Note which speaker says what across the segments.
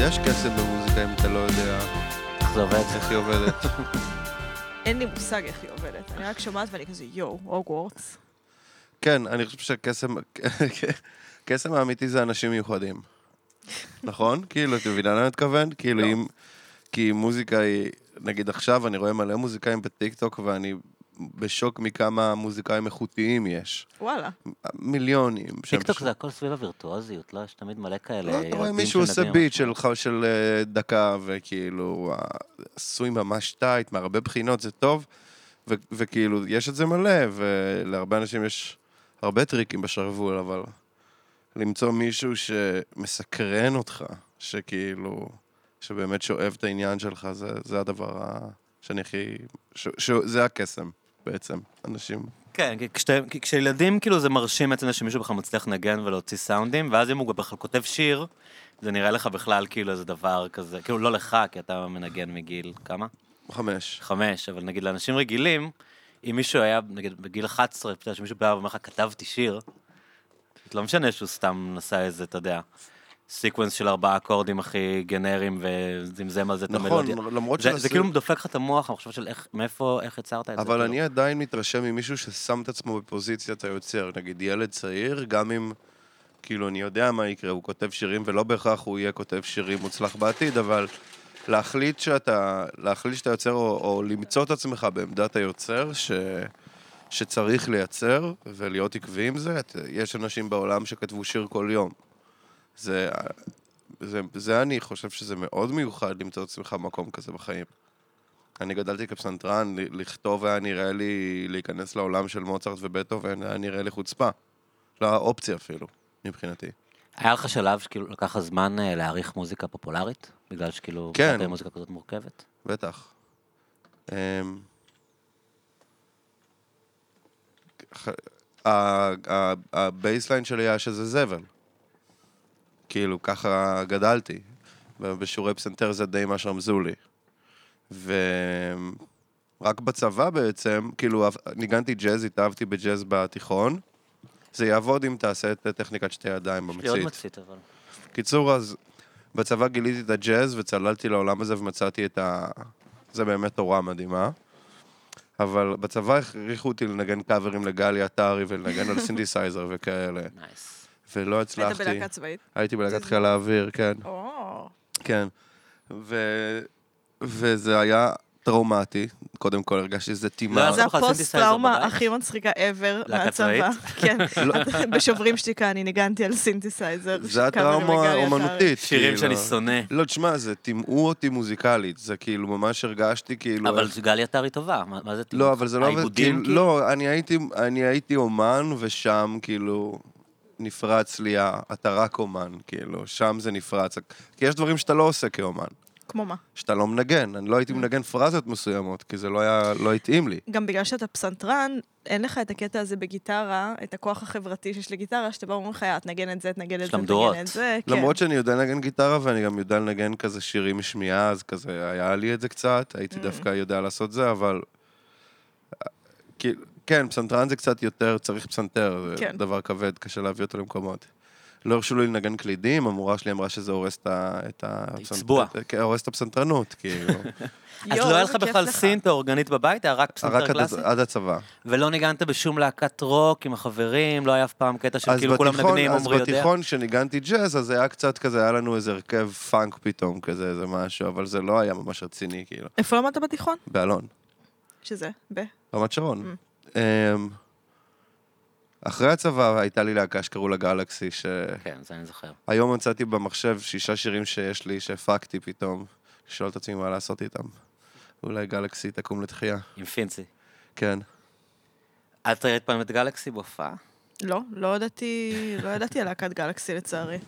Speaker 1: יש כסף במוזיקה אם אתה לא יודע
Speaker 2: איך זה עובד?
Speaker 1: איך היא עובדת.
Speaker 3: אין לי מושג איך היא עובדת. אני רק שומעת ואני כזה, יואו, הוגוורטס.
Speaker 1: כן, אני חושב שהקסם... הקסם האמיתי זה אנשים מיוחדים. נכון? כאילו, את מבינה למה אני מתכוון? כאילו,
Speaker 3: לא.
Speaker 1: אם... כי מוזיקה היא... נגיד עכשיו, אני רואה מלא מוזיקאים בטיקטוק, ואני בשוק מכמה מוזיקאים איכותיים יש.
Speaker 3: וואלה.
Speaker 1: מיליונים. שהם
Speaker 2: טיקטוק
Speaker 1: פשוט-
Speaker 2: זה הכל סביב הווירטואוזיות, לא? יש תמיד מלא כאלה...
Speaker 1: לא, אתה רואה
Speaker 2: ילדים
Speaker 1: מישהו עושה
Speaker 2: שמנגנים
Speaker 1: ביט
Speaker 2: משהו.
Speaker 1: של, ח- של אה, דקה, וכאילו, אה, עשוי ממש טייט, מהרבה בחינות, זה טוב, ו- וכאילו, יש את זה מלא, ולהרבה אנשים יש הרבה טריקים בשרוול, אבל למצוא מישהו שמסקרן אותך, שכאילו, שבאמת שואב את העניין שלך, זה, זה הדבר ה... שאני הכי... ש- ש- זה הקסם, בעצם, אנשים.
Speaker 4: כן, כי כשאתם- כי כשילדים כאילו זה מרשים בעצם שמישהו בכלל מצליח לנגן ולהוציא סאונדים, ואז אם הוא בכלל כותב שיר, זה נראה לך בכלל כאילו איזה דבר כזה, כאילו לא לך, כי אתה מנגן מגיל כמה?
Speaker 1: חמש.
Speaker 4: חמש, אבל נגיד לאנשים רגילים, אם מישהו היה, נגיד בגיל 11, אתה יודע, שמישהו בא ואומר לך, כתבתי שיר, לא משנה שהוא סתם נסע איזה, אתה יודע, סקווינס של ארבעה אקורדים הכי גנריים, וזמזם על זה את
Speaker 1: נכון,
Speaker 4: המלודיה.
Speaker 1: למרות
Speaker 4: זה, זה
Speaker 1: שזה-
Speaker 4: כאילו דופק לך את המוח, המחשב של איך, מאיפה, איך יצרת את זה.
Speaker 1: אבל
Speaker 4: כאילו.
Speaker 1: אני עדיין מתרשם ממישהו ששם את עצמו בפוזיציית היוצר, נגיד ילד צעיר, גם אם, כאילו, אני יודע מה יקרה, הוא כותב שירים, ולא בהכרח הוא יהיה כותב שירים מוצלח בעתיד, אבל להחליט שאתה, להחליט שאתה יוצר, או, או למצוא את עצמך בעמדת היוצר, ש, שצריך לייצר, ולהיות עקבי עם זה, את- יש אנשים בעולם שכתבו שיר כל יום. זה, זה, זה אני חושב שזה מאוד מיוחד למצוא את עצמך במקום כזה בחיים. אני גדלתי כפסנתרן, ל- לכתוב היה נראה לי, להיכנס לעולם של מוצרט ובטהובן, היה נראה לי חוצפה. לא היה אופציה אפילו, מבחינתי.
Speaker 2: היה לך שלב שכאילו לקח לך זמן אה, להעריך מוזיקה פופולרית? בגלל שכאילו...
Speaker 1: כן.
Speaker 4: אה,
Speaker 2: כן. מוזיקה כזאת מורכבת?
Speaker 1: בטח. אמ, ח- ה- ה- הבייסליין שלי היה שזה זבל. כאילו, ככה גדלתי. בשיעורי פסנתר זה די מה שרמזו לי. ורק בצבא בעצם, כאילו, אהב- ניגנתי ג'אז, התאהבתי בג'אז בתיכון. זה יעבוד אם תעשה את טכניקת שתי ידיים
Speaker 2: יש לי עוד
Speaker 1: במצית.
Speaker 2: מצית, אבל...
Speaker 1: קיצור, אז בצבא גיליתי את הג'אז וצללתי לעולם הזה ומצאתי את ה... זה באמת תורה מדהימה. אבל בצבא הכריחו אותי לנגן קאברים לגלי עטרי ולנגן על סינתסייזר וכאלה.
Speaker 2: נייס.
Speaker 1: ולא
Speaker 3: היית
Speaker 1: הצלחתי.
Speaker 3: בלהקה צבאית.
Speaker 1: הייתי בלהקת חיל האוויר, כן.
Speaker 3: או,
Speaker 1: כן. ו... וזה היה טראומטי. קודם כל הרגשתי שזה טימה.
Speaker 4: אז
Speaker 3: זה
Speaker 4: אתה אוכל
Speaker 3: הפוסט-טראומה
Speaker 4: סינתסייזר בבית?
Speaker 3: הכי מצחיקה ever
Speaker 4: להקה
Speaker 3: מהצבא. כן, בשוברים שתיקה אני ניגנתי על סינתסייזר.
Speaker 1: זה
Speaker 3: שקאברים לגלי
Speaker 1: הטראומה
Speaker 3: עטרי.
Speaker 1: האומנותית.
Speaker 4: שירים שאני
Speaker 1: כאילו.
Speaker 4: שונא.
Speaker 1: לא, תשמע, זה טימאו אותי מוזיקלית. זה כאילו, ממש הרגשתי
Speaker 4: לא,
Speaker 1: כאילו...
Speaker 2: אבל גלי עטר היא טובה, מה מה זה...
Speaker 1: לא, אבל זה לא... עובד,
Speaker 2: העיבודים,
Speaker 1: כאילו... לא, אני הייתי, אני הייתי אומן, ושם כאילו נפרץ לי ה... אתה רק אומן, כאילו, שם זה נפרץ. כי יש דברים שאתה לא עושה כאומן,
Speaker 3: כמו מה?
Speaker 1: שאתה לא מנגן. אני לא הייתי מנגן פרזות מסוימות, כי זה לא היה... לא התאים לי.
Speaker 3: גם בגלל שאתה פסנתרן, אין לך את הקטע הזה בגיטרה, את הכוח החברתי שיש לגיטרה, שאתה בא ואומר לך, "יא, תנגן את זה, תנגן את
Speaker 2: יש
Speaker 3: זה,
Speaker 2: להם דורות.
Speaker 3: תנגן את זה. כן.
Speaker 1: למרות שאני יודע לנגן גיטרה, ואני גם יודע לנגן כזה שירים משמיעה, אז כזה, היה לי את זה קצת,
Speaker 3: Mm.
Speaker 1: הייתי דווקא יודע לעשות זה, אבל... כאילו, כן, פסנתרן זה קצת יותר, צריך פסנתר, זה
Speaker 3: כן.
Speaker 1: דבר כבד, קשה להביא אותו למקומות. לא הרשו לי לנגן קלידים, המורה שלי אמרה שזה הורס את ה... את ה- הפסנ-
Speaker 4: צבוע.
Speaker 1: כן, הורס את הפסנתרנות, כאילו.
Speaker 3: יואו,
Speaker 4: אז לא היה
Speaker 3: איזה
Speaker 4: לך
Speaker 3: כיף
Speaker 4: בכלל סינט או אורגנית בבית, היה רק
Speaker 1: רק
Speaker 4: פסנתר
Speaker 1: עד
Speaker 4: קלאסי?
Speaker 1: הצ- עד הצבא.
Speaker 4: ולא ניגנת בשום להקת רוק עם החברים, לא היה אף פעם קטע של
Speaker 1: אז
Speaker 4: כאילו כולם
Speaker 1: בתיכון-
Speaker 4: מנגנים, עמרי
Speaker 1: אז
Speaker 4: יודע.
Speaker 1: בתיכון, כשניגנתי ג'אז, אז היה קצת כזה, היה לנו איזה הרכב פאנק פתאום, כזה, איזה משהו, אבל זה לא היה ממש רציני, כאילו.
Speaker 3: איפה למדת בתיכון?
Speaker 1: באלון.
Speaker 3: שזה, ב...
Speaker 1: רמת שרון. אמ, אחרי הצבא הייתה לי להקה שקראו לה גלקסי, שהיום
Speaker 2: כן, זה אני זוכר.
Speaker 1: מצאתי במחשב שישה שירים שיש לי, שהפקתי פתאום, לשאול את עצמי מה לעשות איתם. אולי גלקסי תקום לתחייה.
Speaker 4: עם פינצי.
Speaker 1: כן.
Speaker 4: את ראית פעם את גלקסי בהופעה?
Speaker 3: לא, לא ידעתי, לא ידעתי על להקת גלקסי לצערי.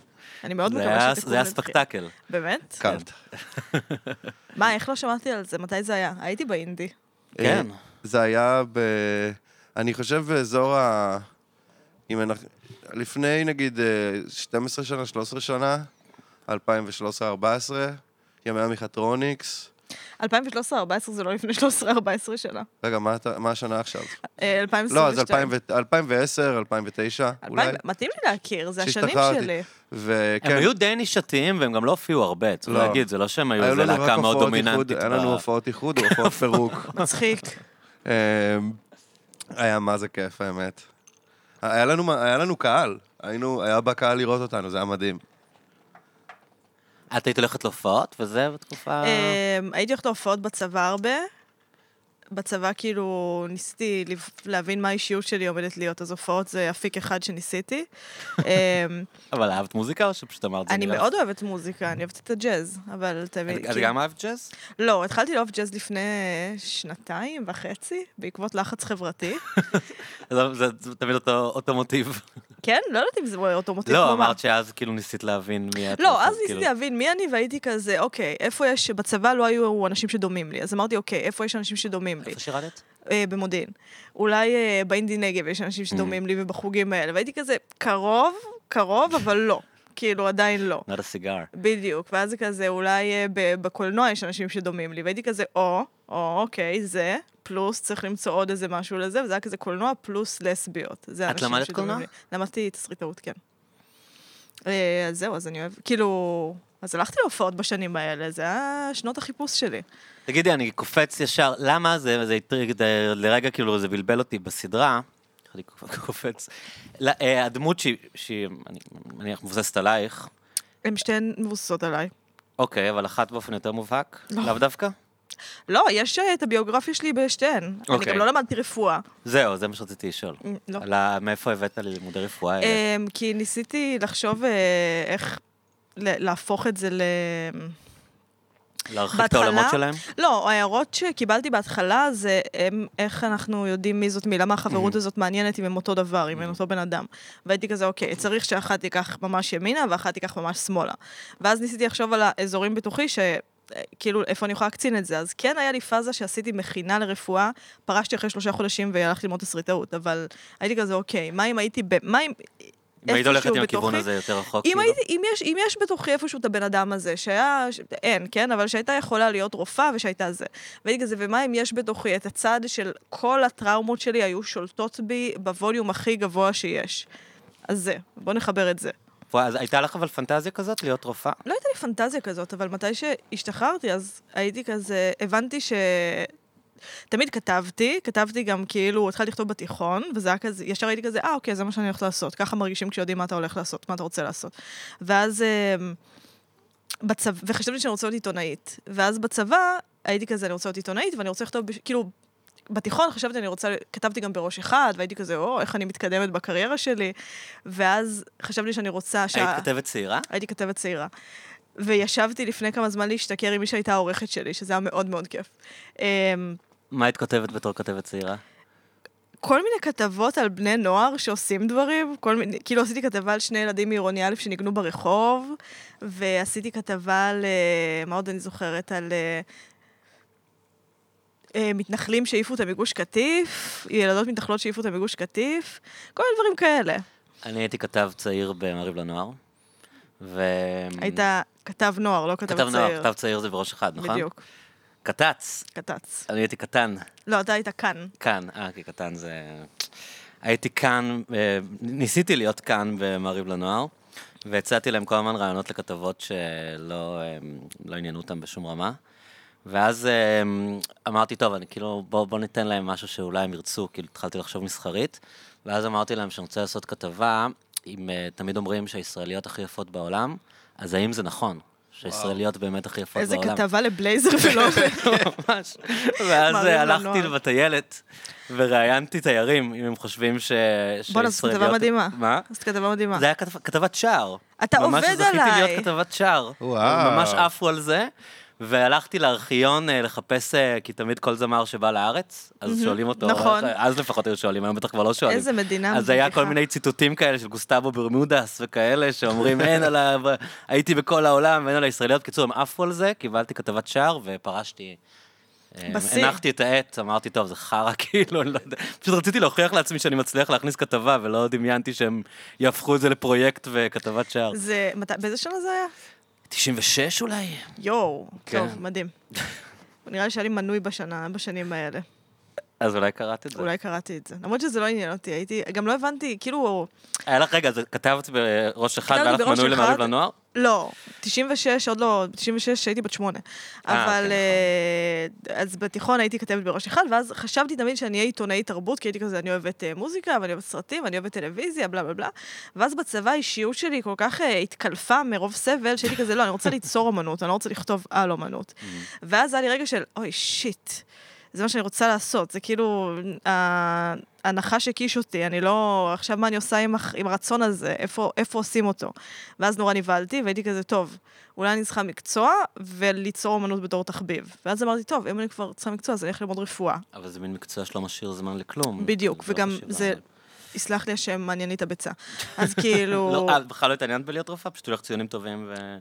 Speaker 3: אני מאוד
Speaker 4: זה
Speaker 3: מקווה
Speaker 4: היה-
Speaker 3: שתקום
Speaker 4: זה היה
Speaker 3: לתחייה.
Speaker 4: ספקטקל.
Speaker 1: אה,
Speaker 4: כן.
Speaker 3: באמת?
Speaker 1: קארט.
Speaker 3: מה, איך לא שמעתי על זה? מתי זה היה? הייתי באינדי.
Speaker 4: כן.
Speaker 1: אה, זה היה ב... אני חושב באזור ה... אם אנחנו... לפני נגיד אה, 12 שנה, 13 שנה, 2013-2014, ימי המכטרוניקס.
Speaker 3: 2013-2014 זה לא לפני 13-14 שנה.
Speaker 1: רגע, מה אתה- מה השנה עכשיו?
Speaker 3: אה, 2022.
Speaker 1: לא, אז 2010, 2009, אולי.
Speaker 3: אלפיים- מתאים לי להכיר, זה השנים
Speaker 1: שהשתחררתי.
Speaker 3: שלי.
Speaker 1: וכן,
Speaker 4: הם היו די נישתיים והם גם לא הופיעו הרבה, צריך
Speaker 1: כן. לא.
Speaker 4: להגיד, זה לא שהם היו
Speaker 1: היו
Speaker 4: איזה
Speaker 1: לנו רק
Speaker 4: להקה מאוד
Speaker 1: הופעות איחוד,
Speaker 4: דומיננטית. אה.
Speaker 1: היה לנו
Speaker 4: ב-
Speaker 1: הופעות איחוד והופעות פירוק.
Speaker 3: מצחיק.
Speaker 1: אמ, היה מה זה כיף, האמת. היה לנו, היה לנו קהל, היינו, היה בא קהל לראות אותנו, זה היה מדהים.
Speaker 4: את היית הולכת להופעות וזה בתקופה... אה.
Speaker 3: אמ, הייתי הולכת להופעות בצבא הרבה. בצבא כאילו ניסיתי לב- להבין מה האישיות שלי עומדת להיות, אז הופעות זה אפיק אחד שניסיתי. אמ,
Speaker 4: אבל אהבת מוזיקה או שפשוט אמרת זה
Speaker 3: אני
Speaker 4: נראה לך?
Speaker 3: מאוד אוהבת מוזיקה, אני אוהבת את הג'אז, אבל תמיד...
Speaker 4: את- את
Speaker 3: כאילו-
Speaker 4: גם אהבת ג'אז?
Speaker 3: לא, התחלתי לאהוב ג'אז לפני אה, שנתיים וחצי, בעקבות לחץ חברתי.
Speaker 4: זה- לא- זה זה תמיד אותו אותו מוטיב.
Speaker 3: כן? לא יודעת אם זה אותו מוטיב
Speaker 4: לא,
Speaker 3: כמו מה.
Speaker 4: אמרת שאז כאילו ניסית להבין מי את.
Speaker 3: לא,
Speaker 4: רוצה,
Speaker 3: אז ניסיתי
Speaker 4: כאילו.
Speaker 3: להבין מי אני, והייתי כזה, אוקיי, איפה יש, בצבא לא היו אנשים שדומים לי, אז אמרתי, אוקיי, איפה יש אנשים שדומים לי?
Speaker 4: איפה שירדת?
Speaker 3: אה, במודיעין. אולי אה, באינדי נגב יש
Speaker 4: Mm.
Speaker 3: אנשים שדומים לי ובחוגים האלה, והייתי כזה, קרוב, קרוב, אבל לא. כאילו, עדיין לא.
Speaker 4: Not a cigar.
Speaker 3: בדיוק, ואז זה כזה, אולי אה, ב- בקולנוע יש אנשים שדומים לי, והייתי כזה, או, או, אוקיי, זה, פלוס, צריך למצוא עוד איזה משהו לזה, וזה היה כזה קולנוע פלוס לסביות. זה
Speaker 4: את
Speaker 3: אנשים
Speaker 4: למדת
Speaker 3: שדומים
Speaker 4: קולנוע?
Speaker 3: לי. למדתי תסריטאות, כן. אה, אז זהו, אז אני אוהב, כאילו, אז הלכתי להופעות בשנים האלה, זה היה שנות החיפוש שלי.
Speaker 4: תגידי, אני קופץ ישר, למה זה, זה הטריג, זה- לרגע כאילו זה בלבל אותי בסדרה, אני קופץ, לא, אה, הדמות שהיא, שהיא, אני מניח מבוססת עלייך,
Speaker 3: הן שתיהן מבוססות עליי.
Speaker 4: אוקיי, אבל אחת באופן יותר מובהק, לאו דווקא?
Speaker 3: לא, יש אה, את הביוגרפיה שלי בשתיהן. אני
Speaker 4: אוקיי.
Speaker 3: גם לא למדתי רפואה.
Speaker 4: זהו, זה מה שרציתי לשאול.
Speaker 3: אה, לא.
Speaker 4: על ה- מאיפה הבאת ללימודי רפואה האלה?
Speaker 3: אה, כי ניסיתי לחשוב אה, איך ל- להפוך את זה ל...
Speaker 4: להרחיק את העולמות
Speaker 3: בהתחלה-
Speaker 4: שלהם?
Speaker 3: לא, ההערות שקיבלתי בהתחלה זה הם, איך אנחנו יודעים מי זאת מי, למה החברות הזאת מעניינת אם הם אותו דבר, אם הם אותו בן אדם. והייתי כזה, אוקיי, צריך שאחת תיקח ממש ימינה ואחת תיקח ממש שמאלה. ואז ניסיתי לחשוב על האזורים בתוכי, ש... אה, כאילו, איפה אני יכולה להקצין את זה? אז כן, היה לי פאזה שעשיתי מכינה לרפואה, פרשתי אחרי שלושה חודשים והלכתי ללמוד תסריטאות, אבל הייתי כזה, אוקיי, מה אם הייתי ב... מה אם...
Speaker 4: אם היית הולכת
Speaker 3: איפשהו
Speaker 4: עם הכיוון
Speaker 3: בתוכי-
Speaker 4: הזה יותר רחוק,
Speaker 3: אם,
Speaker 4: כאילו?
Speaker 3: הייתי, אם, יש, אם יש בתוכי איפשהו את הבן אדם הזה, שהיה, ש... אין, כן? אבל שהייתה יכולה להיות רופאה ושהייתה זה. והייתי כזה, ומה אם יש בתוכי את הצד של כל הטראומות שלי היו שולטות בי בווליום הכי גבוה שיש. אז זה, בוא נחבר את זה.
Speaker 4: וואי, אז הייתה לך אבל פנטזיה כזאת להיות רופאה?
Speaker 3: לא הייתה לי פנטזיה כזאת, אבל מתי שהשתחררתי, אז הייתי כזה, הבנתי ש... תמיד כתבתי, כתבתי גם כאילו, התחלתי לכתוב בתיכון, וזה היה כזה, ישר הייתי כזה, אה, אוקיי, זה מה שאני הולכת לעשות. ככה מרגישים כשיודעים מה אתה הולך לעשות, מה אתה רוצה לעשות. ואז... אמ, בצבא, וחשבתי שאני רוצה להיות עיתונאית. ואז בצבא, הייתי כזה, אני רוצה להיות עיתונאית, ואני רוצה לכתוב, בש- כאילו, בתיכון חשבתי אני רוצה, כתבתי גם בראש אחד, והייתי כזה, או, איך אני מתקדמת בקריירה שלי. ואז חשבתי שאני רוצה... שה-
Speaker 4: היית כתבת צעירה?
Speaker 3: הייתי כתבת צעירה. וישבתי לפני כמה זמן להשתכר עם מי שהייתה העורכת שלי, שזה היה מאוד מאוד כיף. אמ,
Speaker 4: מה היית כותבת בתור כתבת צעירה?
Speaker 3: כל מיני כתבות על בני נוער שעושים דברים, כל מיני, כאילו עשיתי כתבה על שני ילדים מעירוני א' שניגנו ברחוב, ועשיתי כתבה על, אה, מה עוד אני זוכרת, על אה, אה, מתנחלים שהעיפו אותם מגוש קטיף, ילדות מתנחלות שהעיפו אותם מגוש קטיף, כל מיני דברים כאלה.
Speaker 4: אני הייתי כתב צעיר במעריב לנוער, ו...
Speaker 3: היית כתב נוער, לא כתב צעיר.
Speaker 4: כתב נוער, כתב צעיר זה בראש אחד, נכון?
Speaker 3: בדיוק,
Speaker 4: קטץ.
Speaker 3: קטץ.
Speaker 4: אני הייתי קטן,
Speaker 3: לא, אתה היית כאן.
Speaker 4: כאן, אה, כי קטן זה... הייתי כאן, אה, ניסיתי להיות כאן במעריב לנוער, והצעתי להם כל הזמן רעיונות לכתבות שלא אה, לא עניינו אותם בשום רמה. ואז אה, אמרתי, טוב, אני כאילו, בוא, בוא ניתן להם משהו שאולי הם ירצו, כאילו התחלתי לחשוב מסחרית, ואז אמרתי להם שאני רוצה לעשות כתבה, אם אה, תמיד אומרים שהישראליות הכי יפות בעולם, אז האם זה נכון? שהישראליות באמת הכי יפות
Speaker 3: איזה
Speaker 4: בעולם.
Speaker 3: כתבה לבלייזר ולא...
Speaker 4: ממש. ואז
Speaker 3: מעריב
Speaker 4: אה, הלכתי
Speaker 3: לנוער.
Speaker 4: בטיילת וראיינתי תיירים, אם הם חושבים ש...
Speaker 3: בואנה, זו
Speaker 4: שישראליות-
Speaker 3: כתבה מדהימה.
Speaker 4: מה?
Speaker 3: זאת כתבה מדהימה.
Speaker 4: זה היה כתב- כתבת שער.
Speaker 3: אתה עובד
Speaker 4: ממש זכיתי
Speaker 3: עליי.
Speaker 4: להיות כתבת שער.
Speaker 1: וואו.
Speaker 4: ממש עפו על זה. והלכתי לארכיון אה, לחפש, אה, כי תמיד כל זמר שבא לארץ, אז שואלים אותו,
Speaker 3: נכון.
Speaker 4: אז לפחות היו שואלים, היום בטח כבר לא שואלים.
Speaker 3: איזה מדינה
Speaker 4: אז היה
Speaker 3: מביכה.
Speaker 4: כל מיני ציטוטים כאלה של גוסטבו ברמודס וכאלה, שאומרים, אין על ה... הייתי בכל העולם, אין על הישראליות. קיצור, הם עפו על זה, קיבלתי כתבת שער ופרשתי. אה,
Speaker 3: בשיא.
Speaker 4: הנחתי את העט, אמרתי, טוב, זה חרא, כאילו, אני לא יודע. פשוט רציתי להוכיח לעצמי שאני מצליח להכניס כתבה, ולא דמיינתי שהם יהפכו את זה לפרויקט וכתבת שער.
Speaker 3: זה... מת... באיזה שנה זה היה?
Speaker 4: 96 אולי?
Speaker 3: יואו.
Speaker 4: כן.
Speaker 3: טוב, מדהים. נראה לי שהיה לי מנוי בשנה, בשנים האלה.
Speaker 4: אז אולי קראת את זה.
Speaker 3: אולי קראתי את זה. למרות שזה לא עניין אותי, הייתי, גם לא הבנתי, כאילו,
Speaker 4: היה לך, רגע, אז כתבת בראש אחד,
Speaker 3: כתבתי
Speaker 4: והיה לך
Speaker 3: בראש
Speaker 4: מנוי למעריב
Speaker 3: אחד.
Speaker 4: לנוער?
Speaker 3: לא, 96, עוד לא, 96 הייתי בת שמונה.
Speaker 4: אה,
Speaker 3: אבל,
Speaker 4: אוקיי,
Speaker 3: אה, אז בתיכון הייתי כתבת בראש אחד, ואז חשבתי תמיד שאני אהיה עיתונאית תרבות, כי הייתי כזה, אני אוהבת אה, מוזיקה, ואני אוהבת סרטים, ואני אוהבת טלוויזיה, בלה בלה בלה. ואז בצבא האישיות שלי כל כך אה, התקלפה מרוב סבל, שהייתי כזה, לא, אני רוצה ליצור אומנות, אני לא רוצה לכתוב על אומנות.
Speaker 4: Mm.
Speaker 3: ואז היה לי רגע של, אוי, שיט. זה מה שאני רוצה לעשות, זה כאילו, ה- הנחש הקיש אותי, אני לא, עכשיו מה אני עושה עם, הח- עם הרצון הזה, איפה, איפה עושים אותו? ואז נורא נבהלתי, והייתי כזה, טוב, אולי אני צריכה מקצוע וליצור אומנות בתור תחביב. ואז אמרתי, טוב, אם אני כבר צריכה מקצוע, אז אני אלך ללמוד רפואה.
Speaker 4: אבל זה מין מקצוע שלא משאיר זמן לכלום.
Speaker 3: בדיוק,
Speaker 4: Mm, לא
Speaker 3: וגם
Speaker 4: חשיבה.
Speaker 3: זה, יסלח לי השם, מעניין לי את הביצה. אז כאילו...
Speaker 4: לא, אה, בכלל לא התעניינת בלהיות רופאה, פשוט היו לך ציונים טובים ו...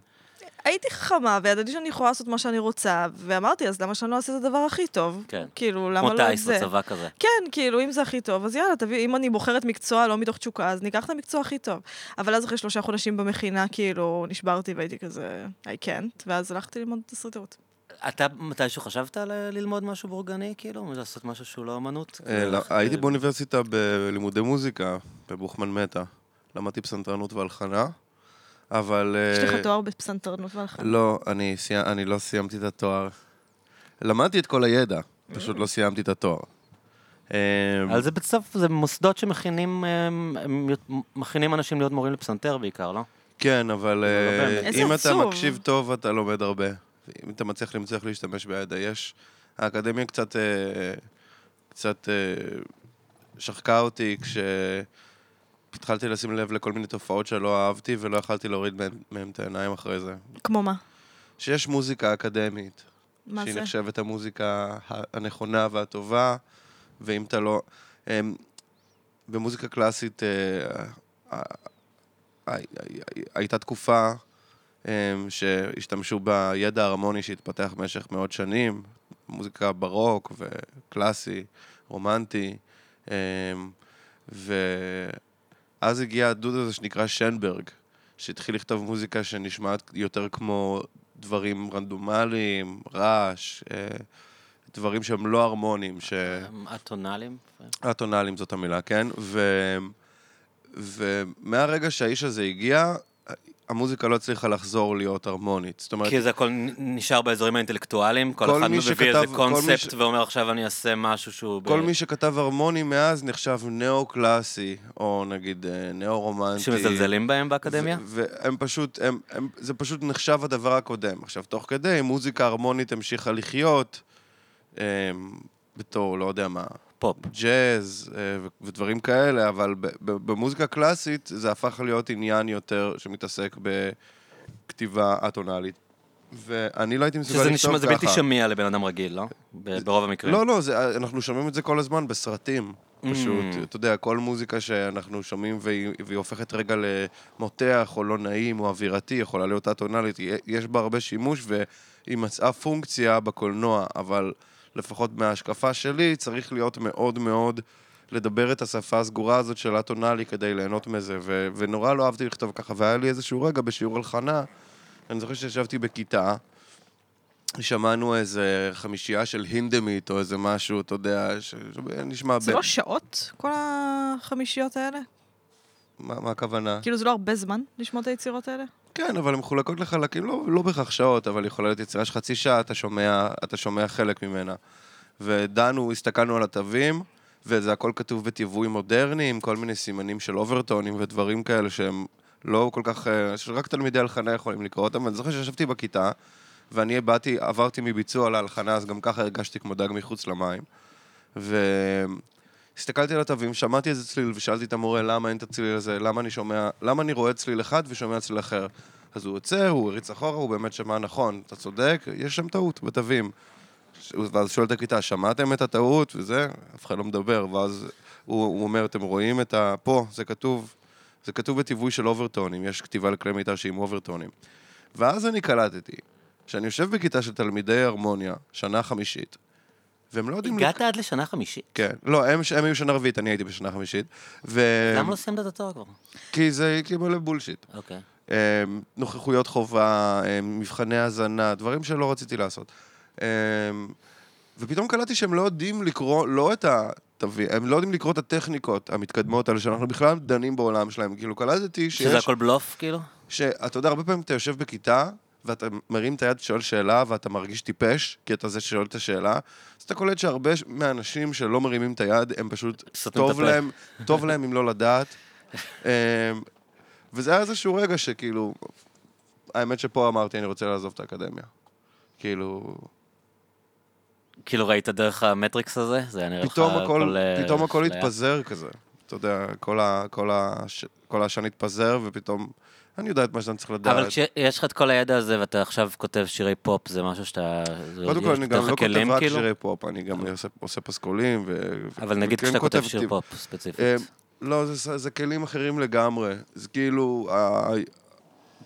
Speaker 3: הייתי חכמה, וידעתי שאני יכולה לעשות מה שאני רוצה, ואמרתי, אז למה שאני לא אעשה את הדבר הכי טוב?
Speaker 4: כן.
Speaker 3: כאילו,
Speaker 4: כמו
Speaker 3: למה לא את
Speaker 4: טיס
Speaker 3: זה?
Speaker 4: בצבא כזה.
Speaker 3: כן, כאילו, אם זה הכי טוב, אז יאללה, תביא, אם אני בוחרת מקצוע לא מתוך תשוקה, אז ניקח את המקצוע הכי טוב. אבל אז אחרי שלושה חודשים במכינה, כאילו, נשברתי והייתי כזה, I can't, ואז הלכתי ללמוד תסריטאות.
Speaker 4: אתה מתישהו חשבת על אה, ללמוד משהו בורגני, כאילו? לעשות משהו שהוא לא אומנות?
Speaker 1: אה, לא,
Speaker 4: נכון.
Speaker 1: הייתי באוניברסיטה בלימודי מוזיקה, בבוכמן מטה. למדתי פסנתרנות והלחנה, אבל...
Speaker 3: יש
Speaker 1: אה,
Speaker 3: לך תואר בפסנתרנות והלחנה.
Speaker 1: לא, אני, סי... אני לא סיימתי את התואר. למדתי את כל הידע, פשוט לא סיימתי את התואר. אה,
Speaker 4: אבל זה בסוף, זה מוסדות שמכינים אה, הם להיות- מכינים אנשים להיות מורים לפסנתר בעיקר, לא?
Speaker 1: כן, אבל אה,
Speaker 4: לא באמת.
Speaker 3: איזה
Speaker 1: אם אתה
Speaker 3: עצוב.
Speaker 1: מקשיב טוב, אתה לומד הרבה. אם אתה מצליח למצוא איך להשתמש בידע, יש... האקדמיה קצת... אה, קצת אה, שחקה אותי כש... התחלתי לשים לב לכל מיני תופעות שלא אהבתי ולא יכלתי להוריד מהן- מהן את העיניים אחרי זה.
Speaker 3: כמו מה?
Speaker 1: שיש מוזיקה אקדמית,
Speaker 3: מה
Speaker 1: שהיא
Speaker 3: זה?
Speaker 1: נחשבת המוזיקה ה- הנכונה והטובה, ואם אתה לא... אמ, במוזיקה קלאסית אה, אה, אה, אה, הייתה תקופה אמ, שהשתמשו בידע ההרמוני שהתפתח במשך מאות שנים, מוזיקה ברוק וקלאסי, רומנטי, אמ, ואז הגיע הדוד הזה שנקרא שנברג, שהתחיל לכתוב מוזיקה שנשמעת יותר כמו דברים רנדומליים, רעש, אה, דברים שהם לא הרמונים, ש...
Speaker 4: הם אטונאלים?
Speaker 1: אטונאלים כן. זאת המילה, כן? ו... ומהרגע שהאיש הזה הגיע, המוזיקה לא הצליחה לחזור להיות הרמונית. זאת אומרת,
Speaker 4: כי זה הכל נ- נשאר באזורים האינטלקטואליים, כל
Speaker 1: כל
Speaker 4: אחד
Speaker 1: מי
Speaker 4: מביא איזה
Speaker 1: שכתב- כל מי
Speaker 4: קונספט
Speaker 1: ש-
Speaker 4: ואומר עכשיו אני אעשה משהו שהוא... ב-
Speaker 1: כל מי שכתב הרמוני מאז נחשב נאו-קלאסי, או נגיד אה, נאו-רומנטי.
Speaker 4: שמזלזלים בהם באקדמיה?
Speaker 1: ו- והם פשוט, הם, הם, זה פשוט נחשב הדבר הקודם. עכשיו, תוך כדי, מוזיקה הרמונית המשיכה לחיות, אמ, בתור, לא יודע מה,
Speaker 4: פופ.
Speaker 1: ג'אז אה, ו- ודברים כאלה, אבל ב- ב- במוזיקה קלאסית זה הפך להיות עניין יותר שמתעסק בכתיבה אטונאלית. ואני לא הייתי מסוגל
Speaker 4: שזה
Speaker 1: לכתוב
Speaker 4: נשמע,
Speaker 1: ככה.
Speaker 4: זה בלתי שמיע לבן אדם רגיל, לא? ב- ברוב המקרים.
Speaker 1: לא, לא, זה, אנחנו שומעים את זה כל הזמן בסרטים. פשוט,
Speaker 4: Mm.
Speaker 1: אתה יודע, כל מוזיקה שאנחנו שומעים והיא, והיא הופכת רגע למותח או לא נעים או אווירתי, יכולה להיות א-טונאלית, יש בה הרבה שימוש והיא מצאה פונקציה בקולנוע, אבל לפחות מההשקפה שלי צריך להיות מאוד מאוד לדבר את השפה הסגורה הזאת של א-טונאלי כדי ליהנות מזה, ו, ונורא לא אהבתי לכתוב ככה, והיה לי איזשהו רגע בשיעור הלחנה, אני זוכר שישבתי בכיתה, שמענו איזה חמישייה של הינדמית או איזה משהו, אתה יודע, ש- שנשמע...
Speaker 3: זה
Speaker 1: ב-
Speaker 3: לא שעות, כל החמישיות האלה?
Speaker 1: מה, מה הכוונה?
Speaker 3: כאילו, זה לא הרבה זמן לשמוע את היצירות האלה?
Speaker 1: כן, אבל הן מחולקות לחלקים, לא, לא בהכרח שעות, אבל יכולה להיות יצירה של חצי שעה, אתה שומע, אתה שומע חלק ממנה. ודנו, הסתכלנו על התווים, וזה הכל כתוב בתיווי מודרני, עם כל מיני סימנים של אוברטונים ודברים כאלה שהם לא כל כך... אה, שרק תלמידי הלחנה יכולים לקרוא אותם. אני זוכר שישבתי בכיתה, ואני באתי, עברתי מביצוע להלחנה, אז גם ככה הרגשתי כמו דג מחוץ למים. והסתכלתי על התווים, שמעתי איזה צליל, ושאלתי את המורה למה אין את הצליל הזה, למה אני שומע, למה אני רואה צליל אחד ושומע צליל אחר. אז הוא עוצר, הוא הריץ אחורה, הוא באמת שמע נכון, אתה צודק, יש שם טעות בתווים. ש- ואז שואל את הכיתה, שמעתם את הטעות? וזה, אף אחד לא מדבר, ואז הוא, הוא אומר, אתם רואים את ה... פה, זה כתוב, זה כתוב בטיווי של אוברטונים, יש כתיבה לכלי מיתר שהיא עם אוברטונים. ואז אני קלטתי, שאני יושב בכיתה של תלמידי הרמוניה, שנה חמישית, והם לא יודעים...
Speaker 4: הגעת עד לשנה חמישית?
Speaker 1: כן. לא, הם, הם היו שנה רביעית, אני הייתי בשנה חמישית. ו...
Speaker 4: למה לא סיימת את התואר כבר?
Speaker 1: כי זה כי מלא בולשיט.
Speaker 4: אוקיי.
Speaker 1: אמ, נוכחויות חובה, אמ, מבחני הזנה, דברים שלא רציתי לעשות. אמ, ופתאום קלטתי שהם לא יודעים לקרוא, לא את ה... תביא, הם לא יודעים לקרוא את הטכניקות המתקדמות האלה, שאנחנו בכלל דנים בעולם שלהם. כאילו, קלטתי שיש...
Speaker 4: שזה הכל בלוף, כאילו?
Speaker 1: שאתה יודע, הרבה פעמים אתה יושב בכיתה, ואתה מרים את היד ושואל שאלה, ואתה מרגיש טיפש, כי אתה זה ששואל את השאלה, אז אתה קולט שהרבה ש- מהאנשים שלא מרימים את היד, הם פשוט
Speaker 4: סותמים את
Speaker 1: טוב
Speaker 4: הפה.
Speaker 1: להם, טוב להם אם לא לדעת. אמ, וזה היה איזשהו רגע שכאילו, האמת שפה אמרתי, אני רוצה לעזוב את האקדמיה. כאילו,
Speaker 4: כאילו ראית דרך המטריקס הזה? זה היה נראה לך
Speaker 1: פתאום הכל,
Speaker 4: אה,
Speaker 1: פתאום הכל
Speaker 4: אשליה?
Speaker 1: התפזר כזה. אתה יודע, כל, ה, כל, הש, כל העשן התפזר, ופתאום, אני יודע את מה שאני צריך לדעת.
Speaker 4: אבל כשיש לך את כל הידע הזה ואתה עכשיו כותב שירי פופ, זה משהו שאתה... זה
Speaker 1: קודם כל,
Speaker 4: יש
Speaker 1: אני
Speaker 4: לך
Speaker 1: גם לא
Speaker 4: כלים,
Speaker 1: כותב רק
Speaker 4: כאילו?
Speaker 1: שירי פופ, אני גם עושה- עושה פסקולים ו...
Speaker 4: אבל נגיד
Speaker 1: וכן
Speaker 4: כשאתה כותב
Speaker 1: כותב
Speaker 4: שיר
Speaker 1: טיפ.
Speaker 4: פופ ספציפית.
Speaker 1: אה, לא, זה, זה כלים אחרים לגמרי. זה כאילו, ה...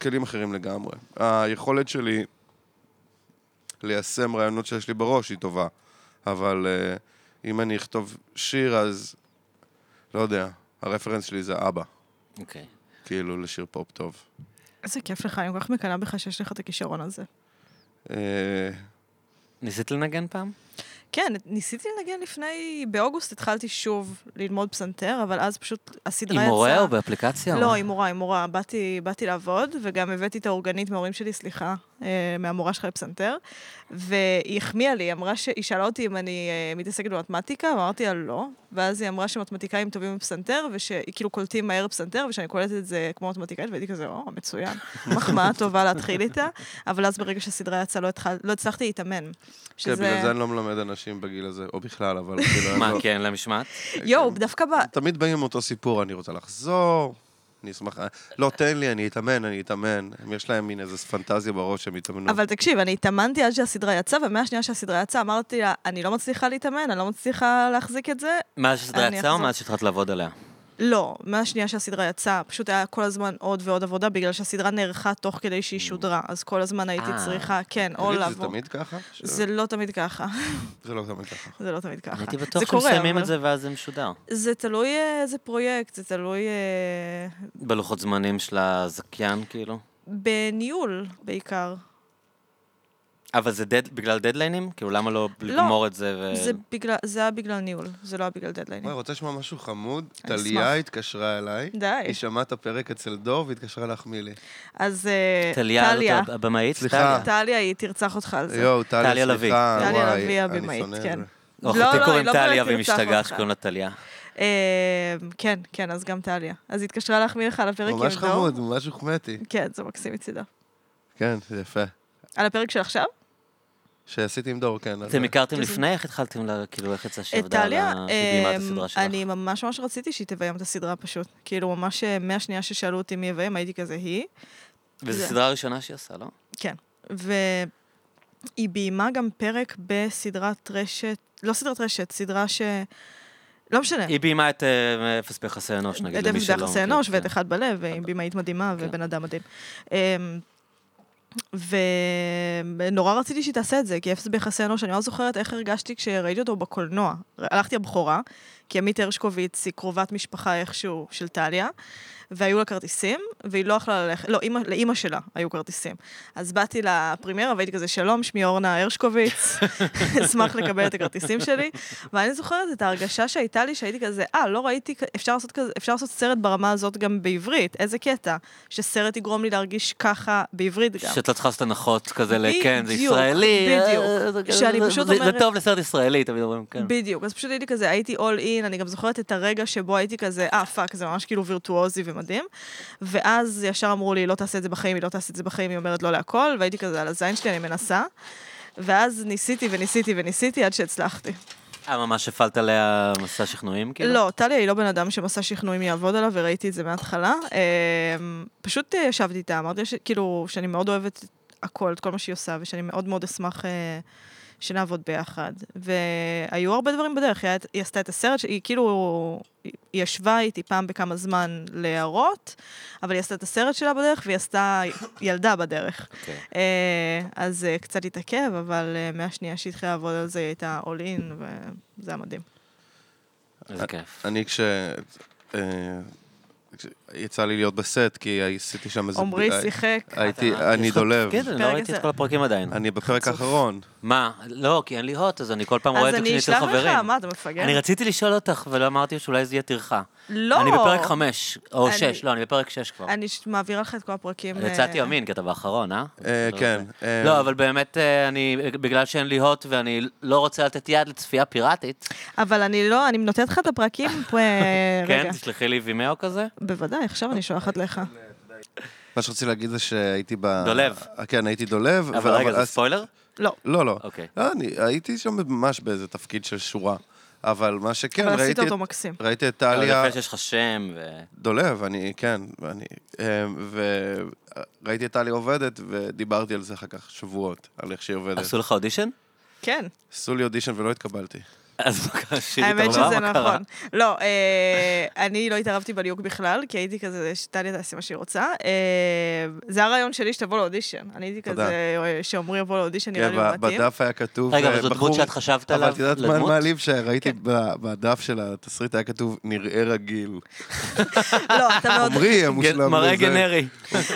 Speaker 1: כלים אחרים לגמרי. היכולת שלי ליישם רעיונות שיש לי בראש היא טובה, אבל אה, אם אני אכתוב שיר, אז לא יודע, הרפרנס שלי זה אבא,
Speaker 4: אוקיי.
Speaker 1: כאילו, לשיר פופ טוב.
Speaker 3: איזה כיף לך, אני כל כך מקנאה בך שיש לך את הכישרון הזה.
Speaker 1: אה,
Speaker 4: ניסית לנגן פעם?
Speaker 3: כן, ניסיתי לנגן לפני... באוגוסט התחלתי שוב ללמוד פסנתר, אבל אז פשוט הסדרה
Speaker 4: עם
Speaker 3: יצאה...
Speaker 4: מורה או באפליקציה? או
Speaker 3: לא,
Speaker 4: מה?
Speaker 3: עם מורה, עם מורה. באתי, באתי לעבוד, וגם הבאתי את האורגנית מההורים שלי, סליחה, אה, מהמורה שלך לפסנתר, והיא החמיאה לי, היא אמרה ש... היא שאלה אותי אם אני אה, מתעסקת במתמטיקה, ואמרתי לה לא, ואז היא אמרה שמתמטיקאים טובים בפסנתר, ושכאילו קולטים מהר פסנתר, ושאני קולטת את זה כמו מתמטיקאית, והייתי כזה, או, מצוין, מחמאה טובה להתחיל איתה, אבל אז ברגע שהסדרה יצאה לא, התחל... לא הצלחתי להתאמן.
Speaker 1: כן, בגלל זה אני לא מלמד אנשים בגיל הזה, או בכלל, אבל כאילו... אני
Speaker 4: מה, כן,
Speaker 1: לא-
Speaker 4: כי אין לה משמעת?
Speaker 3: יואו, דווקא ב...
Speaker 1: תמיד באים עם אותו סיפור, אני רוצה לחזור, אני אשמח... לא, תן לי, אני אתאמן, אני אתאמן. הם- יש להם מין איזו פנטזיה בראש שהם יתאמנו.
Speaker 3: אבל תקשיב, אני התאמנתי עד שהסדרה יצאה, ומהשנייה שהסדרה יצאה אמרתי לה, אני לא מצליחה להתאמן, אני לא מצליחה להחזיק את זה.
Speaker 4: מאז שזה
Speaker 3: אני
Speaker 4: יצא או
Speaker 3: אחזור.
Speaker 4: מאז שהתחלת לעבוד עליה?
Speaker 3: לא, מהשנייה שהסדרה יצאה, פשוט היה כל הזמן עוד ועוד עבודה, בגלל שהסדרה נערכה תוך כדי שהיא שודרה, אז כל הזמן הייתי
Speaker 4: אה.
Speaker 3: צריכה, כן, או
Speaker 1: תגיד, זה
Speaker 3: לעבור.
Speaker 1: תמיד ככה? ש-
Speaker 3: זה לא תמיד ככה,
Speaker 1: זה לא תמיד ככה.
Speaker 3: זה לא תמיד ככה.
Speaker 4: הייתי
Speaker 3: זה
Speaker 4: בטוח
Speaker 3: קורה,
Speaker 4: שמסיימים
Speaker 3: אבל-
Speaker 4: את זה ואז זה משודר.
Speaker 3: זה תלוי אה, איזה פרויקט, זה תלוי אה,
Speaker 4: בלוחות זמנים של הזכיין, כאילו.
Speaker 3: בניהול בעיקר.
Speaker 4: אבל זה דד- בגלל דדליינים? כאילו, למה לא לגמור את זה ו...
Speaker 3: זה בגלל- זה היה בגלל ניהול, זה לא היה בגלל דדליינים.
Speaker 1: וואי, רוצה לשמוע משהו חמוד?
Speaker 3: אני אשמח.
Speaker 1: טליה התקשרה אליי.
Speaker 3: די.
Speaker 1: היא שמעה את הפרק אצל דור והתקשרה להחמיא לי.
Speaker 3: אז אה,
Speaker 4: טליה, זאת אה. הבמאית?
Speaker 1: סליחה.
Speaker 4: טליה.
Speaker 3: טליה, היא תרצח אותך על זה.
Speaker 1: יואו,
Speaker 4: טליה
Speaker 1: טליה,
Speaker 4: לביא.
Speaker 1: סליחה, וואי,
Speaker 3: טליה לביא
Speaker 1: אני
Speaker 3: הבמאית,
Speaker 1: שונא את
Speaker 3: כן.
Speaker 1: זה.
Speaker 4: או,
Speaker 3: לא,
Speaker 4: אחותי
Speaker 3: לא,
Speaker 4: קוראים
Speaker 3: היא לא באמת
Speaker 4: טליה והיא
Speaker 3: תרצח
Speaker 4: משתגעת
Speaker 3: אותך.
Speaker 4: שקוראים לה טליה.
Speaker 3: אה, כן, כן, אז גם טליה. אז היא התקשרה להחמיא לך על הפרק עם דור.
Speaker 1: ממש חמוד, ממש הוחמאתי.
Speaker 3: כן, זה מקסים מצידה.
Speaker 1: כן, זה יפה.
Speaker 3: על הפרק של עכשיו?
Speaker 1: שעשיתי עם דור, כן. אז-
Speaker 4: אתם הכרתם
Speaker 3: שזה-
Speaker 4: לפני? איך התחלתם, ל- כאילו, איך יצא
Speaker 3: את
Speaker 4: שעבדה על
Speaker 3: טליה,
Speaker 4: ה-
Speaker 3: אה,
Speaker 4: שביימה את הסדרה שלך?
Speaker 3: אני ממש ממש רציתי שהיא תביים את הסדרה פשוט. כאילו, ממש אה, מהשנייה ששאלו אותי מי יביים, הייתי כזה היא.
Speaker 4: וזו
Speaker 3: זה.
Speaker 4: סדרה ראשונה שהיא עושה, לא?
Speaker 3: כן. והיא ביימה גם פרק בסדרת רשת, לא סדרת רשת, סדרה ש... לא משנה.
Speaker 4: היא ביימה את אה, אפס ביחסי אנוש, נגיד,
Speaker 3: את
Speaker 4: למי
Speaker 3: אפס
Speaker 4: שלא.
Speaker 3: ביחסי
Speaker 4: מכיר,
Speaker 3: אנוש
Speaker 4: כן.
Speaker 3: ואת אחד בלב, ועם בימאית מדהימה
Speaker 4: כן.
Speaker 3: ובן אדם מדהים. אמ, ונורא רציתי שהיא תעשה את זה, כי אפס ביחסי אנוש, אני לא זוכרת איך הרגשתי כשראיתי אותו בקולנוע. הלכתי הבכורה, כי עמית הרשקוביץ היא קרובת משפחה איכשהו של טליה, והיו לה כרטיסים, והיא לא יכלה ללכת, לא, אמא, לאימא שלה היו כרטיסים. אז באתי לפרימיירה והייתי כזה, שלום, שמי אורנה הרשקוביץ, אשמח לקבל את הכרטיסים שלי. ואני זוכרת את ההרגשה שהייתה לי, שהייתי כזה, אה, לא ראיתי, כ- אפשר לעשות, כזה, אפשר לעשות סרט ברמה הזאת גם בעברית, איזה קטע, שסרט יגרום לי להרגיש ככה בעברית גם.
Speaker 4: שאת לא צריכה לעשות הנחות כזה, ל-
Speaker 3: בדיוק,
Speaker 4: כן, זה ישראלי. אה,
Speaker 3: בדיוק.
Speaker 4: אה, זה-
Speaker 3: שאני
Speaker 4: זה-
Speaker 3: פשוט
Speaker 4: זה- זה
Speaker 3: אומרת-
Speaker 4: טוב לסרט ישראלי, תמיד אומרים, כן.
Speaker 3: בדיוק, אז פשוט הייתי כזה, הייתי all in, אני גם זוכרת את הרגע שבו הייתי כזה, אה, פאק, זה ממש כאילו וירטואוזי ומדהים. ואז ישר אמרו לי, לא תעשה את זה בחיים, היא לא תעשה את זה בחיים, היא אומרת לא להכל, והייתי כזה, על הזין שלי, אני מנסה. ואז ניסיתי וניסיתי וניסיתי עד שהצלחתי.
Speaker 4: אה, ממש הפעלת עליה מסע שכנועים, כאילו?
Speaker 3: לא, טליה היא לא בן אדם שמסע שכנועים יעבוד עליו, וראיתי את זה מההתחלה. אמ, פשוט אה, ישבתי איתה, אמרתי לה ש- כאילו, שאני מאוד אוהבת הכל, את כל מה שהיא עושה, ושאני מאוד מאוד אשמח אה, שנעבוד ביחד. והיו הרבה דברים בדרך, היא, היה- היא עשתה את הסרט, ש- היא כאילו, היא היא ישבה איתי פעם בכמה זמן להערות, אבל היא עשתה את הסרט שלה בדרך, והיא עשתה ילדה בדרך.
Speaker 4: אוקיי.
Speaker 3: אה, אז אה, קצת התעכב, אבל אה, מהשנייה שהתחילה לעבוד על זה, היא הייתה all in, וזה היה מדהים.
Speaker 4: איזה כיף.
Speaker 1: אני כש... אה, יצא לי להיות בסט, כי עשיתי שם איזה...
Speaker 3: עמרי
Speaker 1: הי-
Speaker 3: שיחק.
Speaker 4: אה,
Speaker 1: הייתי,
Speaker 4: אתה-
Speaker 1: אני
Speaker 4: יש לך
Speaker 1: דולב.
Speaker 4: תפקיד? אני לא
Speaker 3: פרק
Speaker 4: ראיתי את
Speaker 3: עשר.
Speaker 4: כל הפרקים עדיין.
Speaker 1: אני בפרק האחרון.
Speaker 4: מה? לא, כי אין לי הוט, אז אני כל פעם רואה
Speaker 3: אז
Speaker 4: את זה
Speaker 3: אני
Speaker 4: כשאני אצל
Speaker 3: אשלח לך,
Speaker 4: חברים.
Speaker 3: מה, אתה מפגר?
Speaker 4: אני רציתי לשאול אותך, ולא אמרתי שאולי זה יהיה טרחה.
Speaker 3: לא.
Speaker 4: אני בפרק חמש, או
Speaker 3: אני-
Speaker 4: שש, לא, אני בפרק שש כבר.
Speaker 3: אני ש- מעבירה לך את כל הפרקים.
Speaker 4: יצאתי
Speaker 3: אה,
Speaker 4: אמין, כי אתה באחרון, אה?
Speaker 1: אה, כן. אה,
Speaker 4: לא, אבל באמת, אה, אני, בגלל שאין לי הוט ואני לא רוצה לתת יד לצפייה פיראטית,
Speaker 3: אבל אני לא, אני נותנת לך את הפרקים פה, אה, רגע.
Speaker 4: כן, תשלחי לי וימאו כזה.
Speaker 3: בוודאי, עכשיו אני שולחת לך.
Speaker 1: מה שרציתי להגיד זה שהייתי ב...
Speaker 4: דולב.
Speaker 1: אה, כן, הייתי דולב.
Speaker 4: אבל רגע, זה
Speaker 1: אז-
Speaker 4: ספוילר?
Speaker 3: לא.
Speaker 1: לא, לא.
Speaker 4: אוקיי.
Speaker 1: לא, אני הייתי שם ממש באיזה תפקיד של שורה. אבל מה שכן,
Speaker 3: אבל עשית
Speaker 1: כן, ראיתי את-
Speaker 3: אותו מקסים.
Speaker 1: ראיתי את
Speaker 4: לא, אבל
Speaker 1: טליה...
Speaker 4: יפה שיש לך שם, ו...
Speaker 1: דולב, אני, כן, אני, אמ, וראיתי את טלי עובדת, ודיברתי על זה אחר כך שבועות, על איך שהיא עובדת.
Speaker 4: עשו לך אודישן?
Speaker 3: כן,
Speaker 1: עשו לי אודישן ולא התקבלתי.
Speaker 4: אז מה קרה? שירי
Speaker 3: האמת
Speaker 4: התערבה?
Speaker 3: שזה
Speaker 4: מה קרה?
Speaker 3: נכון. לא, אה, אני לא התערבתי בליהוק בכלל, כי הייתי כזה, שטליה תעשה מה שהיא רוצה. אה, זה הרעיון שלי שתבוא לאודישן. אני הייתי
Speaker 1: תודה.
Speaker 3: כזה, אה, שעמרי יבוא לאודישן, נראה
Speaker 1: כן,
Speaker 3: לי
Speaker 1: ב-
Speaker 3: הוא מתאים.
Speaker 1: בדף היה כתוב...
Speaker 4: רגע,
Speaker 1: אה,
Speaker 4: אבל זו דמות
Speaker 1: בחור-
Speaker 4: שאת חשבת עליו?
Speaker 1: אבל את יודעת מה
Speaker 4: לדמות?
Speaker 1: מעליב שראיתי
Speaker 3: כן.
Speaker 1: ב- בדף של התסריט היה כתוב נראה רגיל.
Speaker 3: לא, אתה מאוד...
Speaker 1: עמרי
Speaker 4: גן-
Speaker 1: המושלם
Speaker 4: כן, מראה
Speaker 1: בזה.
Speaker 4: גנרי.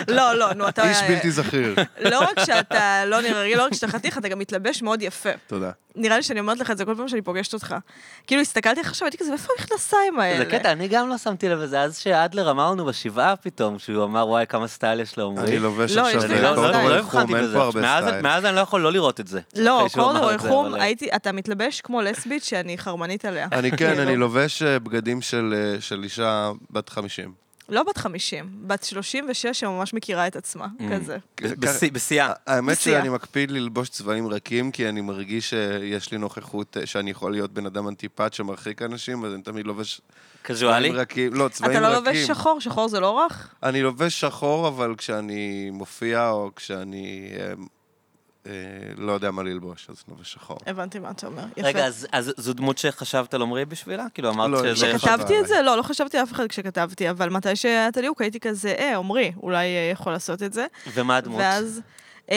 Speaker 3: לא, לא, נו, אתה...
Speaker 1: איש בלתי זכיר.
Speaker 3: לא רק שאתה לא נראה רגיל, לא רק שאתה חתיך, אתה גם מתלבש מאוד יפה.
Speaker 1: תודה.
Speaker 3: נראה לי שאני אומרת לך את זה כל פעם שאני פוגשת אותך. כאילו, הסתכלתי עליך עכשיו, הייתי כזה, איפה המכנסיים האלה?
Speaker 4: זה קטע, אני גם לא שמתי לב לזה, אז שאדלר אמר לנו בשבעה פתאום, שהוא אמר, וואי, כמה סטייל יש לו,
Speaker 1: אני
Speaker 4: עמרי.
Speaker 1: לובש
Speaker 3: לא,
Speaker 1: עכשיו אה,
Speaker 3: יש לי-
Speaker 4: אני לא-
Speaker 3: לא,
Speaker 4: לא
Speaker 1: קורדורוי
Speaker 4: לא
Speaker 1: חום,
Speaker 4: הבחנתי
Speaker 1: אין פה
Speaker 4: בזה.
Speaker 1: הרבה
Speaker 4: מאז-
Speaker 1: סטייל.
Speaker 4: מאז אני לא יכול לא לראות את זה.
Speaker 3: לא,
Speaker 4: אחרי שהוא אמר
Speaker 3: קורדורוי
Speaker 4: את זה,
Speaker 3: חום,
Speaker 4: אבל-
Speaker 3: הייתי, אתה מתלבש כמו לסבית שאני חרמנית עליה.
Speaker 1: אני כן,
Speaker 3: כאילו,
Speaker 1: אני לובש אה, בגדים של אה, של אישה בת 50.
Speaker 3: לא בת 50, בת 36 שממש מכירה את עצמה,
Speaker 4: Mm.
Speaker 3: כזה.
Speaker 4: ב- בשיא- בשיאה.
Speaker 1: האמת
Speaker 3: נסיעה.
Speaker 1: שאני מקפיד ללבוש צבעים רכים, כי אני מרגיש שיש לי נוכחות, אה, שאני יכול להיות בן אדם אנטיפט שמרחיק אנשים, אז אני תמיד לובש
Speaker 4: קזואלי?
Speaker 1: צבעים רכים. לא, צבעים
Speaker 3: אתה לא
Speaker 1: רכים.
Speaker 3: לובש שחור, שחור זה לא רך?
Speaker 1: אני לובש שחור, אבל כשאני מופיע, או כשאני אה, אה, לא יודע מה ללבוש, אז אני לובש שחור.
Speaker 3: הבנתי מה אתה אומר. יפה.
Speaker 4: רגע, אז אז זו דמות שחשבת על עמרי בשבילה? כאילו,
Speaker 1: לא,
Speaker 4: אמרת שזה...
Speaker 1: זה
Speaker 3: כשכתבתי
Speaker 1: עליי.
Speaker 3: את זה, לא, לא חשבתי על אף אחד כשכתבתי, אבל מתי שהיה את הליהוק הייתי כזה, אה, עמרי, אולי אה, יכול לעשות את זה.
Speaker 4: ומה הדמות?
Speaker 3: ואז... אמ,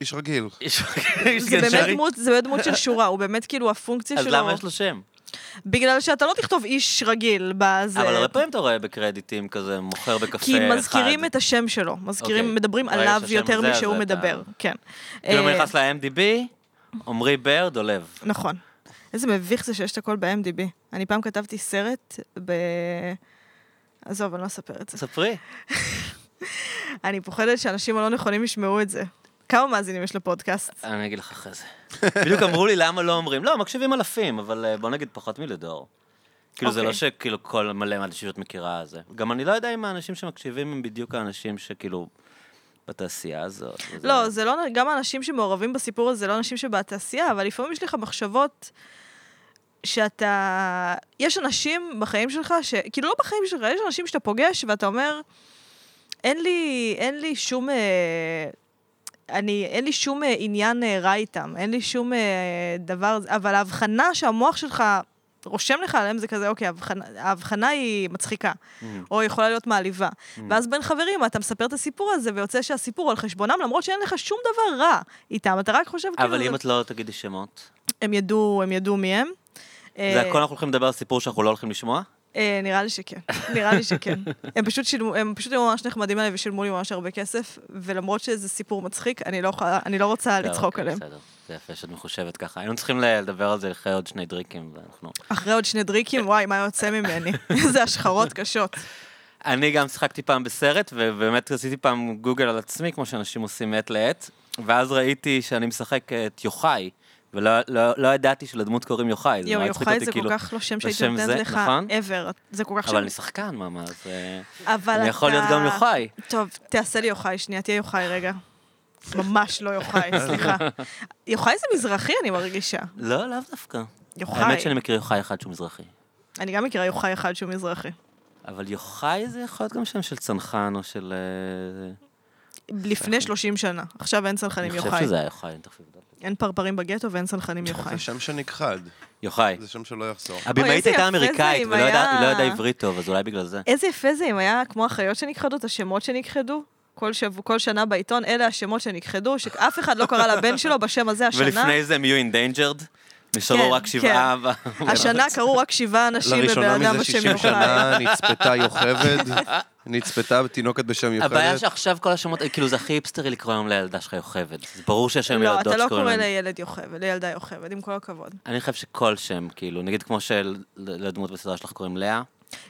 Speaker 1: איש רגיל.
Speaker 4: יש- יש
Speaker 3: זה
Speaker 4: גן
Speaker 3: באמת
Speaker 4: שרי?
Speaker 3: דמות- זה באמת דמות של שורה, הוא באמת כאילו הפונקציה
Speaker 4: אז
Speaker 3: שלו.
Speaker 4: למה יש לו שם?
Speaker 3: בגלל שאתה לא תכתוב איש רגיל בזה.
Speaker 4: אבל הרבה פעמים אתה רואה בקרדיטים כזה, מוכר בקפה אחד.
Speaker 3: כי מזכירים את השם שלו, מזכירים,
Speaker 4: אוקיי.
Speaker 3: מדברים
Speaker 4: ברגע
Speaker 3: עליו
Speaker 4: שהשם
Speaker 3: יותר
Speaker 4: הזה, אז
Speaker 3: משהוא
Speaker 4: אתה-
Speaker 3: מדבר, כן.
Speaker 4: כאילו, אם
Speaker 3: אה,
Speaker 4: אני נכנס ל-MDB, עמרי בר דולב.
Speaker 3: נכון. איזה מביך זה שיש את הכל ב-MDB. אני פעם כתבתי סרט ב... עזוב, אני לא אספר את זה.
Speaker 4: ספרי.
Speaker 3: אני פוחדת שאנשים הלא נכונים ישמעו את זה. כמה מאזינים יש לפודקאסט?
Speaker 4: אה, אני אגיד לך אחרי זה. בדיוק אמרו לי למה לא אומרים. לא, מקשיבים אלפים, אבל אה, בוא נגיד פחות מלדור. כאילו זה
Speaker 3: אוקיי.
Speaker 4: לא שכאילו כל מלא מהאנשים שאת מכירה זה. גם אני לא יודע אם האנשים שמקשיבים הם בדיוק האנשים שכאילו בתעשייה הזאת. וזה-
Speaker 3: לא, זה לא, גם האנשים שמעורבים בסיפור הזה, לא אנשים שבתעשייה, אבל לפעמים יש לך מחשבות שאתה... יש אנשים בחיים שלך, ש... כאילו לא בחיים שלך, יש אנשים שאתה פוגש ואתה אומר, אין לי, אין לי שום... אה, אני, אין לי שום אה, עניין אה, רע איתם, אין לי שום אה, דבר, אבל ההבחנה שהמוח שלך רושם לך עליהם זה כזה, אוקיי, ההבחנה, ההבחנה היא מצחיקה,
Speaker 4: Mm.
Speaker 3: או יכולה להיות מעליבה. ואז בין חברים אתה מספר את הסיפור הזה, ויוצא שהסיפור על חשבונם, למרות שאין לך שום דבר רע איתם, אתה רק חושב
Speaker 4: אבל
Speaker 3: כאילו,
Speaker 4: אם
Speaker 3: זה-
Speaker 4: את לא תגידי שמות,
Speaker 3: הם ידעו, הם ידעו מי הם.
Speaker 4: זה הכל אנחנו הולכים לדבר על סיפור שאנחנו לא הולכים לשמוע?
Speaker 3: אה, נראה לי שכן, נראה לי שכן. הם פשוט שילמו, הם פשוט היו ממש נחמדים עליי ושילמו לי ממש הרבה כסף, ולמרות שזה סיפור מצחיק, אני לא, יכולה- אני לא רוצה
Speaker 4: לא,
Speaker 3: לצחוק
Speaker 4: אוקיי,
Speaker 3: עליהם.
Speaker 4: בסדר, זה יפה שאת מחושבת ככה. היינו צריכים ל- לדבר על זה אחרי עוד שני דריקים, ואנחנו...
Speaker 3: אחרי עוד שני דריקים,
Speaker 4: אה.
Speaker 3: וואי, מה יוצא ממני? איזה השחרות קשות.
Speaker 4: אני גם שיחקתי פעם בסרט, ובאמת עשיתי פעם גוגל על עצמי, כמו שאנשים עושים מעת לעת, ואז ראיתי שאני משחק אה, את יוחאי, ולא לא, לא ידעתי שלדמות קוראים יוחאי.
Speaker 3: יואו,
Speaker 4: נורא הצחיק
Speaker 3: יוחאי
Speaker 4: אותי,
Speaker 3: זה כל
Speaker 4: כאילו,
Speaker 3: כך לא שם שהייתי
Speaker 4: בשם
Speaker 3: נותנת
Speaker 4: זה,
Speaker 3: לך
Speaker 4: נכון?
Speaker 3: ever. זה כל כך שם.
Speaker 4: אבל אני שחקן, מה, אז... אה,
Speaker 3: אבל
Speaker 4: אני יכול להיות
Speaker 3: אתה-
Speaker 4: גם יוחאי.
Speaker 3: טוב, תעשה לי יוחאי שנייה, תהיה יוחאי רגע. ממש לא יוחאי, סליחה. יוחאי זה מזרחי, אני מרגישה.
Speaker 4: לא, לאו דווקא.
Speaker 3: יוחאי.
Speaker 4: האמת שאני מכיר יוחאי אחד שהוא מזרחי.
Speaker 3: אני גם מכירה יוחאי אחד שהוא מזרחי.
Speaker 4: אבל יוחאי זה יכול להיות גם שם של צנחן או של... אה,
Speaker 3: לפני 30 שנה. עכשיו אין צנחנים
Speaker 4: אני
Speaker 3: יוחאי.
Speaker 4: חושב שזה היה יוחאי, אני תכף אבדוק.
Speaker 3: אין פרפרים בגטו ואין צנחנים יוחאי.
Speaker 2: אה.
Speaker 1: זה שם שנכחד,
Speaker 4: יוחאי.
Speaker 1: זה שם שלא יחזור.
Speaker 4: הבמאית
Speaker 3: איזה
Speaker 4: הייתה
Speaker 3: יפה זה
Speaker 4: אמריקאית,
Speaker 3: אם
Speaker 4: ולא ידעה- היא לא
Speaker 3: היה-
Speaker 4: ידעה עברית טוב, אז אולי בגלל זה.
Speaker 3: איזה יפה זה אם היה כמו החיות שנכחדו, את השמות שנכחדו. כל, שב... כל שנה בעיתון, אלה השמות שנכחדו, שאף אחד לא קרא לבן שלו בשם הזה השנה.
Speaker 4: ולפני זה הם יהיו אינדיינג'רד. נשארו
Speaker 3: כן,
Speaker 4: רק שבעה. ו-
Speaker 3: השנה קרו רק שבעה אנשים
Speaker 1: לראשונה
Speaker 3: בבן אדם
Speaker 1: מזה
Speaker 3: בשם לא,
Speaker 1: 60
Speaker 3: יוחאי.
Speaker 1: שנה נצפתה יוכבד, נצפתה תינוקת בשם
Speaker 2: הבעיה
Speaker 1: יוכבד.
Speaker 2: שעכשיו כל השמות, כאילו זה הכי היפסטרי לקרוא היום לילדה שלך יוכבד. זה ברור שיש היום
Speaker 3: לא,
Speaker 2: ילדות
Speaker 3: אתה לא
Speaker 2: שקוראים
Speaker 3: קורא
Speaker 2: להם.
Speaker 3: לילד יוכבד, לילדה יוכבד, עם כל הכבוד.
Speaker 2: אני חושב שכל שם, כאילו, נגיד כמו שלדמות בסדרה שלך קוראים לאה.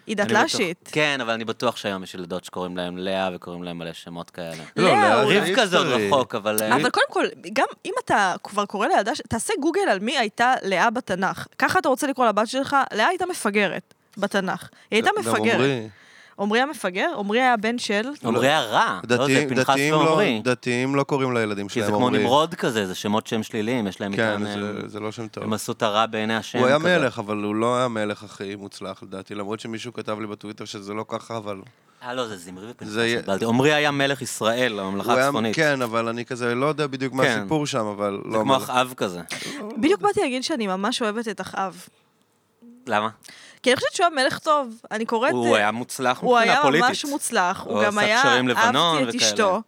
Speaker 3: היא
Speaker 2: אני בטוח-
Speaker 3: דתל"שית.
Speaker 2: כן, אבל אני בטוח שהיום יש ילדות שקוראים להם לאה וקוראים להם מלא שמות כאלה.
Speaker 1: לא,
Speaker 3: לאה,
Speaker 1: לאה,
Speaker 3: אולי.
Speaker 2: רבקה זה עוד
Speaker 1: היפסטרי.
Speaker 2: רחוק, אבל... אה,
Speaker 3: אבל קודם כל, גם אם אתה כבר קורא לילדה, ש- תעשה גוגל על מי הייתה לאה בתנ"ך. ככה אתה רוצה לקרוא לבת שלך, לאה הייתה מפגרת בתנ"ך. היא הייתה
Speaker 1: גם
Speaker 3: מפגרת.
Speaker 1: עומרי.
Speaker 3: עמרי המפגר? עמרי היה בן של...
Speaker 2: עמרי הרע, לא זה
Speaker 1: דתיים-
Speaker 2: פנחס
Speaker 1: דתיים לא-
Speaker 2: ועמרי.
Speaker 1: דתיים לא קוראים לילדים
Speaker 2: כי
Speaker 1: שלהם
Speaker 2: זה כמו
Speaker 1: עומרי.
Speaker 2: נמרוד כזה, זה שמות שהם שליליים, יש להם
Speaker 1: כן,
Speaker 2: איתם...
Speaker 1: זה-
Speaker 2: הם-
Speaker 1: זה לא שם טוב.
Speaker 2: הם עשו את הרע בעיני השם.
Speaker 1: הוא היה
Speaker 2: כזה.
Speaker 1: מלך, אבל הוא לא היה המלך הכי מוצלח לדעתי, למרות שמישהו כתב לי בטוויטר שזה לא ככה, אבל...
Speaker 2: אה, לא, זה זמרי ופנחס.
Speaker 1: זה-
Speaker 2: התבלבלתי. עמרי היה מלך ישראל, הממלכה
Speaker 1: הוא היה-
Speaker 2: הצפונית.
Speaker 1: כן, אבל אני כזה לא יודע בדיוק מה
Speaker 2: כן.
Speaker 1: הסיפור שם, אבל
Speaker 2: זה
Speaker 1: לא
Speaker 2: כמו
Speaker 1: המלך.
Speaker 2: אחאב כזה.
Speaker 3: בדיוק באתי להגיד שאני ממש אוהבת את אחאב.
Speaker 2: למה?
Speaker 3: כי אני חושבת שהוא היה מלך טוב. אני קוראת...
Speaker 2: הוא היה מוצלח
Speaker 3: אה, הוא
Speaker 4: מבחינה
Speaker 3: היה
Speaker 4: פוליטית.
Speaker 3: ממש מוצלח, הוא
Speaker 4: הוא
Speaker 3: גם
Speaker 4: עשה
Speaker 3: היה,
Speaker 4: קשרים לבנון
Speaker 3: אהבתי את
Speaker 4: וכאלה.
Speaker 3: אשתו,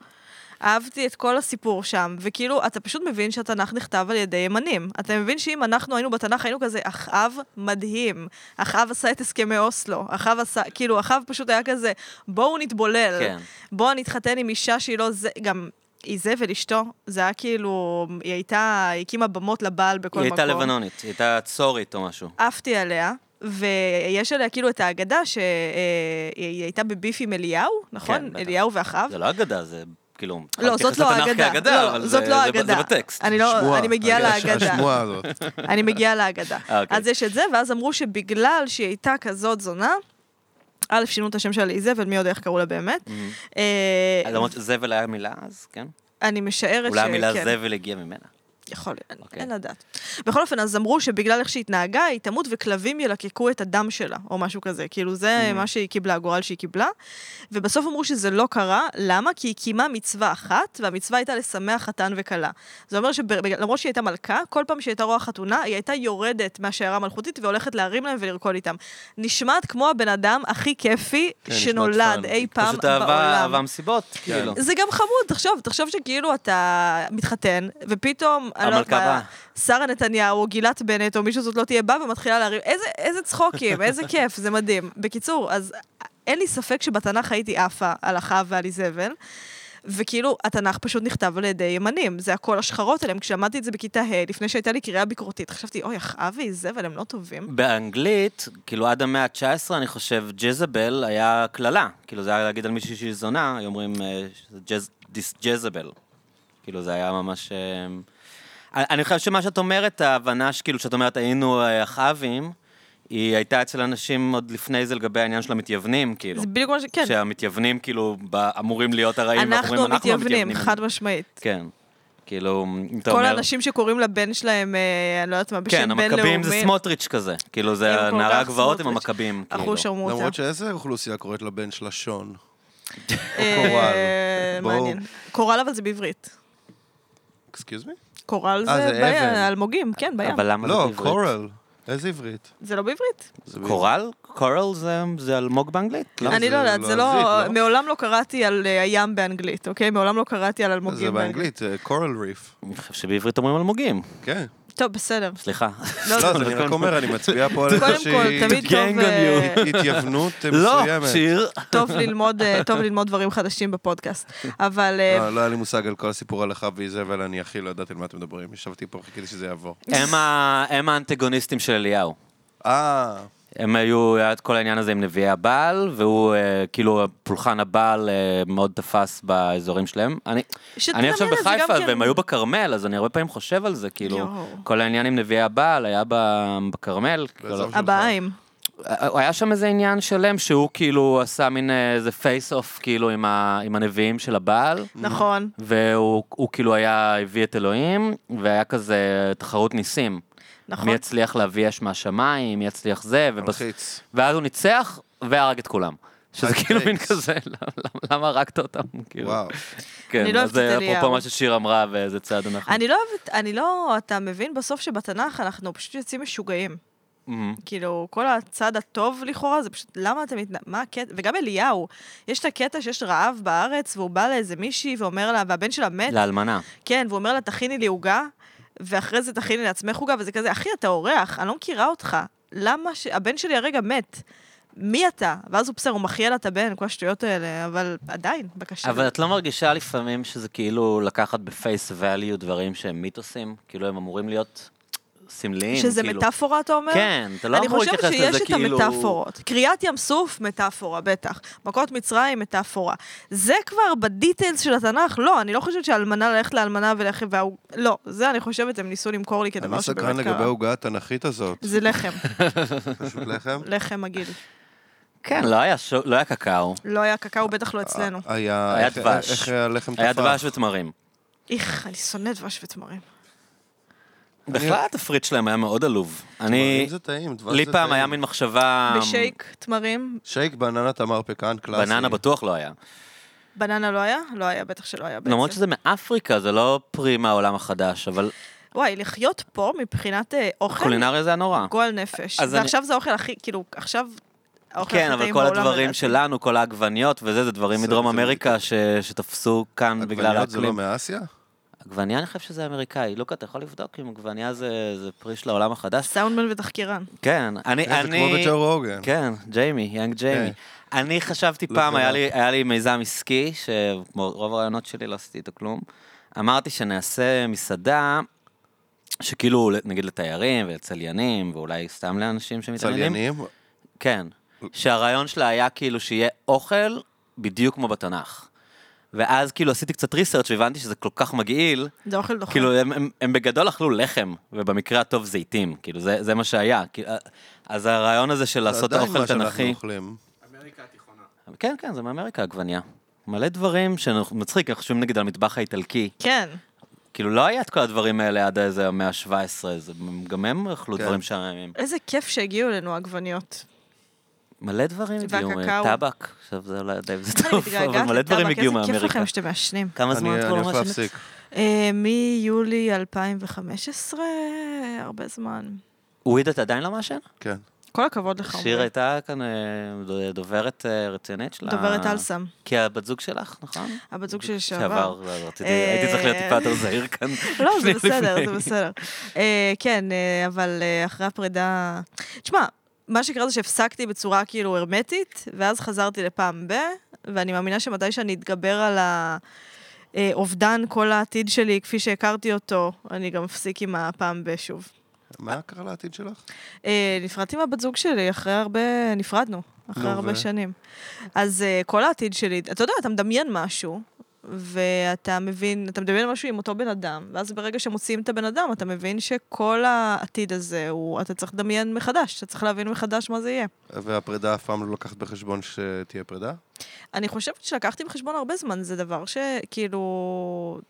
Speaker 3: אהבתי את כל הסיפור שם, וכאילו, אתה פשוט מבין שהתנ"ך נכתב על ידי ימנים. אתה מבין שאם אנחנו היינו בתנ"ך, היינו כזה, אחאב מדהים, אחאב עשה את הסכמי אוסלו, אחאב עשה, כאילו, אחאב פשוט היה כזה, בואו נתבולל,
Speaker 2: כן.
Speaker 3: בואו נתחתן עם אישה שהיא לא זה, גם... איזבל אשתו, זה היה כאילו, היא הייתה, היא הקימה במות לבעל בכל
Speaker 2: היא
Speaker 3: מקום.
Speaker 2: הייתה לבנונית, היא הייתה צורית או משהו.
Speaker 3: עפתי עליה, ויש עליה כאילו את האגדה שהיא הייתה בביף עם אליהו, נכון?
Speaker 4: כן,
Speaker 2: בטח.
Speaker 3: אליהו ואחאב.
Speaker 2: זה לא אגדה, זה כאילו...
Speaker 3: לא, זאת לא
Speaker 4: התייחס לתנ"ך
Speaker 3: האגדה.
Speaker 4: כאגדה,
Speaker 3: לא,
Speaker 4: אבל
Speaker 3: זאת
Speaker 4: זה-
Speaker 3: לא
Speaker 4: זה ב-
Speaker 3: האגדה.
Speaker 4: זה בטקסט.
Speaker 3: אני לא,
Speaker 1: שמועה,
Speaker 3: אני מגיעה
Speaker 1: הש-
Speaker 3: לאגדה.
Speaker 1: כן, השמועה הזאת.
Speaker 3: אני מגיעה לאגדה.
Speaker 4: אה, אוקיי.
Speaker 3: אז יש את זה, ואז אמרו שבגלל שהיא הייתה כזאת זונה, א', שינו את השם שלה לאיזבל, מי יודע איך קראו לה באמת. אה,
Speaker 4: למרות שזבל היה מילה אז, כן?
Speaker 3: אני משערת ש...
Speaker 4: אולי המילה
Speaker 3: כן.
Speaker 4: זבל הגיעה ממנה.
Speaker 3: יכול להיות, okay.
Speaker 4: אוקיי.
Speaker 3: אין לדעת. בכל אופן, אז אמרו שבגלל איך שהיא התנהגה, היא תמות וכלבים ילקקו את הדם שלה, או משהו כזה. כאילו, זה mm. מה שהיא קיבלה, הגורל שהיא קיבלה. ובסוף אמרו שזה לא קרה, למה? כי היא קיימה מצווה אחת, והמצווה הייתה לשמח חתן וכלה. זה אומר שלמרות שהיא הייתה מלכה, כל פעם שהיא הייתה רואה חתונה, היא הייתה יורדת מהשיירה המלכותית והולכת להרים להם ולרקוד איתם. נשמעת כמו הבן אדם הכי כיפי
Speaker 1: כן, נשמעת
Speaker 3: שנולד
Speaker 1: פאן.
Speaker 3: אי פעם
Speaker 4: פשוט
Speaker 3: בעולם.
Speaker 4: אהבה, אהבה מסיבות,
Speaker 2: כן.
Speaker 4: כאילו.
Speaker 3: זה גם חמוד, תחשוב, תחשוב שכאילו אתה מתחתן, ופתאום, אני לא יודעת
Speaker 4: המלכה
Speaker 3: מה,
Speaker 4: באה.
Speaker 3: שרה נתניהו, או גילת בנט, או מישהו זאת לא תהיה באה ומתחילה להרים, איזה, איזה צחוקים, איזה כיף, זה מדהים. בקיצור, אז אין לי ספק שבתנ"ך הייתי עפה על אחאב ועל איזבל. וכאילו, התנ"ך פשוט נכתב על ידי ימנים, זה הכל השחרות עליהם. כשלמדתי את זה בכיתה ה', לפני שהייתה לי קריאה ביקורתית, חשבתי, אוי, אחאב ואיזבל הם לא טובים.
Speaker 4: באנגלית, כאילו עד המאה ה-19, אני חושב, ג'זבל היה קללה. כאילו זה היה להגיד על מישהי שהיא זונה, היו אומרים אה, דיס ג'זבל. כאילו זה היה ממש... אה, אני- אני חושב שמה שאת אומרת, ההבנה שכאילו שאת אומרת היינו אה, אחאבים, היא הייתה אצל אנשים עוד לפני זה לגבי העניין של המתייוונים, כאילו.
Speaker 3: זה בדיוק מה ש... כן,
Speaker 4: שהמתייוונים כאילו ב- אמורים להיות הרעים, ואנחנו
Speaker 3: אנחנו
Speaker 4: אומרים, אנחנו
Speaker 3: המתייוונים,
Speaker 4: המתייוונים.
Speaker 3: חד משמעית.
Speaker 4: כן. כאילו, אם אתה
Speaker 3: כל
Speaker 4: אומר...
Speaker 3: האנשים שקוראים לבן שלהם, אה, אני לא יודעת מה, בשם
Speaker 4: כן,
Speaker 3: בינלאומי.
Speaker 4: המכבים זה סמוטריץ' כזה. כאילו,
Speaker 3: הם
Speaker 4: זה
Speaker 3: כל
Speaker 4: נערי
Speaker 3: כך
Speaker 4: הגבעות הם
Speaker 3: סמוטריץ'.
Speaker 4: המכבים, כאילו.
Speaker 3: אחוש שרמוטה.
Speaker 1: למרות שאיזה אוכלוסייה קוראת לבן שלה שון?
Speaker 3: אה,
Speaker 1: קורל. בואו.
Speaker 3: מעניין. קורל אבל זה בעברית.
Speaker 1: אקסקיוז מי?
Speaker 3: קורל
Speaker 1: אה,
Speaker 3: זה
Speaker 1: זה
Speaker 3: בים,
Speaker 1: אבן.
Speaker 3: אלמוגים, כן, בים.
Speaker 4: אבל למה זה
Speaker 1: לא,
Speaker 4: בעברית?
Speaker 1: קורל. איזה עברית?
Speaker 3: זה לא בעברית.
Speaker 1: זה בעברית.
Speaker 4: קורל? קורל זה- זה אלמוג באנגלית? לא.
Speaker 1: לא,
Speaker 3: אני
Speaker 1: זה
Speaker 3: לא יודעת,
Speaker 1: לא
Speaker 3: זה לא...
Speaker 1: עברית, לא?
Speaker 3: מעולם לא קראתי על אה, הים באנגלית, אוקיי? מעולם לא קראתי על
Speaker 1: זה
Speaker 3: אלמוגים באנגלית.
Speaker 1: באנגלית, אה, קורל ריף.
Speaker 4: אני חושב שבעברית אומרים אלמוגים.
Speaker 1: כן.
Speaker 3: טוב, בסדר.
Speaker 4: סליחה.
Speaker 1: לא, זה אני רק אומר, אני מצביע פה על
Speaker 3: קודם
Speaker 1: איזושהי
Speaker 3: כל, תמיד
Speaker 4: gang
Speaker 3: טוב,
Speaker 4: on
Speaker 3: אה,
Speaker 1: התייוונות
Speaker 4: לא,
Speaker 1: מסוימת.
Speaker 4: שיר.
Speaker 3: טוב ללמוד, אה, טוב ללמוד דברים חדשים בפודקאסט. אבל... אה,
Speaker 1: לא, לא היה לי מושג על כל הסיפור על החב ואיזבל, אני הכי לא ידעתי על מה אתם מדברים. ישבתי פה, חיכיתי שזה יעבור.
Speaker 4: הם ה- הם האנטגוניסטים של אליהו.
Speaker 1: אה,
Speaker 4: הם היו, היה את כל העניין הזה עם נביאי הבעל, והוא, אה, כאילו, פולחן הבעל אה, מאוד תפס באזורים שלהם. אני,
Speaker 3: שתדמיין
Speaker 4: אני עכשיו
Speaker 3: את זה גם
Speaker 4: בחיפה,
Speaker 3: כן.
Speaker 4: והם היו בכרמל, אז אני הרבה פעמים חושב על זה, כאילו,
Speaker 3: יואו.
Speaker 4: כל העניין עם נביאי הבעל היה ב- בכרמל.
Speaker 1: באזור
Speaker 4: כאילו,
Speaker 1: שלך.
Speaker 3: הבעיים.
Speaker 4: הוא היה שם איזה עניין שלם, שהוא כאילו עשה מין אה, איזה פייס אוף, כאילו, עם ה- עם הנביאים של הבעל.
Speaker 3: נכון.
Speaker 4: והוא הוא כאילו היה, הביא את אלוהים, והיה כזה תחרות ניסים.
Speaker 3: נכון.
Speaker 4: מי יצליח להביא אש מהשמיים, מי יצליח זה, ובס...
Speaker 1: מלחיץ.
Speaker 4: ואז הוא ניצח, והרג את כולם. שזה
Speaker 1: High
Speaker 4: כאילו מין
Speaker 1: stakes.
Speaker 4: כזה, למה- למה הרגת אותם? כאילו.
Speaker 1: אוקיי. וואו.
Speaker 4: כן,
Speaker 3: אני לא
Speaker 4: אז
Speaker 3: אוהבת את
Speaker 4: אפרופו
Speaker 3: אליהו.
Speaker 4: מה ששיר אמרה, ואיזה צעד אנחנו...
Speaker 3: אני לא אוהבת, אני לא, אתה מבין בסוף שבתנ"ך אנחנו פשוט יוצאים משוגעים.
Speaker 4: מהמם.
Speaker 3: כאילו, כל הצד הטוב לכאורה, זה פשוט, למה אתה מתנ... מה הקטע? וגם אליהו, יש את הקטע שיש רעב
Speaker 2: לא.
Speaker 3: בארץ, והוא בא לאיזה מישהי ואומר לה, והבן שלה מת,
Speaker 4: לאלמנה.
Speaker 3: כן, והוא אומר לה, תכיני לי עוגה. ואחרי זה תכיני לעצמך עוגה, וזה כזה, אחי, אתה אורח, אני לא מכירה אותך. למה ש... הבן שלי הרגע מת. מי אתה? ואז הוא בסדר, הוא מחיה לה את הבן, כל השטויות האלה, אבל עדיין, בבקשה.
Speaker 4: אבל-
Speaker 2: אבל את לא מרגישה לפעמים שזה כאילו לקחת בפייס value דברים שהם מיתוסים? כאילו הם אמורים להיות סמליים?
Speaker 3: שזה
Speaker 2: כאילו.
Speaker 3: מטאפורה, אתה אומר?
Speaker 2: כן, אתה לא אמור להתייחס לזה כאילו...
Speaker 3: אני חושבת שיש את המטאפורות. קריעת ים סוף, מטאפורה, בטח. מכות מצרים, מטאפורה. זה כבר בדיטיילס של התנ"ך, לא, אני לא חושבת שאלמנה ללכת לאלמנה וללכת והוא... לא, זה אני חושבת, הם ניסו למכור לי
Speaker 1: אני
Speaker 3: כדבר כן, שבאמת קרה.
Speaker 1: סקרן לגבי העוגה התנ"כית הזאת.
Speaker 3: זה לחם,
Speaker 1: פשוט לחם.
Speaker 3: לחם מגעיל.
Speaker 4: כן, לא היה שו- לא היה קקאו,
Speaker 3: לא היה קקאו, בטח לא אצלנו.
Speaker 1: אה, היה...
Speaker 4: היה
Speaker 1: איך-
Speaker 4: דבש.
Speaker 1: איך הלחם
Speaker 4: היה
Speaker 1: תפח?
Speaker 4: דבש ותמרים.
Speaker 3: איך, אני שונאת דבש ותמרים.
Speaker 4: בכלל התפריט שלהם היה מאוד עלוב. אני,
Speaker 1: דברים זה טעים, דבש זה
Speaker 4: לי
Speaker 1: טעים.
Speaker 4: פעם היה מין
Speaker 2: אמ.
Speaker 4: מחשבה...
Speaker 3: בשייק, תמרים,
Speaker 1: שייק בננה תמר פקן, קלאסי.
Speaker 4: בננה בטוח לא היה.
Speaker 3: בננה לא היה? לא היה, בטח שלא היה בעצם.
Speaker 4: למרות שזה מאפריקה, זה לא פרי מהעולם החדש, אבל
Speaker 1: כן.
Speaker 3: וואי, לחיות פה מבחינת אה, אוכל,
Speaker 4: קולינריה זה היה נורא.
Speaker 3: גועל נפש.
Speaker 4: אז אני-
Speaker 3: ועכשיו זה האוכל הכי, כאילו, עכשיו... האוכל
Speaker 4: כן,
Speaker 3: הכי
Speaker 4: אבל
Speaker 3: טעים
Speaker 4: כל
Speaker 3: בעולם,
Speaker 4: הדברים
Speaker 3: לדעתי.
Speaker 4: שלנו, כל העגבניות וזה, זה דברים
Speaker 1: זה-
Speaker 4: מדרום
Speaker 1: זה
Speaker 4: אמריקה ש- שתפסו כאן בגלל
Speaker 1: עגבניות זה לא
Speaker 4: האקלים.
Speaker 1: מאסיה?
Speaker 4: עגבניה, אני חושב שזה אמריקאי. לוקה, אתה יכול לבדוק אם עגבניה זה זה פרי של העולם החדש?
Speaker 3: סאונדמן ותחקירן.
Speaker 4: כן, אני...
Speaker 1: אה, זה
Speaker 4: אני-
Speaker 1: כמו בג'ו רוגן.
Speaker 4: כן, ג'יימי, יאנג ג'יימי. אני חשבתי
Speaker 1: אה. לא
Speaker 4: פעם,
Speaker 1: קרה.
Speaker 4: היה לי- היה לי מיזם עסקי, שכמו רוב הרעיונות שלי לא עשיתי איתו כלום. אמרתי שנעשה מסעדה, שכאילו, נגיד לתיירים ולצליינים, ואולי סתם לאנשים שמתעניינים.
Speaker 1: צליינים?
Speaker 4: כן. שהרעיון שלה היה כאילו שיהיה אוכל בדיוק כמו בתנ"ך. ואז כאילו עשיתי קצת ריסרצ' והבנתי שזה כל כך מגעיל,
Speaker 3: זה אוכל דוחה.
Speaker 4: כאילו הם, הם, הם בגדול אכלו לחם, ובמקרה הטוב זיתים, כאילו זה, זה מה שהיה. כאילו, אז הרעיון הזה של לעשות
Speaker 1: עדיין
Speaker 4: אוכל
Speaker 1: מה שאנחנו
Speaker 4: תנכי...
Speaker 1: אוכלים.
Speaker 4: כן, כן, זה מאמריקה עגבנייה. מלא דברים שמצחיק, אנחנו חושבים נגיד על המטבח האיטלקי.
Speaker 3: כן.
Speaker 4: כאילו לא היה את כל הדברים האלה עד איזה המאה ה-17, גם הם אכלו
Speaker 1: כן.
Speaker 4: דברים שעממים.
Speaker 3: איזה כיף שהגיעו אלינו העגבניות.
Speaker 4: מלא דברים הגיעו, אה,
Speaker 3: והקקאו.
Speaker 4: טבק, עכשיו זה לא יודע אם זה
Speaker 3: אני
Speaker 4: טוב, אבל
Speaker 3: מתגעגעת
Speaker 4: מלא דברים
Speaker 3: לטבק,
Speaker 4: הגיעו
Speaker 3: איזה כיף
Speaker 4: מאמריקה.
Speaker 3: לכם שאתם מעשנים.
Speaker 4: כמה זמן
Speaker 1: אני
Speaker 4: את
Speaker 1: אני
Speaker 4: כבר לא
Speaker 1: הולך
Speaker 4: מעשנת?
Speaker 1: להפסיק.
Speaker 3: אה, מיולי 2015, הרבה זמן.
Speaker 4: וויד את עדיין לא מעשן?
Speaker 1: כן.
Speaker 3: כל הכבוד לך.
Speaker 4: שיר
Speaker 3: עומרי.
Speaker 4: הייתה כאן אה, ד- דוברת אה, רצינית שלה.
Speaker 3: דוברת אלסם.
Speaker 4: כי הבת זוג שלך, נכון?
Speaker 3: הבת זוג שלי
Speaker 4: שעבר,
Speaker 3: שעבר.
Speaker 4: לא, רציתי,
Speaker 3: אה,
Speaker 4: הייתי צריך להיות טיפה יותר זהיר כאן.
Speaker 3: לא, זה
Speaker 4: שנייה
Speaker 3: בסדר,
Speaker 4: לפני.
Speaker 3: זה בסדר. אה, כן, אה, אבל אה, אחרי הפרידה... תשמע, מה שקרה זה שהפסקתי בצורה כאילו הרמטית, ואז חזרתי לפעם ב, ואני מאמינה שמתי שאני אתגבר על ה... אה, אובדן כל העתיד שלי, כפי שהכרתי אותו, אני גם אפסיק עם הפעם ב שוב.
Speaker 1: מה קרה לעתיד שלך?
Speaker 3: אה, נפרדתי מהבת זוג שלי, אחרי הרבה, נפרדנו, אחרי
Speaker 1: נו, ו?
Speaker 3: הרבה שנים. אז אה, כל העתיד שלי, אתה יודע, אתה מדמיין משהו, ואתה מבין, אתה מדמיין משהו עם אותו בן אדם, ואז ברגע שמוציאים את הבן אדם, אתה מבין שכל העתיד הזה, הוא, אתה צריך לדמיין מחדש, אתה צריך להבין מחדש מה זה יהיה.
Speaker 1: והפרידה אף פעם לא לקחת בחשבון שתהיה פרידה?
Speaker 3: אני חושבת שלקחתי בחשבון הרבה זמן, זה דבר שכאילו...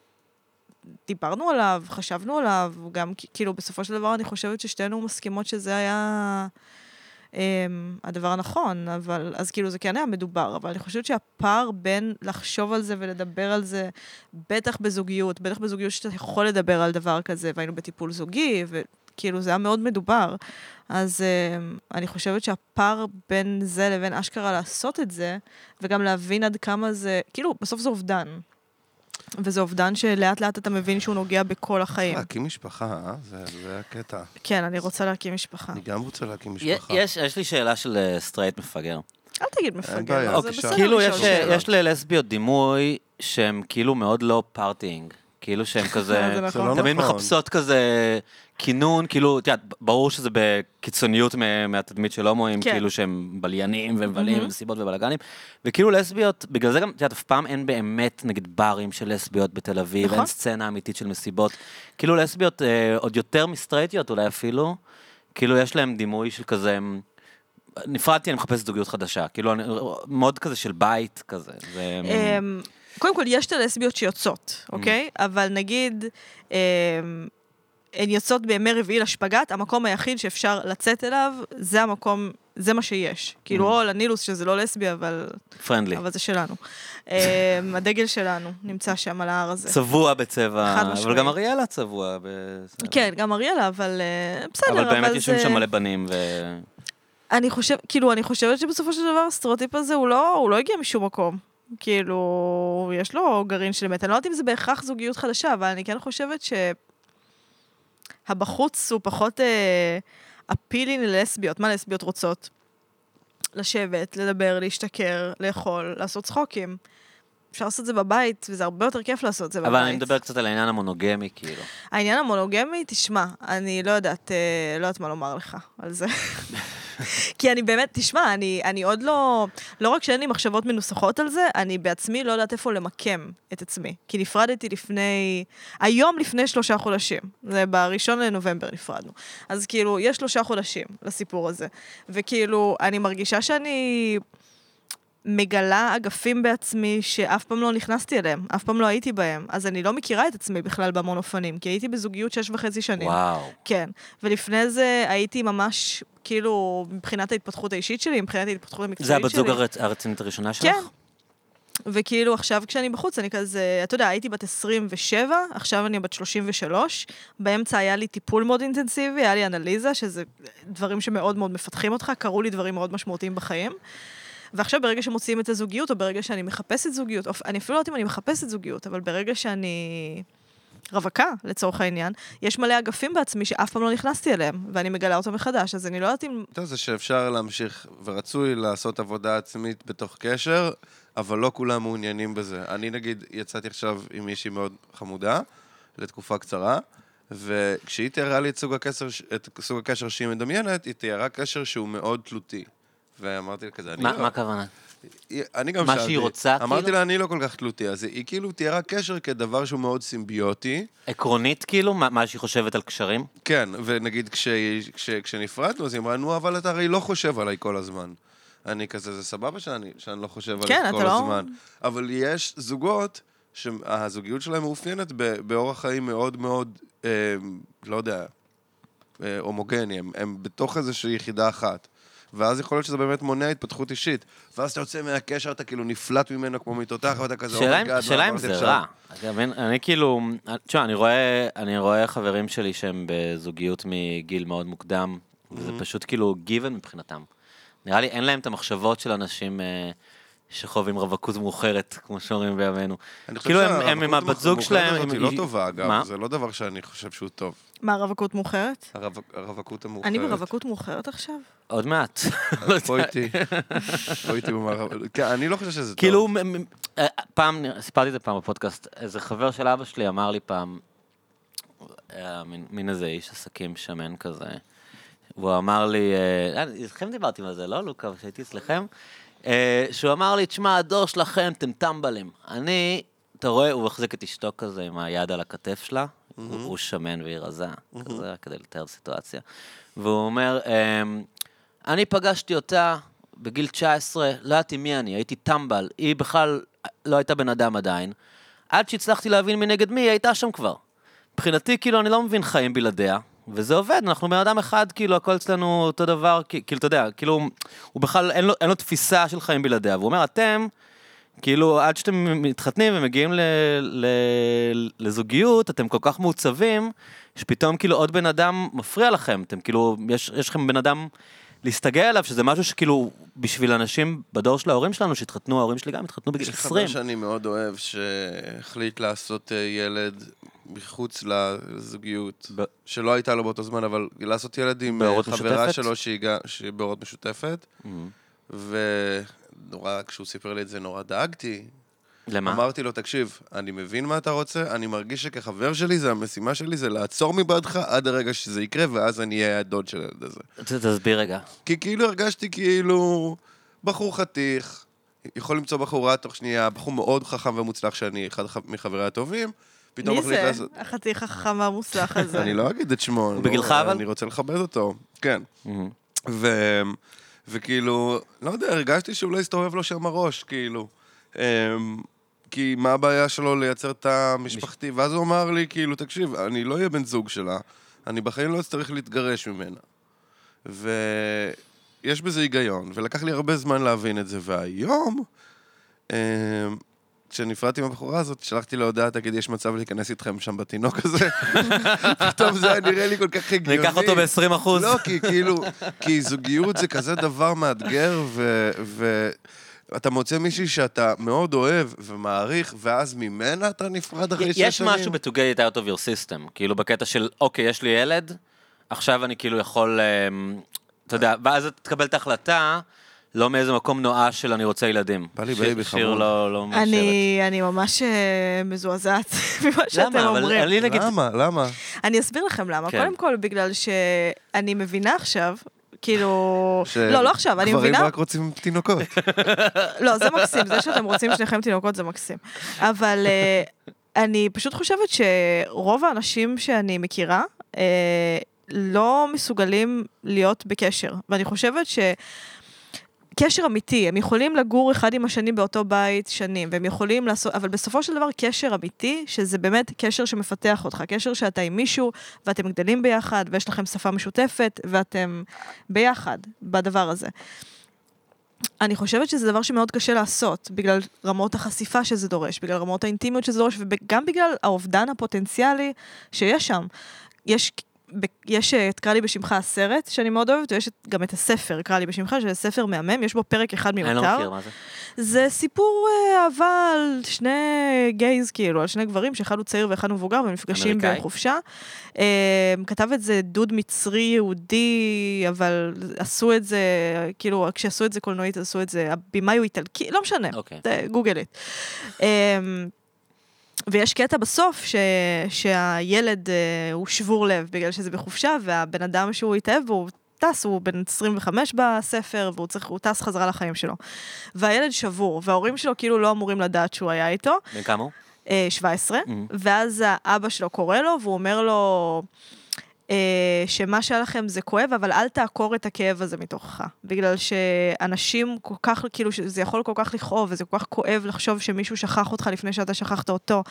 Speaker 3: דיברנו עליו, חשבנו עליו, גם כ- כאילו בסופו של דבר אני חושבת ששתינו מסכימות שזה היה אמ, הדבר הנכון, אבל אז כאילו זה כן היה מדובר, אבל אני חושבת שהפער בין לחשוב על זה ולדבר על זה, בטח בזוגיות, בטח בזוגיות שאתה יכול לדבר על דבר כזה, והיינו בטיפול זוגי, וכאילו זה היה מאוד מדובר, אז אמ, אני חושבת שהפער בין זה לבין אשכרה לעשות את זה, וגם להבין עד כמה זה, כאילו, בסוף זה אובדן. וזה אובדן שלאט לאט אתה מבין שהוא נוגע בכל החיים.
Speaker 1: להקים משפחה, אה? זה- זה הקטע.
Speaker 3: כן, אני רוצה להקים משפחה.
Speaker 1: אני גם רוצה להקים
Speaker 4: יה-
Speaker 1: משפחה.
Speaker 4: יש יש לי שאלה של אה, סטרייט מפגר.
Speaker 3: אל תגיד מפגר,
Speaker 1: בעיה.
Speaker 3: זה
Speaker 1: אוקיי,
Speaker 3: בסדר
Speaker 1: שאלה.
Speaker 4: כאילו
Speaker 3: לשאול
Speaker 4: יש,
Speaker 3: שאלות.
Speaker 4: יש ללסביות דימוי שהם כאילו מאוד לא פארטינג. כאילו שהם כזה,
Speaker 1: נכון.
Speaker 3: זה
Speaker 4: תמיד
Speaker 1: זה לא נכון.
Speaker 4: מחפשות כזה כינון, כאילו, את יודעת, ברור שזה בקיצוניות מה- מהתדמית של הומואים,
Speaker 3: כן. Mhm.
Speaker 4: כאילו שהם בליינים ומבלים ומסיבות ובלאגנים, וכאילו לסביות, בגלל זה גם, את יודעת, אף פעם אין באמת, נגיד, ברים של לסביות בתל אביב, אין
Speaker 3: נכון.
Speaker 4: סצנה אמיתית של מסיבות. כאילו לסביות, אה, עוד יותר מסטרייטיות אולי אפילו, כאילו יש להם דימוי של כזה, הם- נפרדתי, אני מחפש זוגיות חדשה. כאילו, אני, מאוד כזה של בית כזה. זה...
Speaker 3: אמ, קודם כל, יש את הלסביות שיוצאות,
Speaker 4: Mm.
Speaker 3: אוקיי? אבל נגיד, אמ, הן יוצאות בימי רביעי לשפגאט, המקום היחיד שאפשר לצאת אליו, זה המקום, זה מה שיש. כאילו,
Speaker 4: Mm.
Speaker 3: או לנילוס, שזה לא לסבי, אבל
Speaker 4: פרנדלי.
Speaker 3: אבל זה שלנו. אמ, הדגל שלנו נמצא שם על ההר הזה.
Speaker 4: צבוע בצבע,
Speaker 3: חד
Speaker 4: אבל
Speaker 3: משמעית.
Speaker 4: גם אריאלה צבוע. ב-
Speaker 3: כן, גם אריאלה, אבל אה, בסדר,
Speaker 4: אבל באמת יושבים
Speaker 3: זה-
Speaker 4: שם מלא בנים, ו...
Speaker 3: אני חושב, כאילו, אני חושבת שבסופו של דבר הסטריאוטיפ הזה הוא לא, הוא לא הגיע משום מקום. כאילו, יש לו גרעין של אמת. אני לא יודעת אם זה בהכרח זוגיות חדשה, אבל אני כן חושבת ש... הבחוץ הוא פחות אה, אפילינג ללסביות. מה לסביות רוצות? לשבת, לדבר, להשתכר, לאכול, לעשות צחוקים. אפשר לעשות את זה בבית, וזה הרבה יותר כיף לעשות את זה בבית.
Speaker 2: אבל אני מדבר קצת על העניין המונוגמי, כאילו.
Speaker 3: העניין המונוגמי, תשמע, אני לא יודעת, אה, לא יודעת מה לומר לך על זה. כי אני באמת, תשמע, אני, אני עוד לא, לא רק שאין לי מחשבות מנוסחות על זה, אני בעצמי לא יודעת איפה למקם את עצמי. כי נפרדתי לפני, היום לפני שלושה חודשים. זה בראשון לנובמבר נפרדנו. אז כאילו, יש שלושה חודשים לסיפור הזה. וכאילו, אני מרגישה שאני... מגלה אגפים בעצמי שאף פעם לא נכנסתי אליהם, אף פעם לא הייתי בהם. אז אני לא מכירה את עצמי בכלל בהמון אופנים, כי הייתי בזוגיות שש וחצי שנים.
Speaker 2: וואו.
Speaker 3: כן. ולפני זה הייתי ממש, כאילו, מבחינת ההתפתחות האישית שלי, מבחינת ההתפתחות המקצועית
Speaker 2: זה
Speaker 3: שלי.
Speaker 2: הבת זוג הרצ- הרצינית הראשונה שלך?
Speaker 3: כן. וכאילו עכשיו כשאני בחוץ, אני כזה, אתה יודע, הייתי בת 27, עכשיו אני בת 33, באמצע היה לי טיפול מאוד אינטנסיבי, היה לי אנליזה, שזה דברים שמאוד מאוד מפתחים אותך, קרו לי דברים מאוד משמעותיים בחיים. ועכשיו ברגע שמוציאים את הזוגיות, או ברגע שאני מחפשת זוגיות, או אני אפילו לא יודעת אם אני מחפשת זוגיות, אבל ברגע שאני רווקה, לצורך העניין, יש מלא אגפים בעצמי שאף פעם לא נכנסתי אליהם, ואני מגלה אותם מחדש, אז אני לא יודעת אם...
Speaker 1: אתה יודע, זה שאפשר להמשיך, ורצוי לעשות עבודה עצמית בתוך קשר, אבל לא כולם מעוניינים בזה. אני נגיד יצאתי עכשיו עם מישהי מאוד חמודה, לתקופה קצרה, וכשהיא תיארה לי את סוג הקשר, ש- את סוג הקשר שהיא מדמיינת, היא תיארה קשר שהוא מאוד תלותי. ואמרתי לה כזה, אני
Speaker 2: מה
Speaker 1: לא...
Speaker 2: מה הכוונה?
Speaker 1: היא- אני גם
Speaker 2: מה
Speaker 1: שאלתי.
Speaker 2: שהיא רוצה,
Speaker 1: אמרתי
Speaker 2: כאילו?
Speaker 1: לה, אני לא כל כך תלותי. אז היא היא כאילו תיארה קשר כדבר שהוא מאוד סימביוטי.
Speaker 4: עקרונית, כאילו, מה, מה שהיא חושבת על קשרים?
Speaker 1: כן, ונגיד כשהיא- כש- כשנפרדנו, אז היא אמרה, נו, אבל אתה הרי לא חושב עליי כל הזמן. אני כזה, זה סבבה שאני, שאני לא חושב
Speaker 3: כן,
Speaker 1: עליך
Speaker 3: אתה
Speaker 1: כל
Speaker 3: לא-
Speaker 1: הזמן. אבל יש זוגות שהזוגיות שלהם מאופיינת ב- באורח חיים מאוד מאוד, אה, לא יודע, אה, הומוגני, הם, הם בתוך איזושהי יחידה אחת. ואז יכול להיות שזה באמת מונע התפתחות אישית. ואז אתה יוצא מהקשר, אתה כאילו נפלט ממנו כמו מתותח, ואתה כזה,
Speaker 4: שאלה
Speaker 1: "Oh my God,
Speaker 4: אם-
Speaker 1: מה
Speaker 4: שאלה אם
Speaker 1: אמרתי
Speaker 4: זה
Speaker 1: עכשיו?"
Speaker 4: רע. אתה מבין? אני כאילו, תשמע, אני רואה- אני רואה חברים שלי שהם בזוגיות מגיל מאוד מוקדם, וזה
Speaker 1: Mm-hmm.
Speaker 4: פשוט כאילו גיוון מבחינתם. נראה לי אין להם את המחשבות של אנשים אה, שחווים רווקות מאוחרת, כמו שאומרים בימינו.
Speaker 1: אני חושב
Speaker 4: כאילו הם- הם
Speaker 1: שהרווקות
Speaker 4: עם הבת זוג
Speaker 1: המאוחרת
Speaker 4: שלהם...
Speaker 1: הזאת
Speaker 4: הם-
Speaker 1: היא לא
Speaker 4: היא-
Speaker 1: טובה,
Speaker 4: מה?
Speaker 1: אגב. זה לא דבר שאני חושב שהוא טוב.
Speaker 3: מה, רווקות מאוחרת?
Speaker 1: הרווק- הרווקות המאוחרת.
Speaker 3: אני ברווקות מאוחרת עכשיו?
Speaker 4: עוד מעט. לא יודע.
Speaker 1: בוא איתי. בוא איתי במערב. כן, אני לא חושב שזה טוב.
Speaker 4: כאילו, מ- מ- אה, פעם, סיפרתי את זה פעם בפודקאסט, איזה חבר של אבא שלי אמר לי פעם, היה מין- מין איזה איש עסקים שמן כזה, והוא אמר לי, אה, אה, איתכם דיברתי על זה, לא לוקה, כשהייתי אצלכם, אה, שהוא אמר לי, תשמע, הדור שלכם, אתם טמבלים. אני, אתה רואה, הוא מחזיק את אשתו כזה עם היד על הכתף שלה, הוא הוא שמן והיא רזה, כזה, רק כדי לתאר סיטואציה. והוא אומר, אמ, אני פגשתי אותה בגיל 19, לא ידעתי מי אני, הייתי טמבל, היא בכלל לא הייתה בן אדם עדיין. עד שהצלחתי להבין מי נגד מי, היא הייתה שם כבר. מבחינתי, כאילו, אני לא מבין חיים בלעדיה, וזה עובד, אנחנו בן אדם אחד, כאילו, הכל אצלנו אותו דבר, כי- כאילו, אתה יודע, כאילו, הוא בכלל, אין לו, אין לו תפיסה של חיים בלעדיה, והוא אומר, אתם, כאילו, עד שאתם מתחתנים ומגיעים ל, ל, לזוגיות, אתם כל כך מעוצבים, שפתאום כאילו עוד בן אדם מפריע לכם, אתם כאילו, יש, יש לכם בן אדם להסתגל עליו, שזה משהו שכאילו, בשביל אנשים בדור של ההורים שלנו, שהתחתנו, ההורים שלי גם התחתנו בגיל
Speaker 1: יש לי חבר
Speaker 4: 20.
Speaker 1: שאני מאוד אוהב, שהחליט לעשות אה, ילד מחוץ לזוגיות,
Speaker 4: ב-
Speaker 1: שלא הייתה לו באותו זמן, אבל לעשות ילד עם אה,
Speaker 4: בהורות
Speaker 1: חברה
Speaker 4: משותפת?
Speaker 1: שלו שהיא גם- שהיא בהורות משותפת, ונורא, כשהוא סיפר לי את זה, נורא דאגתי.
Speaker 4: למה?
Speaker 1: אמרתי לו, תקשיב, אני מבין מה אתה רוצה, אני מרגיש שכחבר שלי, זה המשימה שלי, זה לעצור מבעדך עד הרגע שזה יקרה, ואז אני אהיה הדוד של הילד הזה.
Speaker 4: ת- תסביר רגע.
Speaker 1: כי כאילו הרגשתי כאילו בחור חתיך, יכול למצוא בחורה תוך שנייה, בחור מאוד חכם ומוצלח שאני אחד ח- מחבריה הטובים, פתאום
Speaker 3: מי
Speaker 1: מחליט
Speaker 3: זה? אה.
Speaker 1: לעשות...
Speaker 3: החתיך החכם המוצלח הזה.
Speaker 1: אני לא אגיד את שמו, אני לא-
Speaker 4: בגילך, אבל?
Speaker 1: אני רוצה לכבד אותו, כן. ו... וכאילו, לא יודע, הרגשתי שאולי הסתובב לו שם הראש, כאילו. אמ, כי מה הבעיה שלו לייצר את המשפחתי? ואז הוא אמר לי, כאילו, תקשיב, אני לא אהיה בן זוג שלה, אני בחיים לא אצטרך להתגרש ממנה. ויש בזה היגיון, ולקח לי הרבה זמן להבין את זה, והיום, אמ, כשנפרדתי עם הבחורה הזאת, שלחתי לה הודעה, תגיד, יש מצב להיכנס איתכם שם בתינוק הזה? פתאום זה היה נראה לי כל כך הגיוני.
Speaker 4: ניקח אותו ב-20 אחוז.
Speaker 1: לא, כי כאילו, כי זוגיות זה כזה דבר מאתגר, ו... ו... אתה מוצא מישהי שאתה מאוד אוהב ומעריך, ואז ממנה אתה נפרד אחרי שש שנים?
Speaker 4: יש משהו ב-to get it out of your system, כאילו בקטע של, אוקיי, יש לי ילד, עכשיו אני כאילו יכול, אמ, אתה יודע, ואז אתה תקבל את ההחלטה, לא מאיזה מקום נואש של אני רוצה ילדים.
Speaker 1: בא לי
Speaker 4: שיר-
Speaker 1: בייבי
Speaker 4: שיר
Speaker 1: חמוד.
Speaker 4: לא לא מאשרת.
Speaker 3: אני, אני ממש אה, מזועזעת ממה שאתם
Speaker 4: למה? אבל
Speaker 3: אומרים.
Speaker 4: אני נגיד,
Speaker 1: למה? למה?
Speaker 3: אני אסביר לכם למה.
Speaker 4: כן.
Speaker 3: קודם כל, בגלל שאני מבינה עכשיו, כאילו...
Speaker 1: ש-
Speaker 3: לא, לא עכשיו, אני
Speaker 1: גברים
Speaker 3: מבינה...
Speaker 1: רק רוצים תינוקות.
Speaker 3: לא, זה מקסים, זה שאתם רוצים שניכם תינוקות זה מקסים. אבל אה, אני פשוט חושבת שרוב האנשים שאני מכירה אה, לא מסוגלים להיות בקשר, ואני חושבת ש... קשר אמיתי, הם יכולים לגור אחד עם השני באותו בית שנים, והם יכולים לעשות, אבל בסופו של דבר קשר אמיתי, שזה באמת קשר שמפתח אותך, קשר שאתה עם מישהו, ואתם גדלים ביחד, ויש לכם שפה משותפת, ואתם ביחד בדבר הזה. אני חושבת שזה דבר שמאוד קשה לעשות, בגלל רמות החשיפה שזה דורש, בגלל רמות האינטימיות שזה דורש, וגם בגלל האובדן הפוטנציאלי שיש שם. יש, ב- יש אה, את קרא לי בשמך הסרט, שאני מאוד אוהבת, ויש את- גם את הספר, קרא לי בשמך, שזה ספר מהמם, יש בו פרק אחד מיותר.
Speaker 4: אני לא מכיר מה זה.
Speaker 3: זה סיפור אה, אהבה על שני גייז, כאילו, על שני גברים, שאחד הוא צעיר ואחד הוא מבוגר, והם נפגשים
Speaker 4: אמריקאי?
Speaker 3: ביום חופשה. אה, כתב את זה דוד מצרי יהודי, אבל עשו את זה, כאילו, כשעשו את זה קולנועית, עשו את זה, הבמאי הוא איטלקי, לא משנה.
Speaker 4: אוקיי.
Speaker 3: אה, גוגל איט. אמ, ויש קטע בסוף ש... שהילד אה, הוא שבור לב בגלל שזה בחופשה, והבן אדם שהוא התאהב בו, הוא טס, הוא בן 25 בספר, והוא צריך, הוא טס חזרה לחיים שלו. והילד שבור, וההורים שלו כאילו לא אמורים לדעת שהוא היה איתו,
Speaker 4: בן כמה הוא?
Speaker 3: אה, 17, ואז האבא שלו קורא לו, והוא אומר לו... אה, שמה שהיה לכם זה כואב, אבל אל תעקור את הכאב הזה מתוכך. בגלל שאנשים כל כך, כאילו, זה יכול כל כך לכאוב, וזה כל כך כואב לחשוב שמישהו שכח אותך לפני שאתה שכחת אותו.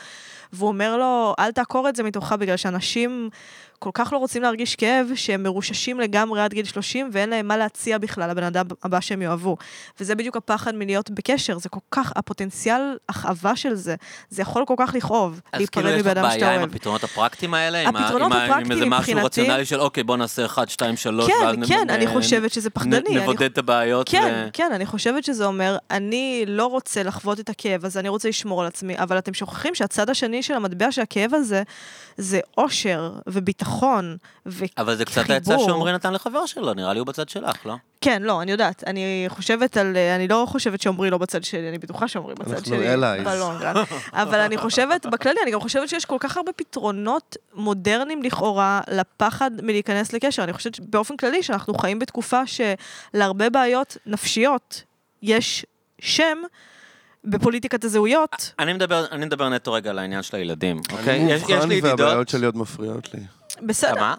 Speaker 3: והוא אומר לו, אל תעקור את זה מתוכך, בגלל שאנשים כל כך לא רוצים להרגיש כאב, שהם מרוששים לגמרי עד גיל 30, ואין להם מה להציע בכלל לבן אדם הבא שהם יאהבו. וזה בדיוק הפחד מלהיות בקשר, זה כל כך, הפוטנציאל הכאבה של זה, זה יכול כל כך לכאוב,
Speaker 4: אז כאילו
Speaker 3: להיפרד
Speaker 4: יש לך
Speaker 3: מבן אדם שאתה
Speaker 4: בעיה עם
Speaker 3: אוהב.
Speaker 4: הפתרונות הפרקטיים האלה? עם ה-
Speaker 3: הפתרונות
Speaker 4: עם ה- עם
Speaker 3: הפרקטיים
Speaker 4: איזה משהו
Speaker 3: מבחינתי-
Speaker 4: רציונלי של אוקיי, בוא נעשה 1, 2, 3,
Speaker 3: כן, כן, אני חושבת שזה פחדני. אני
Speaker 4: נבודד את הבעיות.
Speaker 3: כן,
Speaker 4: ו-
Speaker 3: כן, אני חושבת שזה אומר, אני לא רוצה לחוות את הכאב הזה, אני רוצה לשמור על עצמי, אבל אתם שוכחים שהצד השני של המטבע של הכאב הזה, זה אושר וביטחון, ו...
Speaker 4: אבל זה קצת העצה
Speaker 3: חיבור.
Speaker 4: שעמרי נתן לחבר שלו, נראה לי הוא בצד שלך, לא?
Speaker 3: כן, לא, אני יודעת, אני חושבת על, אני לא חושבת שעמרי לא בצד שלי, אני בטוחה שעמרי בצד
Speaker 1: אנחנו
Speaker 3: שלי.
Speaker 1: allies.
Speaker 3: בלונגרן. אבל אני חושבת, בכללי, אני גם חושבת שיש כל כך הרבה פתרונות מודרניים לכאורה לפחד מלהיכנס לקשר. אני חושבת באופן כללי שאנחנו חיים בתקופה שלהרבה בעיות נפשיות יש שם בפוליטיקת הזהויות.
Speaker 4: אני מדבר, אני מדבר נטו רגע על העניין של הילדים, אוקיי?
Speaker 1: אני
Speaker 4: יש, יש לי
Speaker 1: מאובחן והבעיות
Speaker 4: ידידות...
Speaker 1: שלי עוד מפריעות לי.
Speaker 3: בסדר,
Speaker 4: כמה?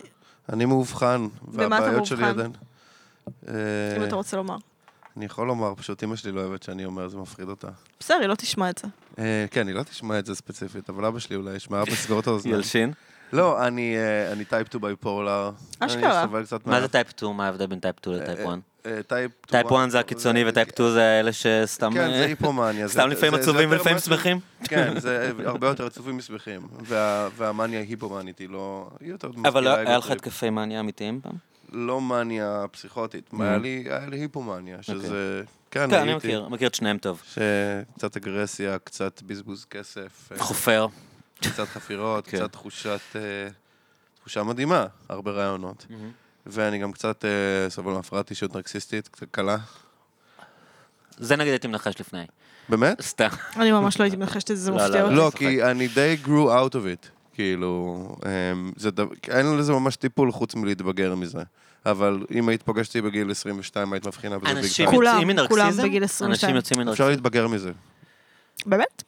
Speaker 1: אני מאובחן,
Speaker 3: אתה
Speaker 1: והבעיות שלי
Speaker 3: מאובחן?
Speaker 1: עדיין... אה,
Speaker 3: אם אתה רוצה לומר.
Speaker 1: אני יכול לומר, פשוט אמא שלי לא אוהבת שאני אומר, זה מפחיד אותה.
Speaker 3: בסדר, היא לא תשמע את זה.
Speaker 1: אה, כן, היא לא תשמע את זה ספציפית, אבל אבא שלי אולי ישמע, אבא סגור את האוזניים.
Speaker 4: ילשין.
Speaker 1: לא, אני, אה, אני טייפ 2 ביפולר.
Speaker 3: אשכרה.
Speaker 1: אני סובל קצת
Speaker 4: מה זה טייפ 2? מה ההבדל בין טייפ 2 לטייפ
Speaker 1: אה,
Speaker 4: 1?
Speaker 1: טייפ 2?
Speaker 4: טייפ 1 זה הקיצוני וטייפ 2 זה אלה שסתם...
Speaker 1: כן, זה
Speaker 4: אה,
Speaker 1: היפומניה. זה-
Speaker 4: סתם לפעמים
Speaker 1: זה- זה
Speaker 4: עצובים
Speaker 1: יותר
Speaker 4: ולפעמים
Speaker 1: משהו-
Speaker 4: שמחים?
Speaker 1: כן, זה הרבה יותר עצובים משמחים. וה- והמאניה ההיפומנית היא לא... היא יותר
Speaker 4: אבל
Speaker 1: מזכירה
Speaker 4: היה לך
Speaker 1: אגוטריפ.
Speaker 4: התקפי מניה אמיתיים פעם?
Speaker 1: לא מאניה פסיכוטית, היה לי היה לי היפומניה, שזה... כן,
Speaker 4: כן, אני
Speaker 1: הייתי.
Speaker 4: מכיר, מכיר את שניהם טוב.
Speaker 1: שקצת אגרסיה, קצת בזבוז כסף, אה,
Speaker 4: חופר.
Speaker 1: קצת חפירות,
Speaker 4: כן.
Speaker 1: קצת תחושת... אה, תחושה מדהימה, הרבה רעיונות. ואני גם קצת אה, סובל מהפרעת אישיות נרקסיסטית, קצת קלה.
Speaker 4: זה נגיד הייתי מנחש לפני.
Speaker 1: באמת?
Speaker 4: סתם.
Speaker 3: אני ממש לא הייתי מנחשת את זה, זה
Speaker 4: לא,
Speaker 3: מפתיע אותי.
Speaker 1: לא,
Speaker 4: צוחק.
Speaker 1: כי אני די grew out of it. כאילו, אמ, זה דבר, אין לזה ממש טיפול חוץ מלהתבגר מזה. אבל אם היית פוגשת אותי בגיל 22, היית מבחינה בזה ביג
Speaker 4: אנשים
Speaker 1: טיים.
Speaker 3: כולם,
Speaker 4: יוצאים מנרקסיזם?
Speaker 3: כולם בגיל 22.
Speaker 4: אנשים יוצאים
Speaker 1: אפשר
Speaker 4: מנרקסיזם.
Speaker 1: להתבגר מזה.
Speaker 3: באמת?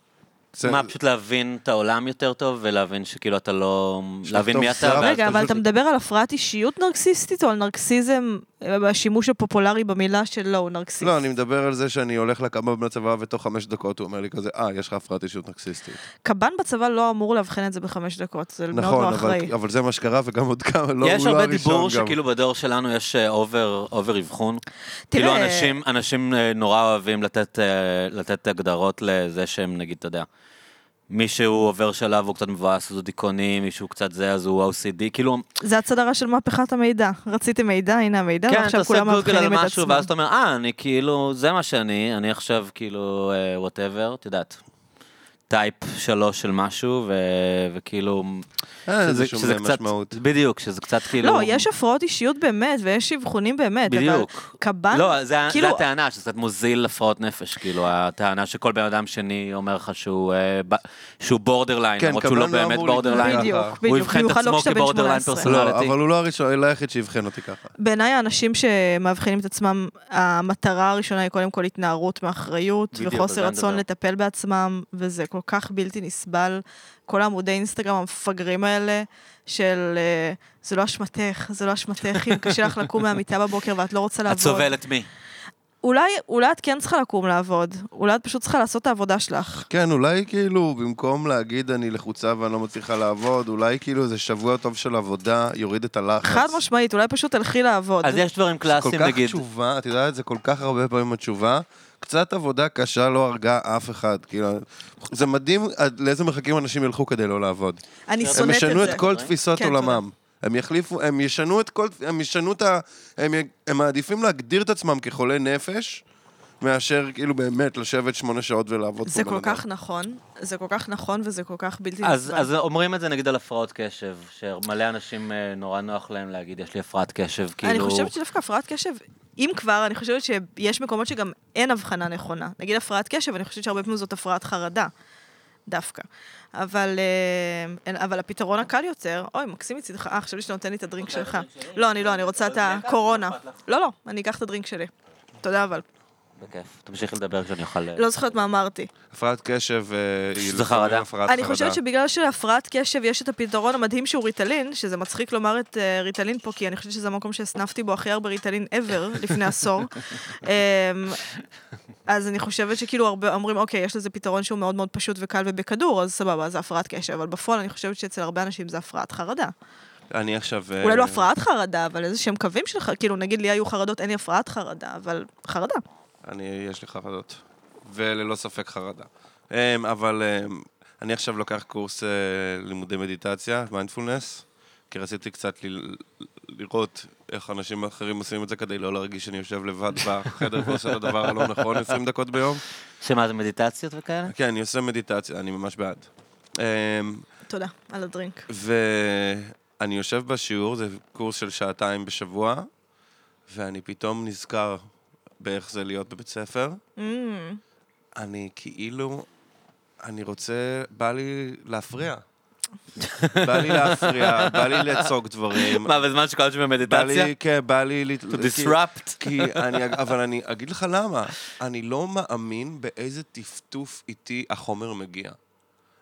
Speaker 1: זה-
Speaker 4: מה, פשוט להבין את העולם יותר טוב ולהבין שכאילו אתה לא... להבין מי אתה.
Speaker 1: זר.
Speaker 4: ואז-
Speaker 3: רגע, אבל
Speaker 1: פשוט-
Speaker 3: אתה מדבר על הפרעת אישיות נרקסיסטית או על נרקסיזם, אה, בשימוש הפופולרי במילה של לא, הוא נרקסיסט?
Speaker 1: לא, אני מדבר על זה שאני הולך לקב"ן בצבא, ותוך חמש דקות הוא אומר לי כזה, אה, יש לך הפרעת אישיות נרקסיסטית.
Speaker 3: קב"ן בצבא לא אמור לאבחן את זה בחמש דקות, זה מאוד
Speaker 1: נכון,
Speaker 3: לא
Speaker 1: אבל-
Speaker 3: אחראי.
Speaker 1: אבל זה מה שקרה, וגם עוד כמה, לא, הוא לא הראשון גם.
Speaker 4: יש הרבה דיבור שכאילו בדור שלנו יש אה, אובר אובר אבחון.
Speaker 3: תראה-
Speaker 4: כאילו אנשים, אנשים אה, נורא אוהבים לתת, אה, לתת הגדרות לזה שהם נגיד, אתה יודע, מישהו עובר שלב, הוא קצת מבואס, אז הוא דיכאוני, מישהו קצת זה, אז הוא OCD, כאילו,
Speaker 3: זה הצד הרע של מהפכת המידע. רציתי מידע, הנה המידע,
Speaker 4: כן, אתה
Speaker 3: ועכשיו
Speaker 4: עושה
Speaker 3: כולם
Speaker 4: גוגל על
Speaker 3: מבחינים את
Speaker 4: משהו, ואז אתה
Speaker 3: עצמם.
Speaker 4: אומר, אה, אני כאילו, זה מה שאני, אני עכשיו כאילו, וואטאבר, את יודעת, טייפ שלוש של משהו, ו- וכאילו,
Speaker 1: אין לזה
Speaker 4: שזה-
Speaker 1: שום
Speaker 4: שזה קצת,
Speaker 1: אה, משמעות.
Speaker 4: בדיוק, שזה קצת כאילו,
Speaker 3: לא, יש הפרעות אישיות באמת, ויש אבחונים באמת, אבל
Speaker 4: בדיוק.
Speaker 3: קב"ן,
Speaker 4: לא, זה ה- זה
Speaker 3: כאילו,
Speaker 4: הטענה, שזה קצת מוזיל הפרעות נפש, כאילו, הטענה שכל בן אדם שני אומר לך שהוא, אה, ב- שהוא בורדרליין,
Speaker 1: כן,
Speaker 4: למרות שהוא לא
Speaker 1: קבלן לא
Speaker 4: באמת
Speaker 1: אמור
Speaker 4: בורדרליין.
Speaker 1: להתנהג
Speaker 3: בדיוק,
Speaker 1: ככה.
Speaker 3: בדיוק,
Speaker 4: הוא יבחן את
Speaker 3: במיוחד לא
Speaker 4: עצמו
Speaker 3: כשאתה בן
Speaker 4: כבורדרליין
Speaker 3: 18.
Speaker 1: לא,
Speaker 4: פרסונליטי.
Speaker 1: אבל הוא לא הראשון, לא היחיד שאבחן אותי ככה.
Speaker 3: בעיניי האנשים שמאבחנים את עצמם, המטרה הראשונה היא קודם כל התנערות מאחריות
Speaker 4: בדיוק, על
Speaker 3: וחוסר
Speaker 4: זה אני
Speaker 3: רצון
Speaker 4: מדבר.
Speaker 3: לטפל בעצמם, וזה כל כך בלתי נסבל. כל העמודי אינסטגרם המפגרים האלה של אה, זה לא אשמתך, זה לא אשמתך, אם קשה לך לקום מהמיטה בבוקר ואת לא רוצה לעבוד.
Speaker 4: את סובלת מי?
Speaker 3: אולי, אולי את כן צריכה לקום לעבוד, אולי את פשוט צריכה לעשות את העבודה שלך.
Speaker 1: כן, אולי כאילו, במקום להגיד אני לחוצה ואני לא מצליחה לעבוד, אולי כאילו איזה שבוע טוב של עבודה יוריד את הלחץ.
Speaker 3: חד משמעית, אולי פשוט תלכי לעבוד.
Speaker 4: אז יש דברים
Speaker 1: כל
Speaker 4: קלאסיים,
Speaker 1: כך
Speaker 4: נגיד,
Speaker 1: תשובה, את יודעת, זה כל כך הרבה פעמים התשובה. קצת עבודה קשה לא הרגה אף אחד. כאילו, זה מדהים עד לאיזה מרחקים אנשים ילכו כדי לא לעבוד.
Speaker 3: אני שונאת את
Speaker 1: הם
Speaker 3: זה.
Speaker 1: ישנו את כל תפיסות
Speaker 3: כן, תודה.
Speaker 1: עולמם. הם יחליפו, הם ישנו את כל, הם ישנו את ה... הם, י- הם מעדיפים להגדיר את עצמם כחולי נפש, מאשר כאילו באמת לשבת שמונה שעות ולעבוד
Speaker 3: זה
Speaker 1: פה בן
Speaker 3: כל
Speaker 1: אדם.
Speaker 3: כך נכון, זה כל כך נכון וזה כל כך בלתי
Speaker 4: אז,
Speaker 3: נסבל.
Speaker 4: אז אומרים את זה נגיד על הפרעות קשב, שמלא אנשים אה, נורא נוח להם להגיד, יש לי הפרעת קשב, כאילו...
Speaker 3: אני חושבת שדווקא הפרעת קשב, אם כבר, אני חושבת שיש מקומות שגם אין הבחנה נכונה. נגיד הפרעת קשב, אני חושבת שהרבה פעמים זאת הפרעת חרדה, דווקא. אבל, אה, אין- אבל הפתרון הקל יותר, אוי, מקסים מצידך, אה, חשבתי שאתה נותן לי את הדרינק שלך. לא, אני לא, אני רוצה את הקורונה. לא, לא, אני אקח את הדרינק שלי. תודה אבל.
Speaker 4: בכיף, תמשיכי לדבר כשאני אוכל... אה,
Speaker 3: לא זוכרת מה אמרתי.
Speaker 1: הפרעת קשב אה, היא... לפעמים
Speaker 4: זה חרדה.
Speaker 1: הפרעת
Speaker 3: אני
Speaker 1: חרדה.
Speaker 3: חושבת שבגלל שלהפרעת קשב יש את הפתרון המדהים שהוא ריטלין, שזה מצחיק לומר את אה, ריטלין פה, כי אני חושבת שזה המקום שהסנפתי בו הכי הרבה ריטלין ever לפני עשור. אמ, אז אני חושבת שכאילו הרבה אומרים, אוקיי, יש לזה פתרון שהוא מאוד מאוד פשוט וקל ובכדור, אז סבבה, זה הפרעת קשב, אבל בפועל אני חושבת שאצל הרבה אנשים זה הפרעת חרדה.
Speaker 1: אני עכשיו... אה,
Speaker 3: אולי לא הפרעת חרדה, אבל איזה שהם קווים של חרדה, כאילו, נגיד לי היו חרדות, אין לי הפרעת חרדה, אבל חרדה.
Speaker 1: אני, יש לי חרדות. וללא ספק חרדה. אמ, אבל אמ, אני עכשיו לוקח קורס אה, לימודי מדיטציה, מיינדפולנס, כי רציתי קצת ל- לראות איך אנשים אחרים עושים את זה כדי לא להרגיש שאני יושב לבד בחדר ועושה את הדבר הלא נכון 20 דקות ביום.
Speaker 4: שמה, זה מדיטציות וכאלה?
Speaker 1: כן, אני עושה מדיטציה, אני ממש בעד. אמ,
Speaker 3: תודה, על הדרינק.
Speaker 1: ואני יושב בשיעור, זה קורס של שעתיים בשבוע, ואני פתאום נזכר באיך זה להיות בבית ספר.
Speaker 3: אמ,
Speaker 1: אני כאילו, אני רוצה, בא לי להפריע. בא לי להפריע, בא לי לצעוק דברים.
Speaker 4: מה, בזמן שכל הזמן
Speaker 1: בא
Speaker 4: במדיטציה?
Speaker 1: לי, כן, בא לי... ל-
Speaker 4: To
Speaker 1: כי-
Speaker 4: disrupt.
Speaker 1: כי אני, אבל אני אגיד לך למה. אני לא מאמין באיזה טפטוף איתי החומר מגיע.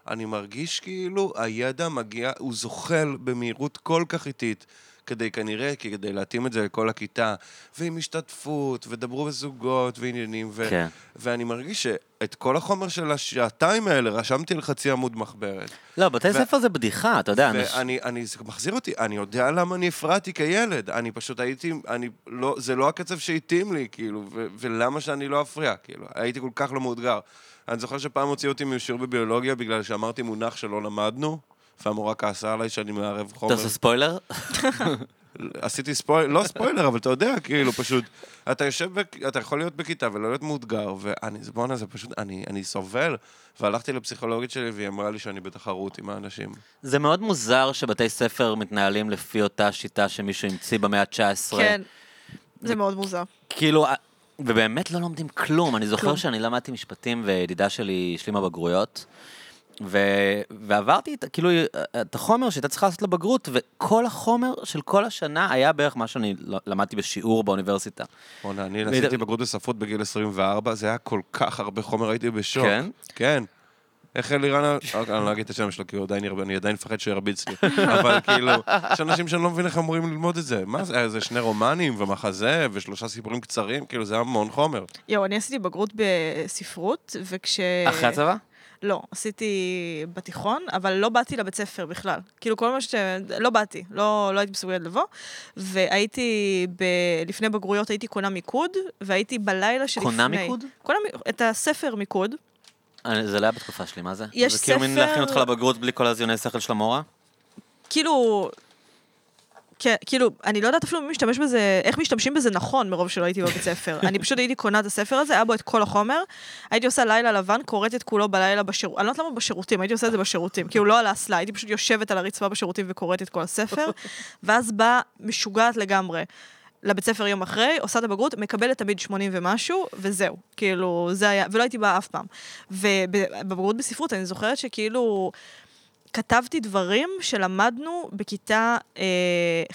Speaker 1: אני מרגיש כאילו הידע מגיע, הוא זוחל במהירות כל כך איטית, כדי כנראה, כי כדי להתאים את זה לכל הכיתה, ועם השתתפות, ודברו בזוגות, ועניינים, ו...
Speaker 4: כן.
Speaker 1: ואני מרגיש שאת כל החומר של השעתיים האלה רשמתי על חצי עמוד מחברת.
Speaker 4: לא, בתי
Speaker 1: ו-
Speaker 4: ספר זה בדיחה, אתה יודע, אנשים-
Speaker 1: ואני, אני, זה מחזיר אותי, אני יודע למה אני הפרעתי כילד. אני פשוט הייתי, אני לא, זה לא הקצב שהתאים לי, כאילו, ו, ולמה שאני לא אפריע, כאילו. הייתי כל כך לא מאותגר. אני זוכר שפעם הוציאו אותי משיעור בביולוגיה בגלל שאמרתי מונח שלא למדנו, והמורה כעסה עליי שאני מערב
Speaker 4: אתה
Speaker 1: חומר.
Speaker 4: עושה ספוילר?
Speaker 1: עשיתי ספוילר, לא ספוילר, אבל אתה יודע, כאילו, פשוט, אתה יושב, בק- אתה יכול להיות בכיתה ולא להיות מאותגר, ואני, זה- בואנה, זה פשוט, אני, אני סובל. והלכתי לפסיכולוגית שלי והיא אמרה לי שאני בתחרות עם האנשים.
Speaker 4: זה מאוד מוזר שבתי ספר מתנהלים לפי אותה שיטה שמישהו המציא במאה ה-19.
Speaker 3: כן, זה מאוד מוזר.
Speaker 4: כאילו, אה, ובאמת לא לומדים כלום. אני זוכר
Speaker 3: כלום.
Speaker 4: שאני למדתי משפטים וידידה שלי השלימה בגרויות, ו... ועברתי את, כאילו, אה, את החומר שהייתה צריכה לעשות לבגרות, וכל החומר של כל השנה היה בערך מה שאני ל- למדתי בשיעור באוניברסיטה.
Speaker 1: בואנה, אני עשיתי בגרות בספרות בגיל 24, זה היה כל כך הרבה חומר, הייתי בשוק.
Speaker 4: כן?
Speaker 1: כן. איך אלירן, אוקיי, אני לא אגיד את השם שלו, כי הוא עדיין ירבה- אני עדיין מפחד שהוא ירביץ לי. אבל כאילו, יש אנשים שאני לא מבין איך אמורים ללמוד את זה. מה זה, היה איזה שני רומנים ומחזה ושלושה סיפורים קצרים, כאילו, זה היה המון חומר.
Speaker 3: יואו, אני עשיתי בגרות בספרות, וכש...
Speaker 4: אחרי הצבא?
Speaker 3: לא, עשיתי בתיכון, אבל לא באתי לבית ספר בכלל. כאילו, כל מה ש... לא באתי, לא, לא הייתי מסוגלת לבוא. והייתי, ב... לפני בגרויות הייתי קונה מיקוד, והייתי בלילה שלפני...
Speaker 4: קונה מיקוד?
Speaker 3: קונה מ... את הספר מיקוד.
Speaker 4: אני- זה לא היה בתקופה שלי, מה זה?
Speaker 3: יש
Speaker 4: זה כאילו מין
Speaker 3: ספר-
Speaker 4: להכין אותך לבגרות בלי כל הזיוני שכל של המורה?
Speaker 3: כאילו... כן, כאילו, אני לא יודעת אפילו מי משתמש בזה, איך משתמשים בזה נכון מרוב שלא הייתי בבית ספר. אני פשוט הייתי קונה את הספר הזה, היה בו את כל החומר, הייתי עושה לילה לבן, קוראת את כולו בלילה בשירותים, אני לא יודעת למה בשירותים, הייתי עושה את זה בשירותים, כאילו לא על האסלה, הייתי פשוט יושבת על הרצפה בשירותים וקוראת את כל הספר, ואז באה משוגעת לגמרי. לבית ספר יום אחרי, עושה את הבגרות, מקבלת תמיד 80 ומשהו, וזהו. כאילו, זה היה, ולא הייתי באה אף פעם. ובבגרות בספרות, אני זוכרת שכאילו, כתבתי דברים שלמדנו בכיתה אה,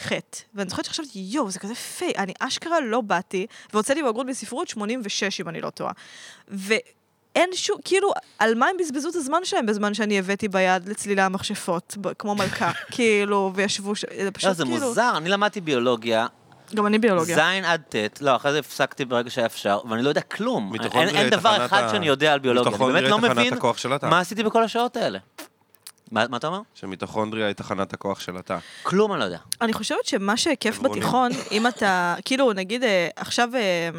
Speaker 3: ח', ואני זוכרת שחשבתי, יואו, זה כזה פיי, אני אשכרה לא באתי, והוצאתי בגרות בספרות 86, אם אני לא טועה. ואין שום, כאילו, על מה הם בזבזו את הזמן שלהם בזמן שאני הבאתי ביד לצלילה המכשפות, ב- כמו מלכה, כאילו, וישבו ש... זה
Speaker 4: לא,
Speaker 3: פשוט
Speaker 4: זה
Speaker 3: כאילו...
Speaker 4: מוזר, אני למדתי ביולוגיה,
Speaker 3: גם אני ביולוגיה.
Speaker 4: זין עד ט', לא, אחרי זה הפסקתי ברגע שהיה אפשר, ואני לא יודע כלום.
Speaker 1: מיטוכונדריה
Speaker 4: אין, אין
Speaker 1: היא
Speaker 4: דבר
Speaker 1: תחנת
Speaker 4: אחד
Speaker 1: ה-
Speaker 4: שאני יודע על ביולוגיה, אני
Speaker 1: מיטוכונדריה
Speaker 4: באמת לא
Speaker 1: היא תחנת
Speaker 4: מבין
Speaker 1: הכוח של התא.
Speaker 4: מה עשיתי בכל השעות האלה. מה, מה אתה אומר?
Speaker 1: שמיטוכונדריה היא תחנת הכוח של התא.
Speaker 4: כלום אני לא יודע.
Speaker 3: אני חושבת שמה שכיף
Speaker 1: עברונים.
Speaker 3: בתיכון, אם אתה, כאילו, נגיד, אה, עכשיו... אה,